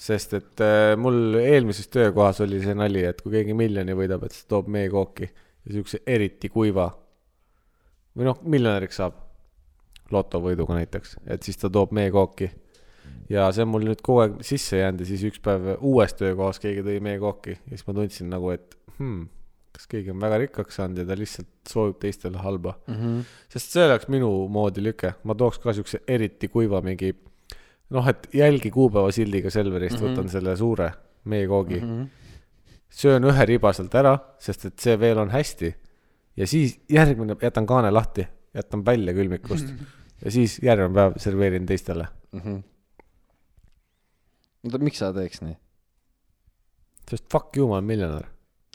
[SPEAKER 2] sest et äh, mul eelmises töökohas oli see nali , et kui keegi miljoni võidab , et siis toob meie kooki ja siukse eriti kuiva . või noh , miljonäriks saab lotovõiduga näiteks , et siis ta toob meie kooki . ja see on mul nüüd kogu aeg sisse jäänud ja siis üks päev uues töökohas keegi tõi meie kooki ja siis ma tundsin nagu , et hmm, kas keegi on väga rikkaks saanud ja ta lihtsalt soovib teistele halba
[SPEAKER 3] mm -hmm.
[SPEAKER 2] sest see oleks minu moodi lüke , ma tooks ka siukse eriti kuiva mingi noh , et jälgi kuupäeva sildiga Selverist mm , -hmm. võtan selle suure meekoogi mm ,
[SPEAKER 3] Mhm.
[SPEAKER 2] -hmm. söön ühe riba sealt ära , sest et see veel on hästi . ja siis järgmine , jätan kaane lahti , jätan välja külmikust ja siis järgmine päev serveerin teistele .
[SPEAKER 3] mm -hmm. . oota , miks sa teeks nii ?
[SPEAKER 2] sest fuck you , ma olen miljonär .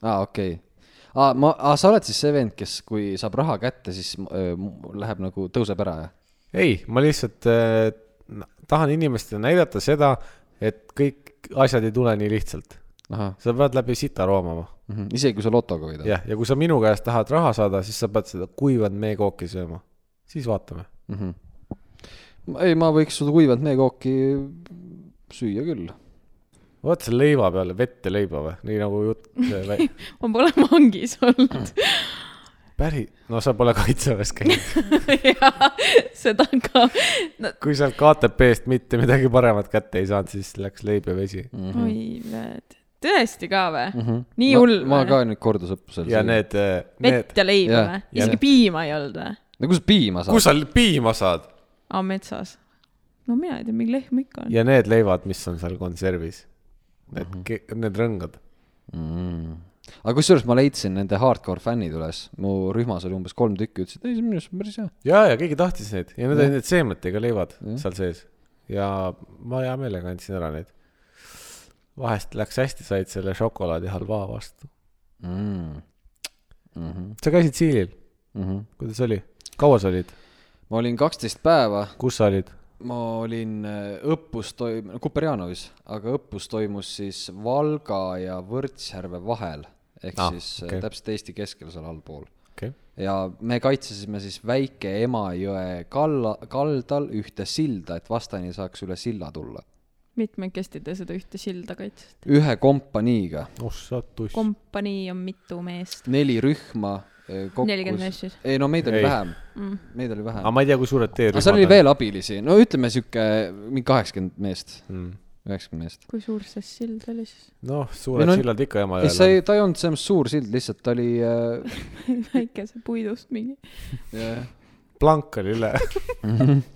[SPEAKER 3] aa ah, , okei okay. . aa , ma ah, , sa oled siis see vend , kes , kui saab raha kätte , siis öö, läheb nagu , tõuseb ära , jah ?
[SPEAKER 2] ei , ma lihtsalt äh, n- tahan inimestele näidata seda , et kõik asjad ei tule nii lihtsalt .
[SPEAKER 3] ahah
[SPEAKER 2] sa pead läbi sita roomama
[SPEAKER 3] mm -hmm. , isegi kui sa lotoga võidad
[SPEAKER 2] jah , ja kui sa minu käest tahad raha saada , siis sa pead seda kuivat meekooki sööma . siis vaatame .
[SPEAKER 3] mm . -hmm. ei , ma võiks seda kuivat meekooki süüa küll .
[SPEAKER 2] vaata selle leiva peale , vett ja leiba või , nii nagu jutt vä... .
[SPEAKER 1] ma pole vangis olnud .
[SPEAKER 2] päris , no sa pole kaitseväes käinud . Mm.
[SPEAKER 1] jaa , seda ka . no
[SPEAKER 2] kui sealt KTP-st mitte midagi paremat kätte ei saanud , siis läks leib ja vesi .
[SPEAKER 1] oi , näed . tõesti ka
[SPEAKER 2] Mhm.
[SPEAKER 1] või ?
[SPEAKER 3] -hmm.
[SPEAKER 1] Nii hull
[SPEAKER 3] ma, ma
[SPEAKER 1] või?
[SPEAKER 3] ka nüüd kordusõppusel .
[SPEAKER 2] ja . need , need
[SPEAKER 1] vett , ja leiba
[SPEAKER 3] jah,
[SPEAKER 1] või ?
[SPEAKER 2] jah.
[SPEAKER 1] isegi piima ei olnud või ?
[SPEAKER 3] no kus piima saab ?
[SPEAKER 2] kus sa piima saad
[SPEAKER 1] aa , metsas . no mina ei tea , mingi lehm ikka on .
[SPEAKER 2] ja need leivad , mis on seal konservis . Need , need rõngad .
[SPEAKER 3] mm. ? aga kusjuures ma leidsin nende hardcore fännid üles , mu rühmas oli umbes kolm tükki , ütlesid , ei see minu arust on päris hea .
[SPEAKER 2] ja , ja keegi tahtis neid ja need
[SPEAKER 3] Jah.
[SPEAKER 2] olid need seemnetega leivad
[SPEAKER 3] Jah.
[SPEAKER 2] seal sees ja ma hea meelega andsin ära neid . vahest läks hästi , said selle šokolaadi halva vastu .
[SPEAKER 3] mm. mm . -hmm.
[SPEAKER 2] sa käisid Siilil ,
[SPEAKER 3] Mm -hmm.
[SPEAKER 2] kuidas oli , kaua sa olid ,
[SPEAKER 3] ma olin kaksteist päeva ,
[SPEAKER 2] kus sa olid ?
[SPEAKER 3] ma olin äh, õppus toim- , Kuperjanovis , aga õppus toimus siis Valga ja Võrtsjärve vahel ehk
[SPEAKER 2] Ah,
[SPEAKER 3] ah, siis
[SPEAKER 2] okei.
[SPEAKER 3] okay. täpselt Eesti keskel seal allpool .
[SPEAKER 2] okei okay. ,
[SPEAKER 3] ja me kaitsesime siis väike Emajõe kalla , kaldal ühte silda , et vastani saaks üle silla tulla .
[SPEAKER 1] mitmekesti te seda ühte silda kaitsesite ?
[SPEAKER 3] ühe kompaniiga ,
[SPEAKER 2] oh sa tuss Kom .
[SPEAKER 1] kompanii on mitu meest .
[SPEAKER 3] neli rühma eh,
[SPEAKER 1] nelikümmend
[SPEAKER 3] kokku .
[SPEAKER 1] meest siis
[SPEAKER 3] ei no meid oli
[SPEAKER 2] Ei.
[SPEAKER 3] ei. vähem
[SPEAKER 1] mm. .
[SPEAKER 3] meid oli vähem
[SPEAKER 2] aga . ma ei tea , kui suured
[SPEAKER 3] aga
[SPEAKER 2] teerühmad
[SPEAKER 3] seal oli veel abilisi , no ütleme sihuke mingi kaheksakümmend meest ,
[SPEAKER 2] mm. .
[SPEAKER 3] üheksakümmend meest .
[SPEAKER 1] kui suur see sild oli siis ?
[SPEAKER 2] noh ,
[SPEAKER 3] Ei,
[SPEAKER 2] suured no,
[SPEAKER 3] no-
[SPEAKER 2] sillad ikka jama
[SPEAKER 3] ei , see ei , ta ei olnud selles mõttes suur sild , lihtsalt ta oli äh, , äh,
[SPEAKER 1] väikese puidust mingi .
[SPEAKER 2] plank oli üle .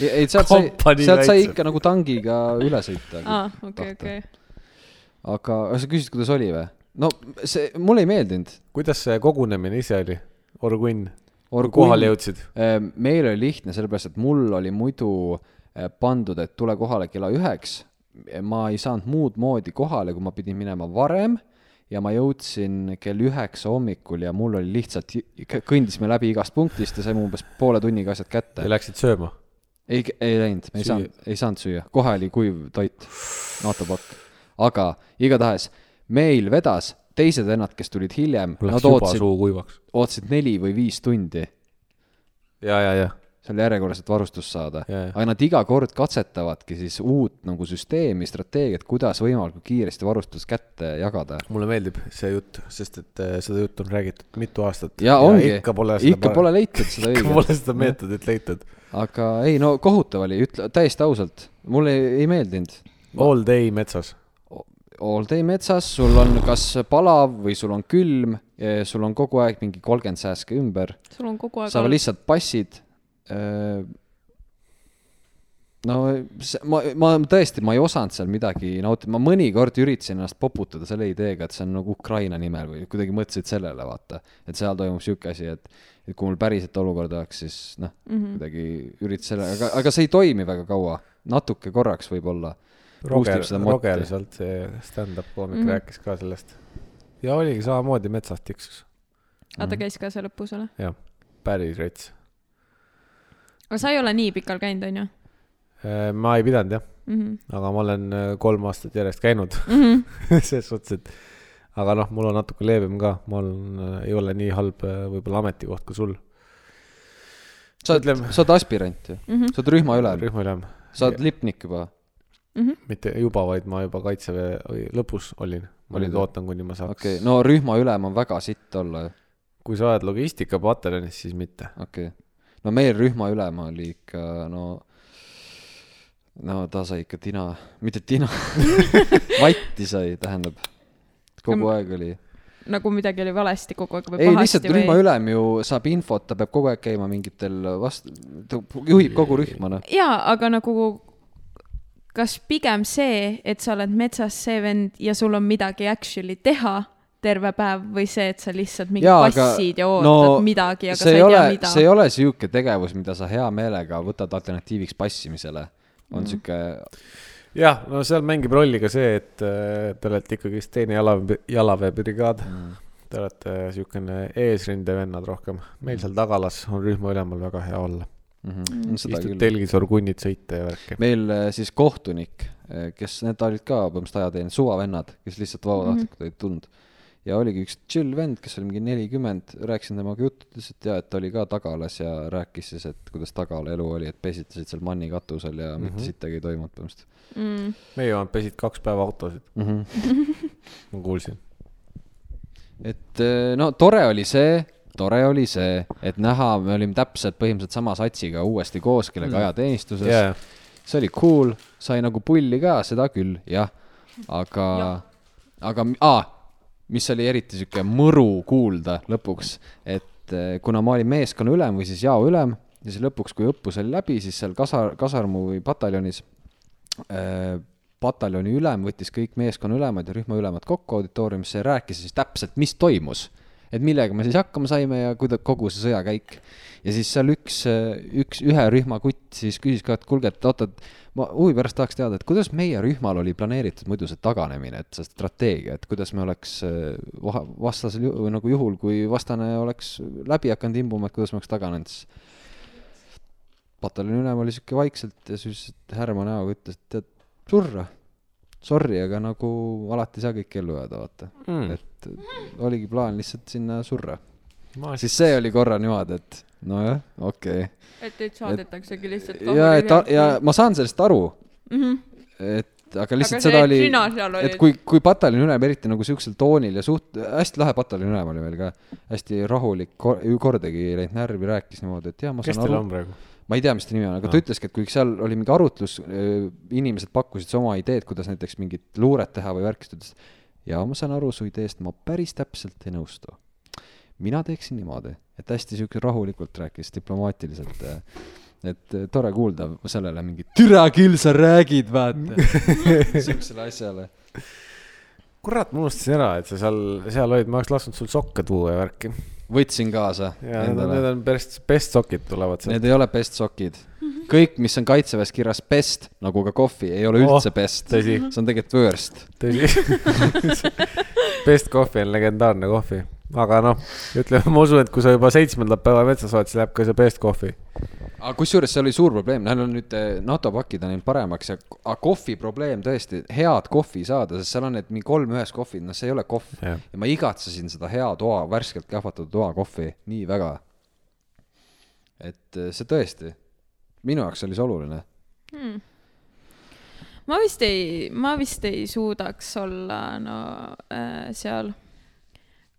[SPEAKER 3] ei sealt sai ,
[SPEAKER 2] Kompanii
[SPEAKER 3] sealt sai
[SPEAKER 2] kaitseb.
[SPEAKER 3] ikka nagu tangiga üle sõita .
[SPEAKER 1] aa , okei , okei .
[SPEAKER 3] aga sa küsisid , kuidas oli või ? no see , mulle ei meeldinud .
[SPEAKER 2] kuidas see kogunemine ise oli ? Orgunn , kohale jõudsid ?
[SPEAKER 3] Äh, äh, meil oli lihtne , sellepärast et mul oli muidu eh, pandud , et tule kohale kella üheks . ma ei saanud muud moodi kohale , kui ma pidin minema varem ja ma jõudsin kell üheksa hommikul ja mul oli lihtsalt , kõndisime läbi igast punktist ja saime umbes poole tunniga asjad kätte
[SPEAKER 2] Te . läksite sööma ?
[SPEAKER 3] ei , ei läinud , me ei
[SPEAKER 2] Süüa.
[SPEAKER 3] saanud , ei saanud süüa , kohe oli kuiv toit , naatopakk . aga igatahes meil vedas teised vennad , kes tulid hiljem ,
[SPEAKER 2] mul
[SPEAKER 3] nad
[SPEAKER 2] läks juba
[SPEAKER 3] ootasid ,
[SPEAKER 2] suu kuivaks .
[SPEAKER 3] ootasid neli või viis tundi
[SPEAKER 2] ja , ja , ja .
[SPEAKER 3] seal järjekorras , et varustust saada .
[SPEAKER 2] Ja, ja.
[SPEAKER 3] aga nad iga kord katsetavadki siis uut nagu süsteemi , strateegiat , kuidas võimalikult kiiresti varustus kätte jagada .
[SPEAKER 2] mulle meeldib see jutt , sest et äh, seda juttu on räägitud mitu aastat .
[SPEAKER 3] ja ongi ,
[SPEAKER 2] ikka pole seda
[SPEAKER 3] ikka pole leitud seda
[SPEAKER 2] ikka
[SPEAKER 3] õiget .
[SPEAKER 2] pole seda meetodit leitud .
[SPEAKER 3] aga ei no kohutav oli , ütle täiesti ausalt , mulle ei, ei meeldinud
[SPEAKER 2] All day metsas .
[SPEAKER 3] all day metsas , sul on kas palav või sul on külm , sul on kogu aeg mingi kolmkümmend sääske ümber ,
[SPEAKER 1] sul on kogu aeg
[SPEAKER 3] sa lihtsalt passid . no see- ma , ma tõesti , ma ei osanud seal midagi nautida , ma mõnikord üritasin ennast poputada selle ideega , et see on nagu Ukraina nimel või kuidagi mõtlesid sellele , vaata . et seal toimub sihuke asi , et , et kui mul päriselt olukord oleks , siis noh ,
[SPEAKER 1] mm .
[SPEAKER 3] kuidagi üritas selle , aga , aga see ei toimi väga kaua , natuke korraks võib-olla .
[SPEAKER 2] Roger ,
[SPEAKER 3] Boostib seda motti.
[SPEAKER 2] Roger sealt see stand-up koomik mm
[SPEAKER 1] Mhm.
[SPEAKER 2] -hmm. rääkis ka sellest . ja oligi samamoodi metsas tiksus .
[SPEAKER 1] -hmm.
[SPEAKER 3] Mhm.
[SPEAKER 1] aga ta käis ka seal lõpus , ole .
[SPEAKER 2] jah , päris rets .
[SPEAKER 1] aga sa ei ole nii pikalt käinud , onju
[SPEAKER 2] Äh, ma ei pidanud jah ,
[SPEAKER 1] mm ?
[SPEAKER 2] aga ma olen äh, kolm aastat järjest käinud
[SPEAKER 1] -hmm.
[SPEAKER 2] selles suhtes , et aga noh , mul on natuke leebem ka , mul on- ei ole nii halb äh, võib-olla ametikoht kui sul .
[SPEAKER 3] sa oled
[SPEAKER 2] Ütleme- ,
[SPEAKER 3] sa oled aspirant ju ,
[SPEAKER 1] Mm -hmm.
[SPEAKER 3] sa oled rühma ülem ,
[SPEAKER 2] rühmaülem ,
[SPEAKER 3] sa oled lipnik juba .
[SPEAKER 1] Mm -hmm.
[SPEAKER 2] mitte juba , vaid ma juba kaitseväe oi, lõpus olin . ma
[SPEAKER 3] Olid
[SPEAKER 2] nüüd
[SPEAKER 3] või?
[SPEAKER 2] ootan , kuni ma saaks
[SPEAKER 3] Mhm. okei okay. , no rühma ülem on väga sitt olla ju ,
[SPEAKER 2] kui sa oled logistikapataljonis , siis mitte .
[SPEAKER 3] okei okay. . no meil rühma ülem oli ikka no , no ta sai ikka tina , mitte tina , vatti sai , tähendab . kogu aeg oli ,
[SPEAKER 1] nagu midagi oli valesti kogu aeg või
[SPEAKER 3] ei lihtsalt
[SPEAKER 1] pahasti
[SPEAKER 3] rühma
[SPEAKER 1] või ?
[SPEAKER 3] ülem ju saab infot , ta peab kogu aeg käima mingitel vast- , ta juhib kogu rühma noh .
[SPEAKER 1] jaa , aga nagu kas pigem see , et sa oled metsas see vend ja sul on midagi actually teha terve päev või see , et sa lihtsalt mingi
[SPEAKER 3] Jaa, aga-
[SPEAKER 1] passid ja ootad
[SPEAKER 3] no
[SPEAKER 1] no, midagi , aga sa
[SPEAKER 3] see
[SPEAKER 1] ei
[SPEAKER 3] ei ole
[SPEAKER 1] tea , mida
[SPEAKER 3] see . ei ole sihuke tegevus , mida sa hea meelega võtad alternatiiviks passimisele . on mm. sihuke ,
[SPEAKER 2] jah , no seal mängib rolli ka see , et äh, te olete ikkagist teine jala , jalaväebrigaad mm. . Te olete niisugune eesrindevennad rohkem . meil
[SPEAKER 3] Mhm.
[SPEAKER 2] seal tagalas on rühmaülemal väga hea olla .
[SPEAKER 3] seda
[SPEAKER 2] istud
[SPEAKER 3] küll .
[SPEAKER 2] telgis , orgunnid , sõite ja värki .
[SPEAKER 3] meil eh, siis kohtunik , kes , need olid ka põhimõtteliselt ajateenijad , suvavennad , kes lihtsalt vabatahtlikult olid tulnud . ja oligi üks chill vend , kes oli mingi nelikümmend , rääkisin temaga juttu , ütles , et jaa , et ta oli ka tagalas ja rääkis siis , et kuidas tagala elu oli , et pesitasid seal manni katusel ja mm -hmm. mitte sittagi ei toimunud põhimõtteliselt
[SPEAKER 1] Mm.
[SPEAKER 2] meie omad pesid kaks päeva autosid ,
[SPEAKER 3] mm . -hmm.
[SPEAKER 2] ma kuulsin .
[SPEAKER 3] et eh, no tore oli see , tore oli see , et näha , me olime täpselt põhimõtteliselt sama satsiga uuesti koos , kellega ajateenistuses
[SPEAKER 2] jaa ,
[SPEAKER 3] see oli cool , sai nagu pulli ka , seda küll , jah . aga , aga ah, , mis oli eriti sihuke mõru kuulda lõpuks , et eh, kuna ma olin meeskonna ülem või siis jao ülem ja siis lõpuks , kui õppus oli läbi , siis seal kasar- , kasarmu või pataljonis eh, pataljoni ülem võttis kõik meeskonna ülemad ja rühma ülemad kokku auditooriumisse ja rääkis siis täpselt , mis toimus . et millega me siis hakkama saime ja kuida- , kogu see sõjakäik . ja siis seal üks , üks , ühe rühma kutt siis küsis ka , et kuulge , et oota , et ma huvi pärast tahaks teada , et kuidas meie rühmal oli planeeritud muidu see taganemine , et see strateegia , et kuidas me oleks eh, vaha- vastasel juhul , nagu juhul , kui vastane oleks läbi hakanud imbuma , et kuidas me oleks taganenud siis pataljoni ülem oli sihuke vaikselt ja siis härma näoga ütles , et tead , surra . Sorry , aga nagu alati ei saa kõike ellu jääda , vaata
[SPEAKER 2] Hmm.
[SPEAKER 3] mm. . et oligi plaan lihtsalt sinna surra . siis see oli korra niimoodi , et nojah , okei okay. .
[SPEAKER 1] et teid saadetaksegi lihtsalt
[SPEAKER 3] ja , et ta- ja ma saan sellest aru ,
[SPEAKER 1] mm . -hmm.
[SPEAKER 3] et aga
[SPEAKER 1] aga
[SPEAKER 3] lihtsalt
[SPEAKER 1] see ,
[SPEAKER 3] seda
[SPEAKER 1] et
[SPEAKER 3] oli ,
[SPEAKER 1] sina seal
[SPEAKER 3] et
[SPEAKER 1] olid .
[SPEAKER 3] kui , kui pataljoni ülem eriti nagu siuksel toonil ja suht , hästi lahe pataljoni ülem oli meil ka , hästi rahulik , kordagi ei läinud närvi , rääkis niimoodi , et jaa , ma
[SPEAKER 2] kes
[SPEAKER 3] saan
[SPEAKER 2] teil
[SPEAKER 3] aru
[SPEAKER 2] on praegu ?
[SPEAKER 3] ma ei tea , mis ta nimi on , aga
[SPEAKER 2] Aa.
[SPEAKER 3] ta ütleski , et kui seal oli mingi arutlus , inimesed pakkusid siis oma ideed , kuidas näiteks mingit luuret teha või värki , siis ta ütles , jaa , ma saan aru su ideest , ma päris täpselt ei nõustu . mina teeksin niimoodi , et hästi sihuke rahulikult rääkis , diplomaatiliselt . et eh, tore kuulda sellele mingit , türa küll sa räägid , vaata . sihukesele asjale .
[SPEAKER 2] kurat , ma unustasin ära , et sa seal , seal olid , ma oleks lasknud sul sokke tuua ja värki .
[SPEAKER 3] võtsin kaasa
[SPEAKER 2] ja need on , need
[SPEAKER 3] endale .
[SPEAKER 2] on best , best sokid tulevad sealt .
[SPEAKER 3] Need ei ole best sokid . kõik , mis on kaitseväes kirjas best , nagu ka kohvi , ei ole
[SPEAKER 2] Oh,
[SPEAKER 3] üldse best .
[SPEAKER 2] tõsi.
[SPEAKER 3] see on tegelikult worst .
[SPEAKER 2] tõsi . Best Coffee on legendaarne kohvi , aga noh , ütleme , ma usun , et kui sa juba seitsmendat päeva metsas oled , siis läheb ka see Best Coffee .
[SPEAKER 3] aga kusjuures see oli suur probleem , neil on nüüd eh, NATO pakid on neil paremaks ja aga kohvi probleem tõesti , head kohvi saada , sest seal on need mingi kolm ühes kohvid , noh , see ei ole kohv .
[SPEAKER 2] Jah.
[SPEAKER 3] ja ma igatsesin seda hea toa , värskelt kahvatatud toakohvi nii väga . et eh, see tõesti , minu jaoks oli see oluline .
[SPEAKER 1] hmm. ma vist ei , ma vist ei suudaks olla no äh, seal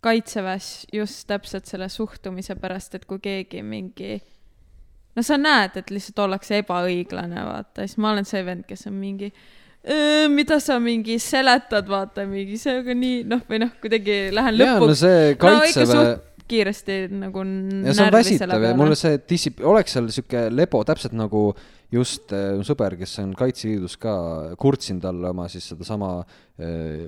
[SPEAKER 1] kaitseväes just täpselt selle suhtumise pärast , et kui keegi mingi no sa näed , et lihtsalt ollakse ebaõiglane , vaata , siis ma olen see vend , kes on mingi "Äh, mida sa mingi seletad , vaata mingi see aga nii noh , või noh , kuidagi lähen
[SPEAKER 3] ja no
[SPEAKER 1] lõpuks no,
[SPEAKER 3] see kaitseväe
[SPEAKER 1] suht- kiiresti nagu
[SPEAKER 3] ja see
[SPEAKER 1] närvi
[SPEAKER 3] on
[SPEAKER 1] selle
[SPEAKER 3] väsitav ja mulle
[SPEAKER 1] peale .
[SPEAKER 3] see dissip- , oleks seal sihuke lebo , täpselt nagu just äh, sõber , kes on Kaitseliidus ka , kurtsin talle oma siis sedasama äh,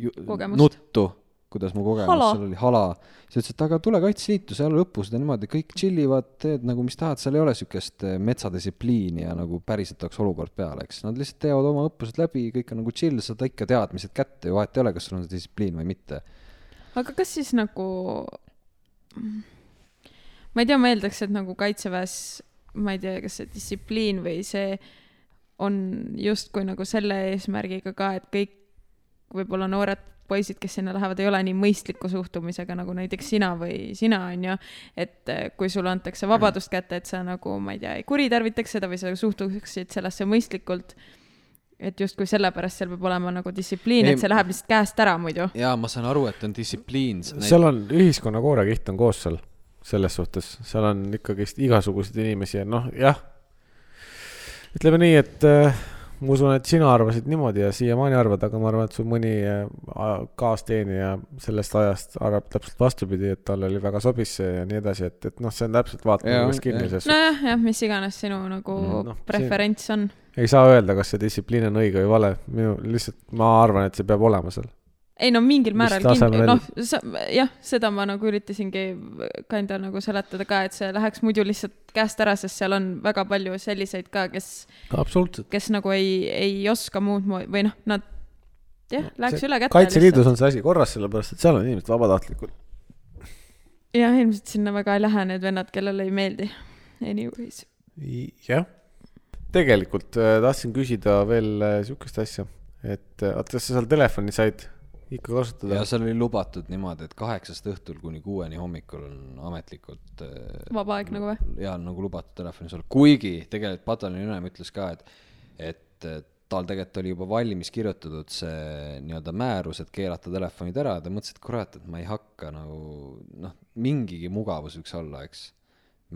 [SPEAKER 3] ju-
[SPEAKER 1] Kogemust.
[SPEAKER 3] nuttu , kuidas mu kogemus
[SPEAKER 1] Hala.
[SPEAKER 3] seal oli , hala . siis ütles , et aga tule Kaitseliitu , seal õppused on niimoodi , kõik chill ivad , teed nagu mis tahad , seal ei ole siukest äh, metsadistsipliini ja nagu päriselt oleks olukord peal , eks . Nad lihtsalt teevad oma õppused läbi , kõik on nagu chill , saad ikka teadmised kätte ja vahet ei ole , kas sul on see distsipliin või mitte .
[SPEAKER 1] aga kas siis nagu , ma ei tea , ma eeldaks , et nagu kaitseväes , ma ei tea , kas see distsipliin või see on justkui nagu selle eesmärgiga ka , et kõik võib-olla noored poisid , kes sinna lähevad , ei ole nii mõistliku suhtumisega nagu näiteks sina või sina , onju . et eh, kui sulle antakse vabadust kätte , et sa nagu , ma ei tea , ei kuritarvitaks seda või sa suhtuksid sellesse mõistlikult . et justkui sellepärast seal peab olema nagu distsipliin ,
[SPEAKER 3] Ei-
[SPEAKER 1] et see läheb lihtsalt käest ära muidu .
[SPEAKER 3] jaa , ma saan aru , et on distsipliin .
[SPEAKER 2] seal on ühiskonna koorekiht on koos seal , selles suhtes , seal on ikkagist igasuguseid inimesi ja noh , jah . ütleme nii , et äh, ma usun , et sina arvasid niimoodi ja siiamaani arvad , aga ma arvan , et sul mõni äh, a- kaasteenija sellest ajast arvab täpselt vastupidi , et talle oli väga sobis see ja nii edasi , et , et noh , see on täpselt
[SPEAKER 3] Jaa,
[SPEAKER 2] vaatame , kus
[SPEAKER 3] jah.
[SPEAKER 2] kinni selles suhtes
[SPEAKER 1] nojah , jah , mis iganes sinu nagu
[SPEAKER 2] Mm,
[SPEAKER 1] no,
[SPEAKER 2] noh,
[SPEAKER 1] preferents on .
[SPEAKER 2] ei saa öelda , kas see distsipliin on õige või vale , minu lihtsalt , ma arvan , et see peab olema seal .
[SPEAKER 1] ei no mingil
[SPEAKER 2] Mis
[SPEAKER 1] määral
[SPEAKER 2] tasemel-
[SPEAKER 1] kindlasti , noh , sa , jah , seda ma nagu üritasingi kandjal nagu seletada ka , et see läheks muidu lihtsalt käest ära , sest seal on väga palju selliseid ka , kes ,
[SPEAKER 2] absoluutselt .
[SPEAKER 1] kes nagu ei , ei oska muud moodi või noh , nad jah , läheks üle kätte .
[SPEAKER 2] kaitseliidus on see asi korras , sellepärast et seal on inimesed vabatahtlikud .
[SPEAKER 1] jah , ilmselt sinna väga ei lähe need vennad , kellele ei meeldi . Anyways ,
[SPEAKER 2] jah . tegelikult äh, tahtsin küsida veel äh, sihukest asja , et äh, oota , kas sa seal telefoni said ikka kasutada
[SPEAKER 3] ja ? seal oli lubatud niimoodi , et kaheksast õhtul kuni kuueni hommikul on ametlikult äh,
[SPEAKER 1] vaba aeg nagu või ?
[SPEAKER 3] ja nagu lubatud telefonis olla , kuigi tegelikult pataljoni ülem ütles ka , et , et eh, tal tegelikult oli juba valmis kirjutatud see nii-öelda määrus , et keelata telefonid ära ja ta mõtles , et kurat , et ma ei hakka nagu noh , mingigi mugavus võiks olla , eks ,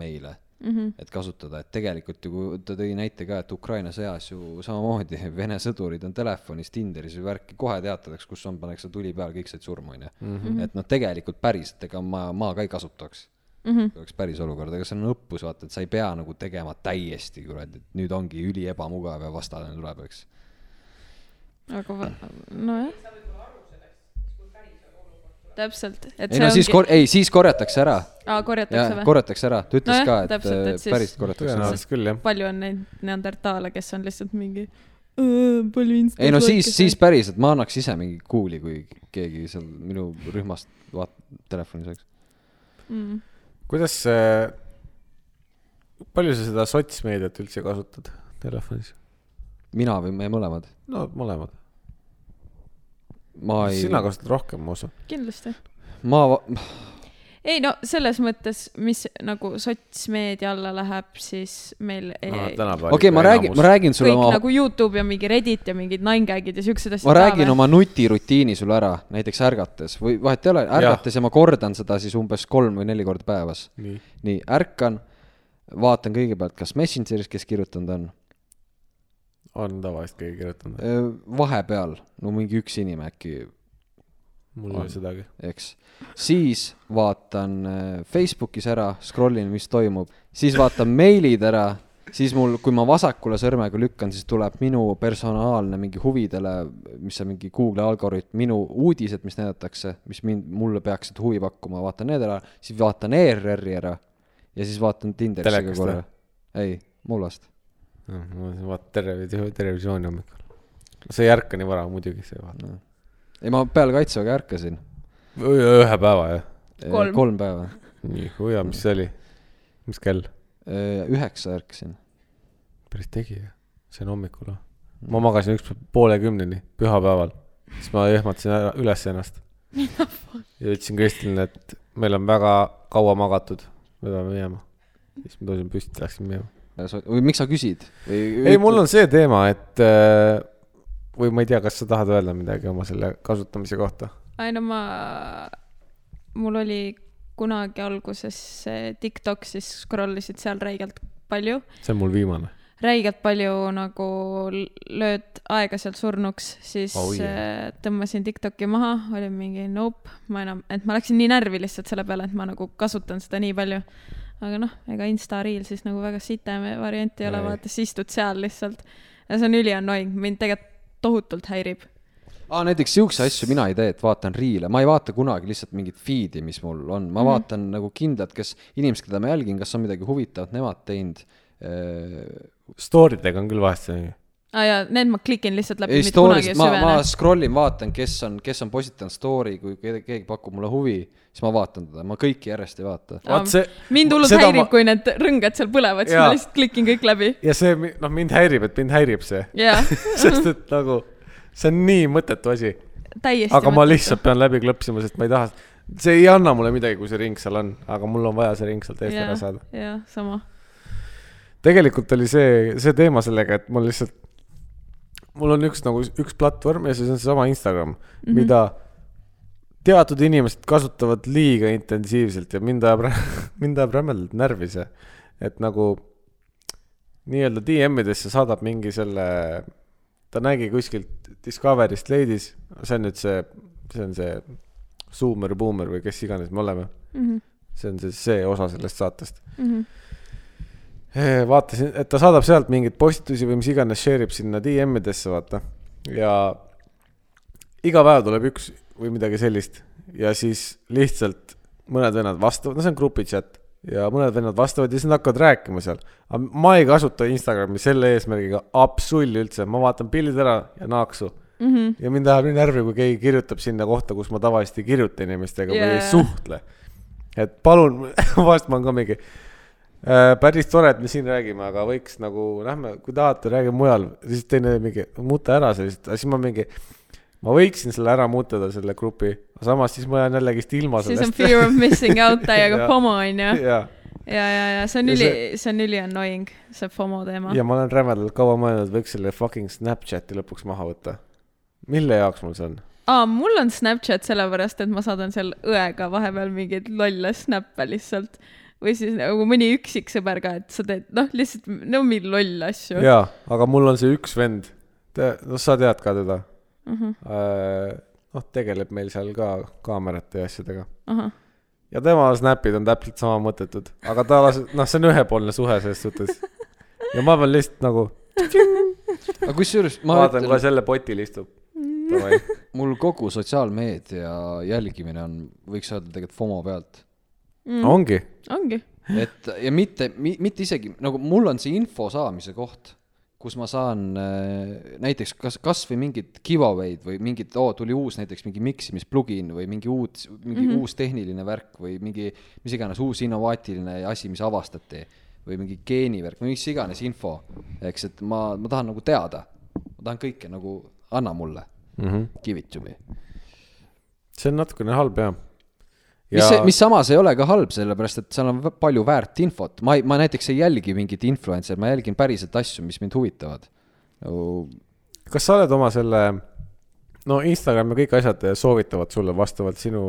[SPEAKER 3] meile
[SPEAKER 1] Mm -hmm.
[SPEAKER 3] et kasutada , et tegelikult ju kui ta tõi näite ka , et Ukraina sõjas ju samamoodi Vene sõdurid on telefonis , Tinderis või värki , kohe teatatakse , kus on , pannakse tuli peale , kõik said surma , onju . et noh , tegelikult päriselt , ega ma , ma ka ei kasutaks ,
[SPEAKER 1] Mm -hmm.
[SPEAKER 3] kui oleks päris olukord , aga see on õppus , vaata , et sa ei pea nagu tegema täiesti , kuradi , et nüüd ongi üliebamugav ja vastane tuleb , eks .
[SPEAKER 1] aga va- nojah . täpselt , et
[SPEAKER 3] ei no siis kor- , ei siis korjatakse ära ,
[SPEAKER 1] aa , korjatakse
[SPEAKER 3] jah ,
[SPEAKER 1] või ?
[SPEAKER 3] korjatakse ära , ta ütles
[SPEAKER 1] Nojah,
[SPEAKER 3] ka , et
[SPEAKER 1] täpselt, et
[SPEAKER 3] eh,
[SPEAKER 1] siis-
[SPEAKER 3] päriselt korjatakse ära .
[SPEAKER 2] tõenäoliselt küll jah .
[SPEAKER 1] palju on neid neandertaale , kes on lihtsalt mingi "Õõ, palju instant
[SPEAKER 3] ei no siis , siis päriselt , ma annaks ise mingi kuuli , kui keegi seal minu rühmast vaat- , telefoni saaks .
[SPEAKER 1] mm. .
[SPEAKER 2] kuidas see , palju sa seda sotsmeediat üldse kasutad telefonis ?
[SPEAKER 3] mina või me mõlemad ?
[SPEAKER 2] no mõlemad .
[SPEAKER 3] ma ei ,
[SPEAKER 2] sina kasutad rohkem , ma usun .
[SPEAKER 1] kindlasti .
[SPEAKER 3] ma , ma ,
[SPEAKER 1] ei no selles mõttes , mis nagu sotsmeedia alla läheb , siis meil ei, ei,
[SPEAKER 2] okei
[SPEAKER 3] okei okay, , ma räägin , ma räägin sulle
[SPEAKER 1] kõik
[SPEAKER 3] oma
[SPEAKER 1] oma... , nagu Youtube ja mingi Reddit ja mingid ninegag'id ja siuksed asjad .
[SPEAKER 3] ma räägin . oma nutirutiini sulle ära , näiteks ärgates või vahet ei ole , ärgates ja. ja ma kordan seda siis umbes kolm või neli korda päevas .
[SPEAKER 2] nii ,
[SPEAKER 3] nii , ärkan , vaatan kõigepealt , kas Messengeris , kes kirjutanud on ,
[SPEAKER 2] on tavaliselt keegi kirjutanud ,
[SPEAKER 3] vahepeal , no mingi üks inimene äkki
[SPEAKER 2] mul ei ole sedagi .
[SPEAKER 3] eks , siis vaatan äh, Facebookis ära , scroll in , mis toimub , siis vaatan meilid ära , siis mul , kui ma vasakule sõrmega lükkan , siis tuleb minu personaalne mingi huvidele , mis on mingi Google'i algoritm , minu uudised , mis näidatakse , mis mind , mulle peaksid huvi pakkuma , vaatan E need ära , siis vaatan ERR-i ära ja siis vaatan Tinderisse ka
[SPEAKER 2] Telekast
[SPEAKER 3] korra
[SPEAKER 2] või? .
[SPEAKER 3] ei , mullast .
[SPEAKER 2] ma vaatan televisiooni , televisiooni hommikul . sa ei ärka nii vara muidugi , sa ei vaata .
[SPEAKER 3] ei , ma peale kaitseväge ärkasin .
[SPEAKER 2] ühe päeva jah ?
[SPEAKER 1] Kolm.
[SPEAKER 3] kolm päeva .
[SPEAKER 2] nii , kui hea , mis see oli ? mis kell ?
[SPEAKER 3] Äh, üheksa ärkasin .
[SPEAKER 2] päris tegi jah , see on hommikul või ? ma magasin üks päev poole kümneni , pühapäeval , siis ma ehmatasin ära , üles ennast . ja ütlesin Kristinile , et meil on väga kaua magatud , me peame minema . siis ma tõusin püsti , läksin minema .
[SPEAKER 3] Äh, või miks sa küsid ?
[SPEAKER 2] ei , mul on see teema , et äh, või ma ei tea , kas sa tahad öelda midagi oma selle kasutamise kohta ?
[SPEAKER 1] ei no ma , mul oli kunagi alguses see TikTok , siis scroll isid seal räigelt palju ,
[SPEAKER 2] see on mul viimane .
[SPEAKER 1] räigelt palju nagu l- lööd aega sealt surnuks , siis
[SPEAKER 2] Oh
[SPEAKER 1] oh,
[SPEAKER 2] yeah.
[SPEAKER 1] yeah. tõmbasin TikToki maha , olin mingi nope , ma enam , et ma läksin nii närvi lihtsalt selle peale , et ma nagu kasutan seda nii palju . aga noh , ega Insta Reel siis nagu väga site variant ei ole
[SPEAKER 2] Ei. ,
[SPEAKER 1] vaata sa istud seal lihtsalt ja see on üli annoying , mind tegelikult tohutult häirib .
[SPEAKER 3] aa , näiteks siukse asju mina ei tee , et vaatan riile , ma ei vaata kunagi lihtsalt mingit feed'i , mis mul on ,
[SPEAKER 1] Mhm.
[SPEAKER 3] ma mm -hmm. vaatan nagu kindlalt , kes , inimesed , keda ma jälgin , kas on midagi huvitavat nemad teinud . Äh,
[SPEAKER 2] Story dega on küll vahest see ,
[SPEAKER 1] aa ah, jaa , need ma klikin lihtsalt läbi ,
[SPEAKER 3] ei ,
[SPEAKER 1] mitte kunagi ei
[SPEAKER 3] story'st ma , ma
[SPEAKER 1] süvene .
[SPEAKER 3] scroll in , vaatan , kes on , kes on postitanud story , kui keegi keegi pakub mulle huvi , siis ma vaatan teda , ma kõiki järjest ei vaata .
[SPEAKER 2] vaat see-
[SPEAKER 1] mind hullult
[SPEAKER 2] seda
[SPEAKER 1] häirib
[SPEAKER 2] ma-
[SPEAKER 1] ma... , kui need rõngad seal põlevad , siis
[SPEAKER 2] Jaa.
[SPEAKER 1] ma lihtsalt klikin kõik läbi .
[SPEAKER 2] ja see , noh , mind häirib , et mind häirib see ,
[SPEAKER 1] jaa ,
[SPEAKER 2] sest et nagu see on nii mõttetu asi
[SPEAKER 1] täiesti .
[SPEAKER 2] aga ma . lihtsalt pean läbi klõpsima , sest ma ei taha , see ei anna mulle midagi , kui see ring seal on , aga mul on vaja see ring sealt eest ära
[SPEAKER 1] jaa
[SPEAKER 2] saada .,
[SPEAKER 1] jaa , sama .
[SPEAKER 2] tegelikult oli see , see teema sellega , et mul lihtsalt , mul on üks nagu üks platvorm ja see on seesama Instagram mm , -hmm. mida teatud inimesed kasutavad liiga intensiivselt ja mind ajab , mind ajab rämedalt närvi see , et nagu nii-öelda DM-idesse saadab mingi selle , ta nägi kuskilt Discoverist leidis , see on nüüd see , see on see Zoomer , Boomer või kes iganes me oleme ,
[SPEAKER 1] Mm-hmm.
[SPEAKER 2] see on siis see osa sellest saatest . Eh, vaatasin , et ta saadab sealt mingeid postitusi või mis iganes , share ib sinna DM-idesse , vaata . ja iga päev tuleb üks või midagi sellist ja siis lihtsalt mõned vennad vastavad , no see on grupi chat ja mõned vennad vastavad ja siis nad hakkavad rääkima seal . aga ma ei kasuta Instagrami selle eesmärgiga absoluutselt üldse , ma vaatan pildid ära ja naaksu .
[SPEAKER 1] Mm -hmm.
[SPEAKER 2] ja mind ajab nii närvi , kui keegi kirjutab sinna kohta , kus ma tavaliselt ei kirjuta inimestega yeah. või ei
[SPEAKER 1] Jaa.
[SPEAKER 2] suhtle . et palun , vahest ma olen ka mingi , päris tore , et me siin räägime , aga võiks nagu , lähme , kui tahate , räägime mujal , siis teine mingi , muuta ära sellist , siis ma mingi , ma võiksin selle ära muutada , selle grupi , samas siis ma jään jällegist ilma
[SPEAKER 1] siis on
[SPEAKER 2] sellest .
[SPEAKER 1] fear of missing out täiega
[SPEAKER 2] Jaa.
[SPEAKER 1] FOMO onju .
[SPEAKER 2] ja ,
[SPEAKER 1] ja , ja , ja see on
[SPEAKER 2] Ja
[SPEAKER 1] üli
[SPEAKER 2] see- ,
[SPEAKER 1] see on üli annoying , see FOMO teema .
[SPEAKER 2] ja ma olen rämedalt kaua mõelnud , võiks selle fucking Snapchati lõpuks maha võtta . mille jaoks mul see on ?
[SPEAKER 1] aa , mul on Snapchat sellepärast , et ma saadan seal õega vahepeal mingeid lolle snappe lihtsalt . või siis nagu mõni üksik sõber ka , et sa teed , noh , lihtsalt , no mingi lolle asju .
[SPEAKER 2] jaa , aga mul on see üks vend , noh , sa tead ka teda uh .
[SPEAKER 1] Mhm.
[SPEAKER 2] -huh. noh , tegeleb meil seal ka kaamerate ja asjadega .
[SPEAKER 1] ahah ,
[SPEAKER 2] ja tema snap'id on täpselt sama mõttetud , aga ta las- , noh , see on ühepoolne suhe selles suhtes . ja ma pean lihtsalt nagu ,
[SPEAKER 3] aga kusjuures ma
[SPEAKER 2] vaatan kohe selle potil istub . ma
[SPEAKER 3] mul kogu sotsiaalmeedia jälgimine on , võiks öelda tegelikult FOMO pealt
[SPEAKER 2] ongi ,
[SPEAKER 1] Mm. ongi .
[SPEAKER 3] et ja mitte , mitte isegi nagu mul on see info saamise koht , kus ma saan äh, näiteks kas , kasvõi mingit giveaway'd või mingit , oo , tuli uus näiteks mingi miksimisplugin või mingi uut , mingi mm -hmm. uus tehniline värk või mingi mis iganes uus innovaatiline asi , mis avastati või mingi geenivärk või mis iganes info , eks , et ma , ma tahan nagu teada , ma tahan kõike nagu , anna mulle mm -hmm. kivitumi
[SPEAKER 2] Mhm. see on natukene halb jah .
[SPEAKER 3] mis , mis samas ei ole ka halb , sellepärast et seal on vä- palju väärt infot , ma ei , ma näiteks ei jälgi mingit influencer , ma jälgin päriselt asju , mis mind huvitavad . Nagu,
[SPEAKER 2] kas sa oled oma selle , no Instagram ja kõik asjad soovitavad sulle vastavalt sinu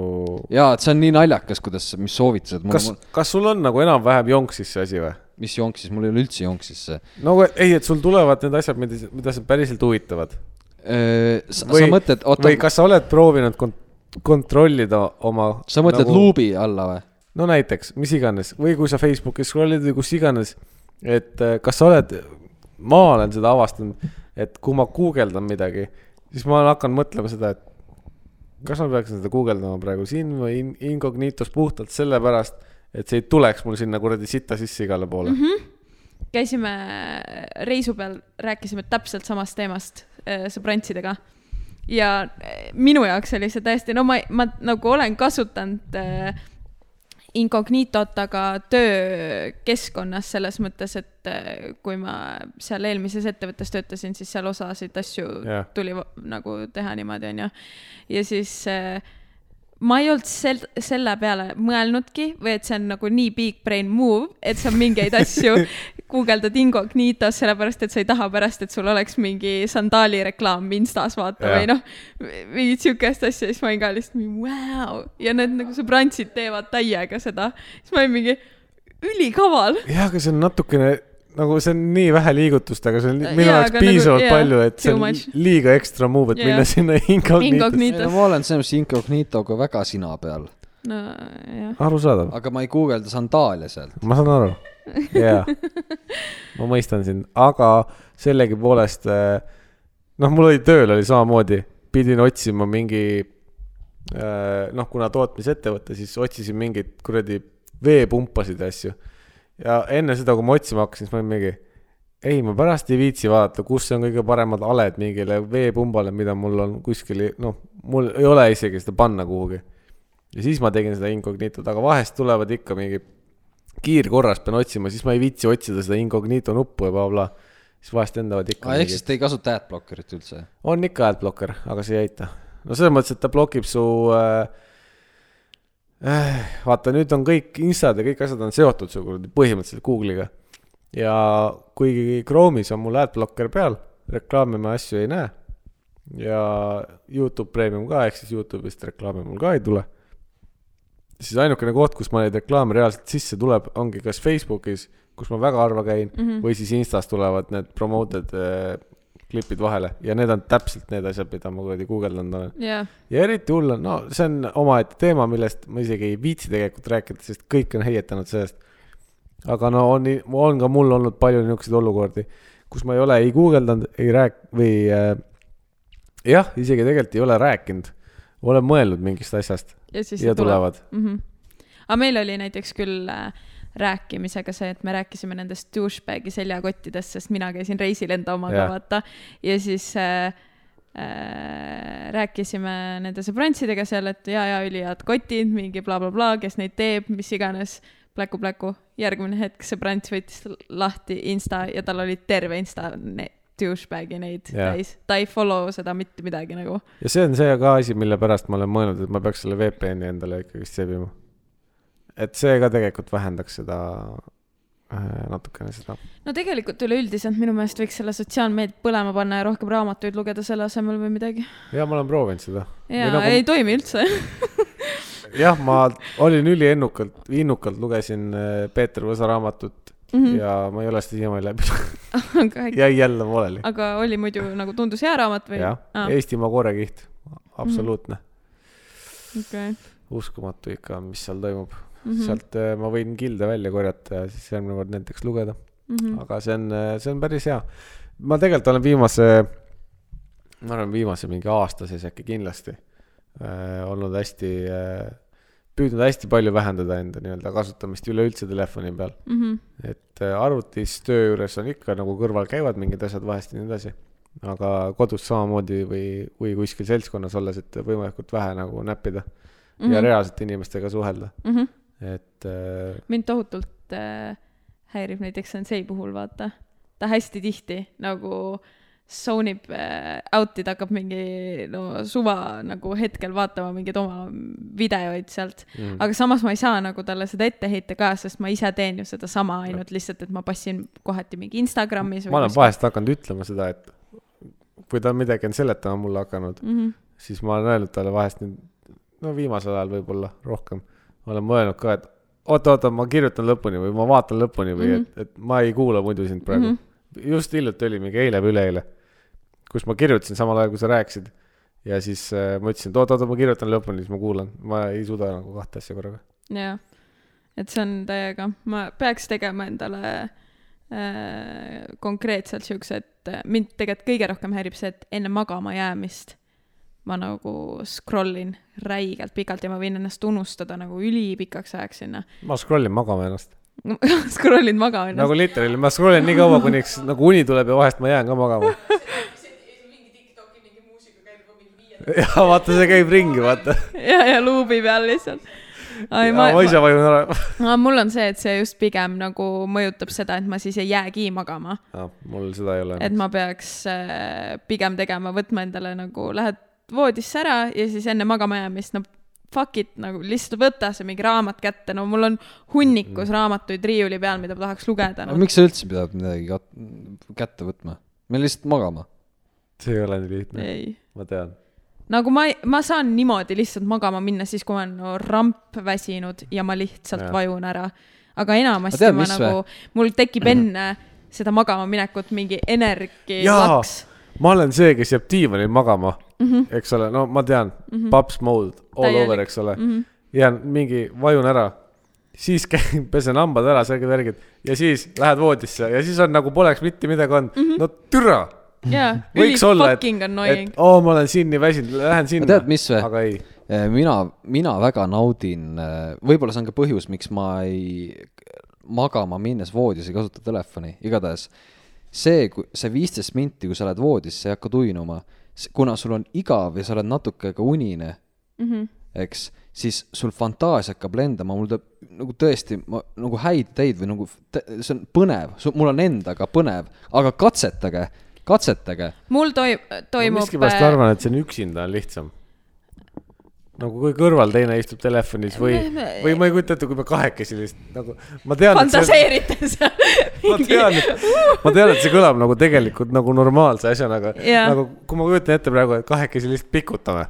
[SPEAKER 3] jaa , et see on nii naljakas , kuidas , mis soovitused mul
[SPEAKER 2] kas
[SPEAKER 3] Kas... ,,
[SPEAKER 2] kas sul on nagu enam-vähem jonksis see asi või ?
[SPEAKER 3] mis jonksis , mul ei ole üldse jonksis see .
[SPEAKER 2] no aga ei , et sul tulevad need asjad , mida , mida sind päriselt huvitavad .
[SPEAKER 3] sa, sa mõtled , oota
[SPEAKER 2] või , kas sa oled proovinud kont- , kontrollida oma .
[SPEAKER 3] sa mõtled nagu... ? luubi alla või ?
[SPEAKER 2] no näiteks , mis iganes või kui sa Facebookis scroll'id või kus iganes , et äh, kas sa oled , ma olen seda avastanud , et kui ma guugeldan midagi , siis ma olen hakanud mõtlema seda , et kas ma peaksin seda guugeldama praegu siin või in- incognitos puhtalt sellepärast , et see ei tuleks mul sinna kuradi sita sisse igale poole mm . -hmm.
[SPEAKER 1] käisime reisu peal , rääkisime täpselt samast teemast äh, sõbrantsidega . ja äh, minu jaoks oli see täiesti , no ma , ma nagu olen kasutanud äh, incognito't , aga töökeskkonnas selles mõttes , et äh, kui ma seal eelmises ettevõttes töötasin , siis seal osasid asju
[SPEAKER 2] Jah.
[SPEAKER 1] tuli va- nagu teha niimoodi , onju . ja siis äh, ma ei olnud sel- , selle peale mõelnudki või et see on nagu nii big brain move , et sa mingeid asju guugeldad incognitos , sellepärast et sa ei taha pärast , et sul oleks mingi sandaali reklaam Instas vaata
[SPEAKER 2] Jah.
[SPEAKER 1] või noh , mingit siukest asja , siis ma olin ka lihtsalt mingi vau ja need nagu sõbrantsid teevad täiega seda , siis ma olin mingi ülikaval .
[SPEAKER 2] jah , aga see on natukene nagu see on nii vähe liigutust , aga see on
[SPEAKER 1] Jaa,
[SPEAKER 2] minu jaoks
[SPEAKER 1] aga nagu-
[SPEAKER 2] piisavalt
[SPEAKER 1] jaa,
[SPEAKER 2] palju , et see
[SPEAKER 1] too
[SPEAKER 2] on
[SPEAKER 1] much.
[SPEAKER 2] liiga ekstra move , et
[SPEAKER 1] Jaa.
[SPEAKER 2] minna sinna incognito'sse .
[SPEAKER 1] Incognito-
[SPEAKER 3] ei no ma olen selles mõttes incognitoga väga sina peal ,
[SPEAKER 1] nojah ,
[SPEAKER 2] arusaadav ,
[SPEAKER 3] aga ma ei guugelda sandaale sealt .
[SPEAKER 2] ma saan aru , jaa . ma mõistan sind , aga sellegipoolest äh, noh , mul oli tööl oli samamoodi , pidin otsima mingi äh, noh , kuna tootmisettevõte , siis otsisin mingeid kuradi veepumpasid ja asju . ja enne seda , kui ma otsima hakkasin , siis ma olin mingi , ei , ma pärast ei viitsi vaadata , kus on kõige paremad aled mingile veepumbale , mida mul on kuskil , noh , mul ei ole isegi seda panna kuhugi . ja siis ma tegin seda incognito't , aga vahest tulevad ikka mingi kiirkorras pean otsima , siis ma ei viitsi otsida seda incognito nuppu ja blablabla . siis vahest lendavad ikka
[SPEAKER 3] aa , ehk
[SPEAKER 2] mingid
[SPEAKER 3] siis te ei kasuta adblockerit üldse ?
[SPEAKER 2] on ikka adblocker , aga see ei aita . no selles mõttes , et ta blokib su äh, . Äh, vaata , nüüd on kõik instad ja kõik asjad on seotud su kuradi põhimõtteliselt Google'iga . ja kuigi Chrome'is on mul adblocker peal , reklaami ma asju ei näe . ja Youtube Premium ka , ehk siis Youtube'ist reklaami mul ka ei tule . siis ainukene koht , kus ma neid reklaame reaalselt sisse tuleb , ongi kas Facebookis , kus ma väga harva käin mm , -hmm. või siis Instas tulevad need promoted äh, klipid vahele ja need on täpselt need asjad , mida ma kuradi guugeldanud olen .
[SPEAKER 1] jah ,
[SPEAKER 2] ja eriti hull on , no see on omaette teema , millest ma isegi ei viitsi tegelikult rääkida , sest kõik on heietanud sellest . aga no on , on ka mul olnud palju niisuguseid olukordi , kus ma ei ole ei guugeldanud , ei rääk- või äh, jah , isegi tegelikult ei ole rääkinud , olen mõelnud mingist asjast
[SPEAKER 1] ja siis
[SPEAKER 2] ja tulevad .
[SPEAKER 1] mm . -hmm. aga meil oli näiteks küll äh, rääkimisega see , et me rääkisime nendest douchebag'i seljakottidest , sest mina käisin reisil enda omaga
[SPEAKER 2] Jah. ,
[SPEAKER 1] vaata . ja siis äh, äh, rääkisime nende sõbrantsidega seal , et ja , ja ülihead kotid , mingi blablabla bla, , bla, kes neid teeb , mis iganes pläku , pläku , järgmine hetk sõbrants võttis lahti insta ja tal oli terve insta ne- douchebag'i neid
[SPEAKER 2] Jah.
[SPEAKER 1] täis , ta ei follow seda mitte midagi nagu .
[SPEAKER 2] ja see on see ka asi , mille pärast ma olen mõelnud , et ma peaks selle VPN-i endale ikkagist sebima . et see ka tegelikult vähendaks seda äh, natukene seda .
[SPEAKER 1] no tegelikult üleüldiselt minu meelest võiks selle sotsiaalmeediat põlema panna ja rohkem raamatuid lugeda selle asemel või midagi .
[SPEAKER 2] ja ma olen proovinud seda .
[SPEAKER 1] ja
[SPEAKER 2] Või nagu-
[SPEAKER 1] nagu... ei toimi üldse .
[SPEAKER 2] jah , ma olin üliennukalt , innukalt lugesin äh, Peeter Võsa raamatut mm
[SPEAKER 1] Mhm.
[SPEAKER 2] -hmm. ja ma ei ole seda siiamaani läbi lugenud ,
[SPEAKER 1] aga ,
[SPEAKER 2] jäi jälle pooleli .
[SPEAKER 1] aga oli muidu nagu tundus hea raamat või ?
[SPEAKER 2] jah , Eestimaa koorekiht , absoluutne mm ,
[SPEAKER 1] okei . Mhm.
[SPEAKER 2] -hmm. uskumatu ikka , mis seal toimub mm . -hmm. sealt äh, ma võin kilde välja korjata ja siis järgmine kord näiteks lugeda
[SPEAKER 1] Mhm.
[SPEAKER 2] mm. , aga see on , see on päris hea . ma tegelikult olen viimase , ma arvan , viimase mingi aasta sees äkki kindlasti äh, olnud hästi äh, , püüdnud hästi palju vähendada enda nii-öelda kasutamist üleüldse telefoni peal .
[SPEAKER 1] Mhm.
[SPEAKER 2] et äh, arvutis töö juures on ikka nagu kõrval käivad mingid asjad vahest ja nii edasi , aga kodus samamoodi või , või kuskil seltskonnas olles , et võimalikult vähe nagu näppida mm
[SPEAKER 1] Mhm.
[SPEAKER 2] -hmm. ja reaalselt inimestega suhelda , et äh,
[SPEAKER 1] mind tohutult äh, häirib näiteks Sensei puhul , vaata . ta hästi tihti nagu tsoonib äh, out'i , ta hakkab mingi no suva nagu hetkel vaatama mingeid oma videoid sealt mm. .
[SPEAKER 2] Mhm.
[SPEAKER 1] aga samas ma ei saa nagu talle seda ette heita ka , sest ma ise teen ju sedasama , ainult lihtsalt , et ma passin kohati mingi Instagramis või
[SPEAKER 2] ma olen vahest hakanud ütlema seda , et kui ta midagi on seletama mulle hakanud mm ,
[SPEAKER 1] Mhm,
[SPEAKER 2] -hmm. siis ma olen öelnud talle vahest nüüd , no viimasel ajal võib-olla rohkem , olen mõelnud ka , et oota-oota , ma kirjutan lõpuni või ma vaatan lõpuni või mm -hmm. et , et ma ei kuula muidu sind praegu mm .
[SPEAKER 1] mhm.
[SPEAKER 2] -hmm. just hiljuti oli mingi eile või üleeile , kus ma kirjutasin samal ajal , kui sa rääkisid ja siis äh, ma ütlesin , et oot-oot , ma kirjutan lõpuni , siis ma kuulan , ma ei suuda nagu kahte asja korraga .
[SPEAKER 1] jah , et see on täiega , ma peaks tegema endale äh, konkreetselt siukse , et äh, mind tegelikult kõige rohkem häirib see , et enne magama jäämist ma nagu scroll in räigelt pikalt ja ma võin ennast unustada nagu ülipikaks ajaks sinna .
[SPEAKER 2] ma scroll in magama ennast .
[SPEAKER 1] scroll'id maga ennast
[SPEAKER 2] nagu literaali , ma scroll in nii kaua , kuniks nagu uni tuleb ja vahest ma jään ka magama . ja vaata , see käib ringi , vaata .
[SPEAKER 1] nagu... ja , ja luubi peal lihtsalt .
[SPEAKER 2] ma,
[SPEAKER 1] ai , ma,
[SPEAKER 2] ma ise vajun ära .
[SPEAKER 1] ma , mul on see , et see just pigem nagu mõjutab seda , et ma siis ei jäägi magama ,
[SPEAKER 2] mul seda ei ole .
[SPEAKER 1] et ma peaks äh, pigem tegema , võtma endale nagu lähed voodisse ära ja siis enne magama jäämist , no fuck it , nagu lihtsalt võta see mingi raamat kätte , no mul on hunnikus raamatuid riiuli peal , mida ma tahaks lugeda
[SPEAKER 3] aga
[SPEAKER 1] no. .
[SPEAKER 3] miks sa üldse pidad midagi kat- kätte võtma ? me lihtsalt magama .
[SPEAKER 2] see ei ole nii lihtne ,
[SPEAKER 1] ei ,
[SPEAKER 2] ma tean .
[SPEAKER 1] nagu ma , ma saan niimoodi lihtsalt magama minna siis , kui ma olen no, ramp väsinud ja ma lihtsalt
[SPEAKER 2] Jah.
[SPEAKER 1] ja. vajun ära . aga enamasti
[SPEAKER 3] Aga tead,
[SPEAKER 1] tead, ma
[SPEAKER 3] mis
[SPEAKER 1] nagu , mul tekib enne seda magama minekut mingi energi
[SPEAKER 2] jaa
[SPEAKER 1] laks .,
[SPEAKER 2] ma olen see , kes jääb diivanil magama mm , -hmm. eks ole , no ma tean mm , -hmm. paps mode
[SPEAKER 1] Mhm.
[SPEAKER 2] all Täielik.
[SPEAKER 1] Täielik. Mhm.
[SPEAKER 2] over , eks ole mm . -hmm. jään mingi , vajun ära , siis käin , pesen hambad ära , särgid , värgid ja siis lähed voodisse ja siis on nagu poleks mitte midagi olnud mm , -hmm. no türa .
[SPEAKER 1] jaa , Mhm. üli
[SPEAKER 2] võiks olla , et ,
[SPEAKER 1] fucking annoying
[SPEAKER 2] et . oo oh, , ma olen siin nii väsinud , lähen sinna .
[SPEAKER 3] tead, mis või?
[SPEAKER 2] aga ei ,
[SPEAKER 3] Äh, mina , mina väga naudin , võib-olla see on ka põhjus , miks ma ei , magama minnes voodis ei kasuta telefoni , igatahes see , see viisteist minti , kui sa lähed voodisse ja hakkad uinuma , kuna sul on igav ja sa oled natuke ka unine mm ,
[SPEAKER 1] Mhm.
[SPEAKER 3] eks , siis sul fantaasia hakkab lendama , mul tuleb nagu tõesti , ma nagu häid ideid või nagu , see on põnev , mul on endaga põnev , aga katsetage , katsetage
[SPEAKER 1] mul toim- ,
[SPEAKER 2] ma
[SPEAKER 1] toimub , äh,
[SPEAKER 2] miskipärast arvan , et see on üksinda on lihtsam nagu kui kõrval teine istub telefonis või , või ma ei kujuta ette , kui me kahekesi lihtsalt nagu , ma tean .
[SPEAKER 1] fantaseerides .
[SPEAKER 2] ma tean , et , ma tean , et see kõlab nagu tegelikult nagu normaalse asjana , aga
[SPEAKER 1] Jaa.
[SPEAKER 2] nagu kui ma kujutan ette praegu , et kahekesi lihtsalt pikutame .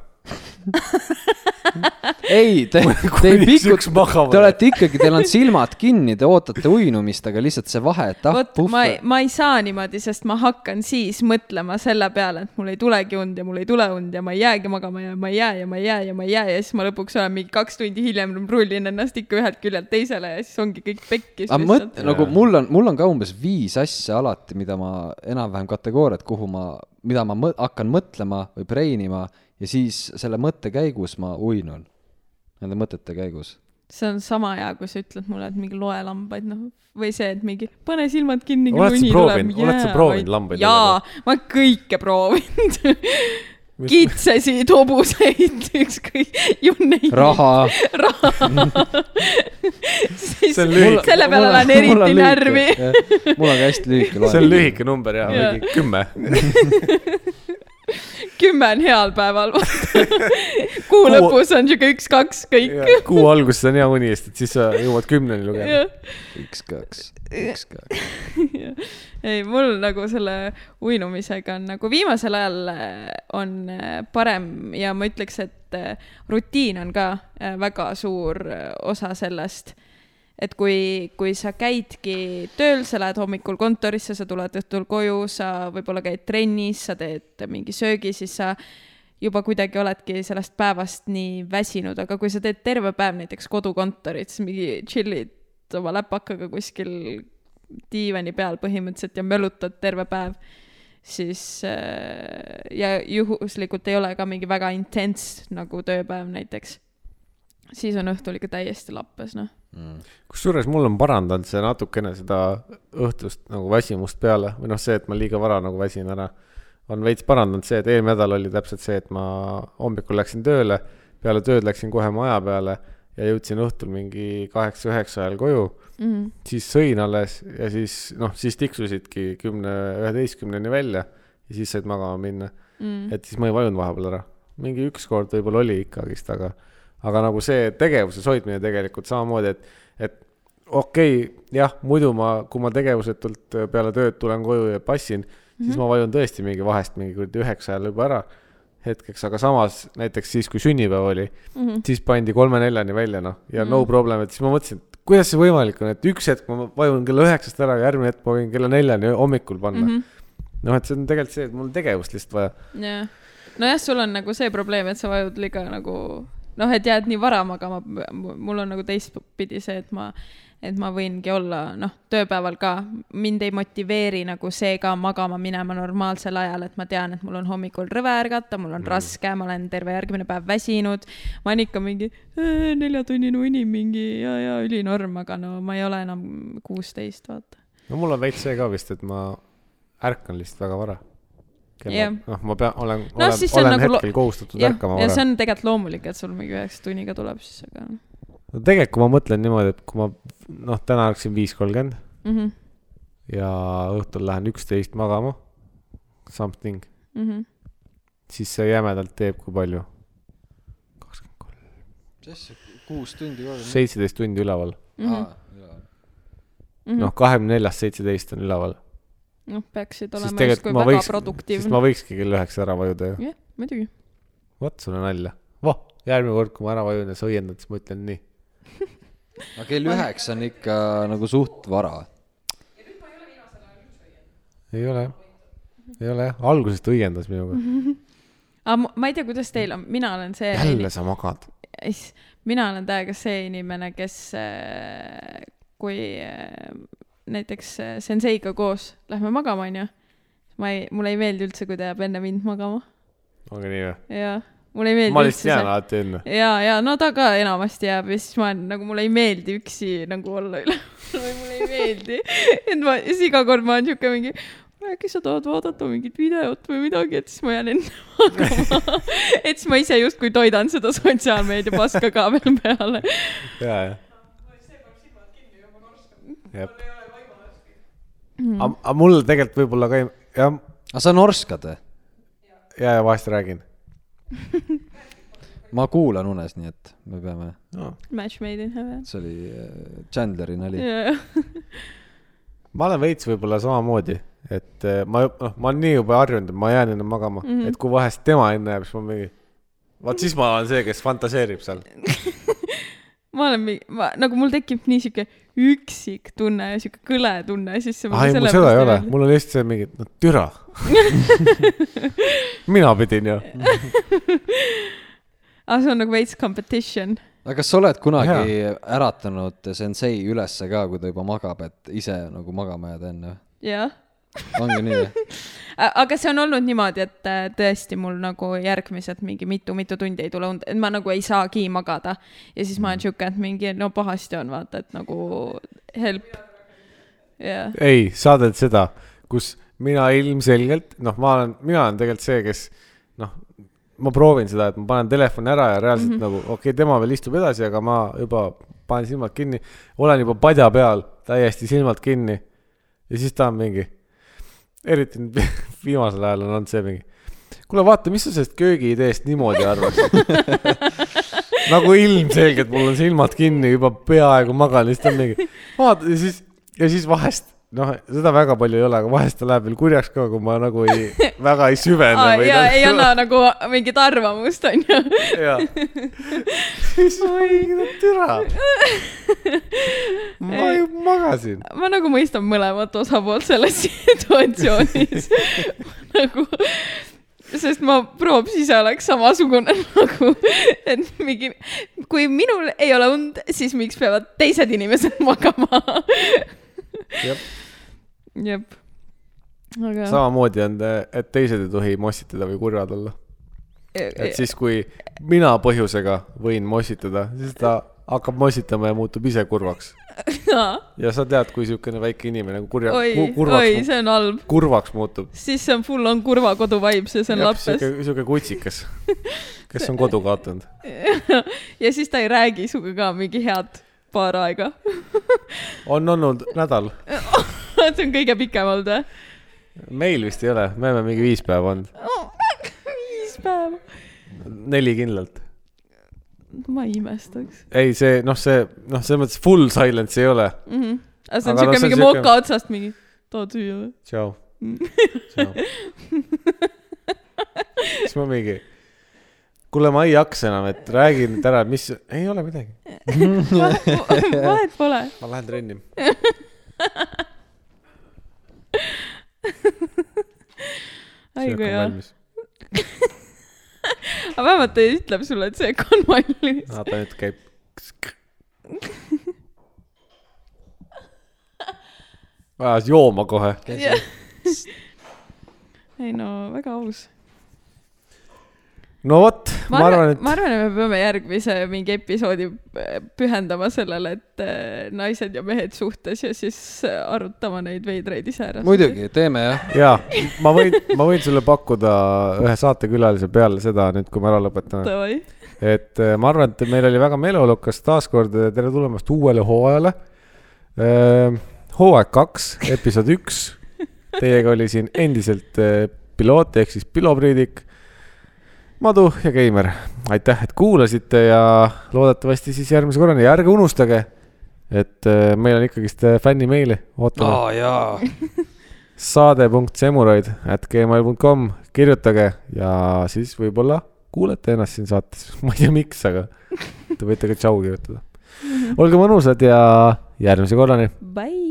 [SPEAKER 3] ei , te , te ei
[SPEAKER 2] kuni üks
[SPEAKER 3] pikuta
[SPEAKER 2] magama ,
[SPEAKER 3] te
[SPEAKER 2] läheb.
[SPEAKER 3] olete ikkagi , teil on silmad kinni , te ootate uinumist , aga lihtsalt see ah, vaheetapp
[SPEAKER 1] vot ma ei
[SPEAKER 3] puhver ,.
[SPEAKER 1] ma ei saa niimoodi , sest ma hakkan siis mõtlema selle peale , et mul ei tulegi und ja mul ei tule und ja ma ei jäägi magama ja ma ei jää ja ma ei jää ja ma ei jää ja siis ma lõpuks olen mingi kaks tundi hiljem rullin ennast ikka ühelt küljelt teisele ja siis ongi kõik pekkis
[SPEAKER 3] aga mõt- ,
[SPEAKER 1] lihtsalt .
[SPEAKER 3] nagu mul on , mul on ka umbes viis asja alati , mida ma enam-vähem kategooriad , kuhu ma , mida ma mõ- hakkan mõtlema või brain ima ja siis selle mõtte käigus ma uinun . Nende mõtete käigus .
[SPEAKER 1] see on sama hea , kui sa ütled mulle , et mingi loe lambaid , noh , või see , et mingi pane silmad kinni .
[SPEAKER 2] Oled sa proovinud- oled sa proovinud lambaid
[SPEAKER 1] jaa , ma kõike proovinud . kitsesid , hobuseid , ükskõik , you name it.
[SPEAKER 3] raha ,
[SPEAKER 1] raha siis
[SPEAKER 2] See on lühike.
[SPEAKER 1] selle peale lähen eriti närvi .
[SPEAKER 3] mul on ka hästi lühike loe .
[SPEAKER 2] see on lühike number ja
[SPEAKER 1] Jaa.
[SPEAKER 2] mingi kümme .
[SPEAKER 1] kümme on heal päeval kuu
[SPEAKER 2] Kuu-
[SPEAKER 1] lõpus on siuke üks-kaks kõik .
[SPEAKER 2] kuu alguses on hea uni , sest et siis sa jõuad kümneni lugeda .
[SPEAKER 3] üks , kaks , üks , kaks .
[SPEAKER 1] ei , mul nagu selle uinumisega on nagu viimasel ajal äh, on äh, parem ja ma ütleks , et äh, rutiin on ka äh, väga suur äh, osa sellest . et kui , kui sa käidki tööl , sa lähed hommikul kontorisse , sa tuled õhtul koju , sa võib-olla käid trennis , sa teed mingi söögi , siis sa juba kuidagi oledki sellest päevast nii väsinud , aga kui sa teed terve päev näiteks kodukontorit , siis mingi chill'id oma läpakaga kuskil diivani peal põhimõtteliselt ja mölutad terve päev , siis äh, ja juhuslikult ei ole ka mingi väga intens nagu tööpäev näiteks , siis on õhtul ikka täiesti lappes , noh .
[SPEAKER 3] Mm.
[SPEAKER 2] kusjuures mul on parandanud see natukene seda õhtust nagu väsimust peale või noh , see , et ma liiga vara nagu väsin ära , on veits parandanud see , et eelmine nädal oli täpselt see , et ma hommikul läksin tööle , peale tööd läksin kohe maja peale ja jõudsin õhtul mingi kaheksa-üheksa ajal koju mm , -hmm. siis sõin alles ja siis noh , siis tiksusidki kümne , üheteistkümneni välja ja siis said magama minna mm .
[SPEAKER 1] Mm-hmm.
[SPEAKER 2] -hmm. et siis ma ei vajunud vahepeal ära , mingi üks kord võib-olla oli ikkagist , aga , aga nagu see tegevuses hoidmine tegelikult samamoodi , et , et okei okay, , jah , muidu ma , kui ma tegevusetult peale tööd tulen koju ja passin , siis ma vajun tõesti mingi vahest mingi kuradi üheksa ajal juba ära hetkeks , aga samas näiteks siis , kui sünnipäev oli mm , -hmm.
[SPEAKER 1] Mm-hmm.
[SPEAKER 2] siis pandi kolme-neljani välja , noh , ja mm -hmm. no problem , et siis ma mõtlesin , et kuidas see võimalik on , et üks hetk ma vajun kella üheksast ära ja järgmine hetk ma võin kella neljani hommikul panna
[SPEAKER 1] Mhm. Mm-hmm.
[SPEAKER 2] mm . -hmm. noh , et see on tegelikult see , et mul on tegevust lihtsalt vaja .
[SPEAKER 1] jah , nojah , sul on nagu see probleem , et sa vajud liiga nagu noh , et jääd nii vara magama , mul on nagu teistpidi see , et ma , et ma võingi olla noh , tööpäeval ka , mind ei motiveeri nagu see ka magama minema normaalsel ajal , et ma tean , et mul on hommikul rõve ärgata , mul on mm. raske , ma olen terve järgmine päev väsinud . ma olen ikka mingi "Äh, neljatunnine uni mingi ja , ja ülinorm , aga no ma ei ole enam kuusteist , vaata .
[SPEAKER 2] no mul on veits see ka vist , et ma ärkan lihtsalt väga vara .
[SPEAKER 1] Jah.
[SPEAKER 2] noh , ma pean , olen no, ,
[SPEAKER 1] No
[SPEAKER 2] olen,
[SPEAKER 1] siis see on
[SPEAKER 2] olen
[SPEAKER 1] nagu
[SPEAKER 2] nagu
[SPEAKER 1] lo-
[SPEAKER 2] hetkel kohustatud
[SPEAKER 1] jah ,
[SPEAKER 2] ärkama
[SPEAKER 1] ja see
[SPEAKER 2] vara .
[SPEAKER 1] on tegelikult loomulik , et sul mingi üheksa tunniga tuleb siis , aga mm .
[SPEAKER 2] no tegelikult , kui ma mõtlen niimoodi , et kui ma noh , täna ärkasin viis kolmkümmend
[SPEAKER 1] -hmm.
[SPEAKER 2] ja õhtul lähen üksteist magama , something ,
[SPEAKER 1] Mm -hmm.
[SPEAKER 2] siis see jämedalt teeb , kui palju ? kakskümmend kolm ,
[SPEAKER 3] kuus tundi korraga .
[SPEAKER 2] seitseteist tundi üleval .
[SPEAKER 3] aa ,
[SPEAKER 1] Mhm.
[SPEAKER 2] noh , kahekümne neljast seitseteist on üleval .
[SPEAKER 1] noh , peaksid
[SPEAKER 2] siis
[SPEAKER 1] olema
[SPEAKER 2] tegelikult
[SPEAKER 1] justkui
[SPEAKER 2] ma
[SPEAKER 1] väga võiks,
[SPEAKER 2] võiks , siis
[SPEAKER 1] produktiivne
[SPEAKER 2] ma . võikski kell üheksa ära vajuda ju .
[SPEAKER 1] jah , muidugi .
[SPEAKER 2] vot sulle nalja . voh , järgmine kord , kui ma ära vajun ja sa õiendad , siis ma ütlen nii .
[SPEAKER 3] aga kell üheksa on ikka nagu suht vara .
[SPEAKER 2] ei ole , ei ole jah , alguses ta õiendas minuga .
[SPEAKER 1] aga ma- ma ei tea , kuidas teil on , mina olen see ,
[SPEAKER 2] jälle sa magad .
[SPEAKER 1] mina olen täiega see inimene , kes äh, kui äh, näiteks äh, senseiga koos lähme magama , onju , ma ei , mulle ei meeldi üldse , kui ta jääb enne mind magama
[SPEAKER 2] ongi nii või ?
[SPEAKER 1] ja mulle ei meeldi
[SPEAKER 2] ma lihtsalt
[SPEAKER 1] üldse
[SPEAKER 2] jään
[SPEAKER 1] see .
[SPEAKER 2] alati enne .
[SPEAKER 1] ja , ja no ta ka enamasti jääb ja siis ma olen nagu , mulle ei meeldi üksi nagu olla üle või mulle ei meeldi . et ma , siis iga kord ma olen siuke mingi , äkki sa tahad vaadata mingit videot või midagi , et siis ma jään enne magama . et siis ma ise justkui toidan seda sotsiaalmeedia paska ka veel peale .
[SPEAKER 2] ja , ja . jah . aga aga mul tegelikult võib-olla ka ei , jah ,
[SPEAKER 3] aga Ah, sa norskad või ?
[SPEAKER 2] ja , ja vahest räägin .
[SPEAKER 3] ma kuulan unes , nii et me peame ,
[SPEAKER 1] Match made in heaven .
[SPEAKER 3] see oli äh, Chandleri nali .
[SPEAKER 2] ma olen veits võib-olla samamoodi , et eh, ma , noh , ma olen nii juba harjunud , et ma jään enne magama mm , -hmm. et kui vahest tema enne jääb , siis ma mingi , vaat siis ma olen see , kes fantaseerib seal .
[SPEAKER 1] ma olen mingi , ma nagu mul tekib nii siuke üksik tunne ja siuke kõle tunne , siis see .
[SPEAKER 2] ah ei , mul seda ei ole , mul on lihtsalt see mingi , no türa . mina pidin ju .
[SPEAKER 1] aga see on nagu veits competition .
[SPEAKER 3] aga kas sa oled kunagi äratanud sensei ülesse ka , kui ta juba magab , et ise nagu magama jääd enne või ?
[SPEAKER 1] jah
[SPEAKER 3] ongi nii või ?
[SPEAKER 1] A- aga see on olnud niimoodi , et äh, tõesti mul nagu järgmised mingi mitu-mitu tundi ei tule und , et ma nagu ei saagi magada . ja siis ma
[SPEAKER 2] Mm.
[SPEAKER 1] olen siuke , et mingi no pahasti on vaata , et nagu help . jah ,
[SPEAKER 2] ei , sa teed seda , kus mina ilmselgelt , noh , ma olen , mina olen tegelikult see , kes noh , ma proovin seda , et ma panen telefoni ära ja reaalselt mm -hmm. nagu okei okay, , tema veel istub edasi , aga ma juba panen silmad kinni , olen juba padja peal , täiesti silmad kinni . ja siis ta on mingi , eriti nüüd viimasel ajal on olnud see mingi , kuule , vaata , mis sa sellest köögiideest niimoodi arvad ? nagu ilmselgelt mul on silmad kinni , juba peaaegu magan , siis ta on mingi , vaata ja siis , ja siis vahest noh , seda väga palju ei ole , aga vahest ta läheb veel kurjaks ka , kui ma nagu ei , väga ei süvene
[SPEAKER 1] Aa,
[SPEAKER 2] või
[SPEAKER 1] ja
[SPEAKER 2] nagu-
[SPEAKER 1] ei anna nagu mingit arvamust , onju .
[SPEAKER 2] jaa . siis ma olin , no türa . ma ju magasin .
[SPEAKER 1] ma nagu mõistan mõlemat osapoolt selles situatsioonis . nagu , sest ma proovis ise oleks samasugune nagu , et mingi , kui minul ei ole und , siis miks peavad teised inimesed magama ?
[SPEAKER 2] Jep. .
[SPEAKER 1] jep . aga .
[SPEAKER 2] samamoodi on , et teised ei tohi mossitada või kurjad olla .
[SPEAKER 1] e-
[SPEAKER 2] et siis , kui mina põhjusega võin mossitada , siis ta hakkab mossitama ja muutub ise kurvaks . ja sa tead , kui siukene väike inimene nagu kurja
[SPEAKER 1] oi ,
[SPEAKER 2] ku-
[SPEAKER 1] oi ,
[SPEAKER 2] kurvaks ,
[SPEAKER 1] see on halb .
[SPEAKER 2] kurvaks muutub .
[SPEAKER 1] siis see on full on kurva kodu vibes ja see on lappes .
[SPEAKER 2] siuke , siuke kutsikas , kes on kodu kaotanud .
[SPEAKER 1] ja siis ta ei räägi sinuga ka mingi head paar aega .
[SPEAKER 2] on olnud nädal ,
[SPEAKER 1] see on kõige pikem olnud või ?
[SPEAKER 2] meil vist ei ole , me oleme mingi viis päeva olnud ,
[SPEAKER 1] Oh, viis päeva .
[SPEAKER 2] neli kindlalt
[SPEAKER 1] ma ei imestaks
[SPEAKER 2] ei , see noh , see noh , selles mõttes full silence ei ole .
[SPEAKER 1] mm . -hmm. aga see on
[SPEAKER 2] Aga no
[SPEAKER 1] siuke
[SPEAKER 2] see on
[SPEAKER 1] mingi
[SPEAKER 2] siuke-
[SPEAKER 1] moka otsast mingi , tahad süüa või ?
[SPEAKER 2] tšau . siis ma mingi , kuule , ma ei jaksa enam , et räägi nüüd ära , mis , ei ole midagi ,
[SPEAKER 1] vahet pole .
[SPEAKER 2] ma lähen trenni .
[SPEAKER 1] ai kui hea . aga vähemalt ta ütleb sulle , et see on mallis .
[SPEAKER 2] vaata nüüd käib . ajas jooma kohe .
[SPEAKER 1] ei no väga aus .
[SPEAKER 2] no vot , ma arvan , et
[SPEAKER 1] ma arvan , et me peame järgmise mingi episoodi p- pühendama sellele , et äh, naised ja mehed suhtes ja siis äh, arutama neid veidraid iseärasusi .,
[SPEAKER 3] muidugi , teeme jah .
[SPEAKER 2] jaa , ma võin , ma võin sulle pakkuda ühe saatekülalise peale seda nüüd , kui me ära lõpetame .
[SPEAKER 1] Davai ,
[SPEAKER 2] et eh, ma arvan , et meil oli väga meeleolukas taaskord , tere tulemast uuele hooajale . hooaeg kaks , episood üks . Teiega oli siin endiselt eh, piloot ehk siis Pilo Priidik , Madu ja Keimer . aitäh , et kuulasite ja loodetavasti siis järgmise korrani ja ärge unustage , et eh, meil on ikkagist eh, fännimeili ootame
[SPEAKER 3] aa jaa .
[SPEAKER 2] saade.semuraid at gmail.com , kirjutage ja siis võib-olla kuulete ennast siin saates , ma ei tea , miks , aga te võite ka tšau kirjutada . olge mõnusad ja järgmise korrani .
[SPEAKER 1] bye .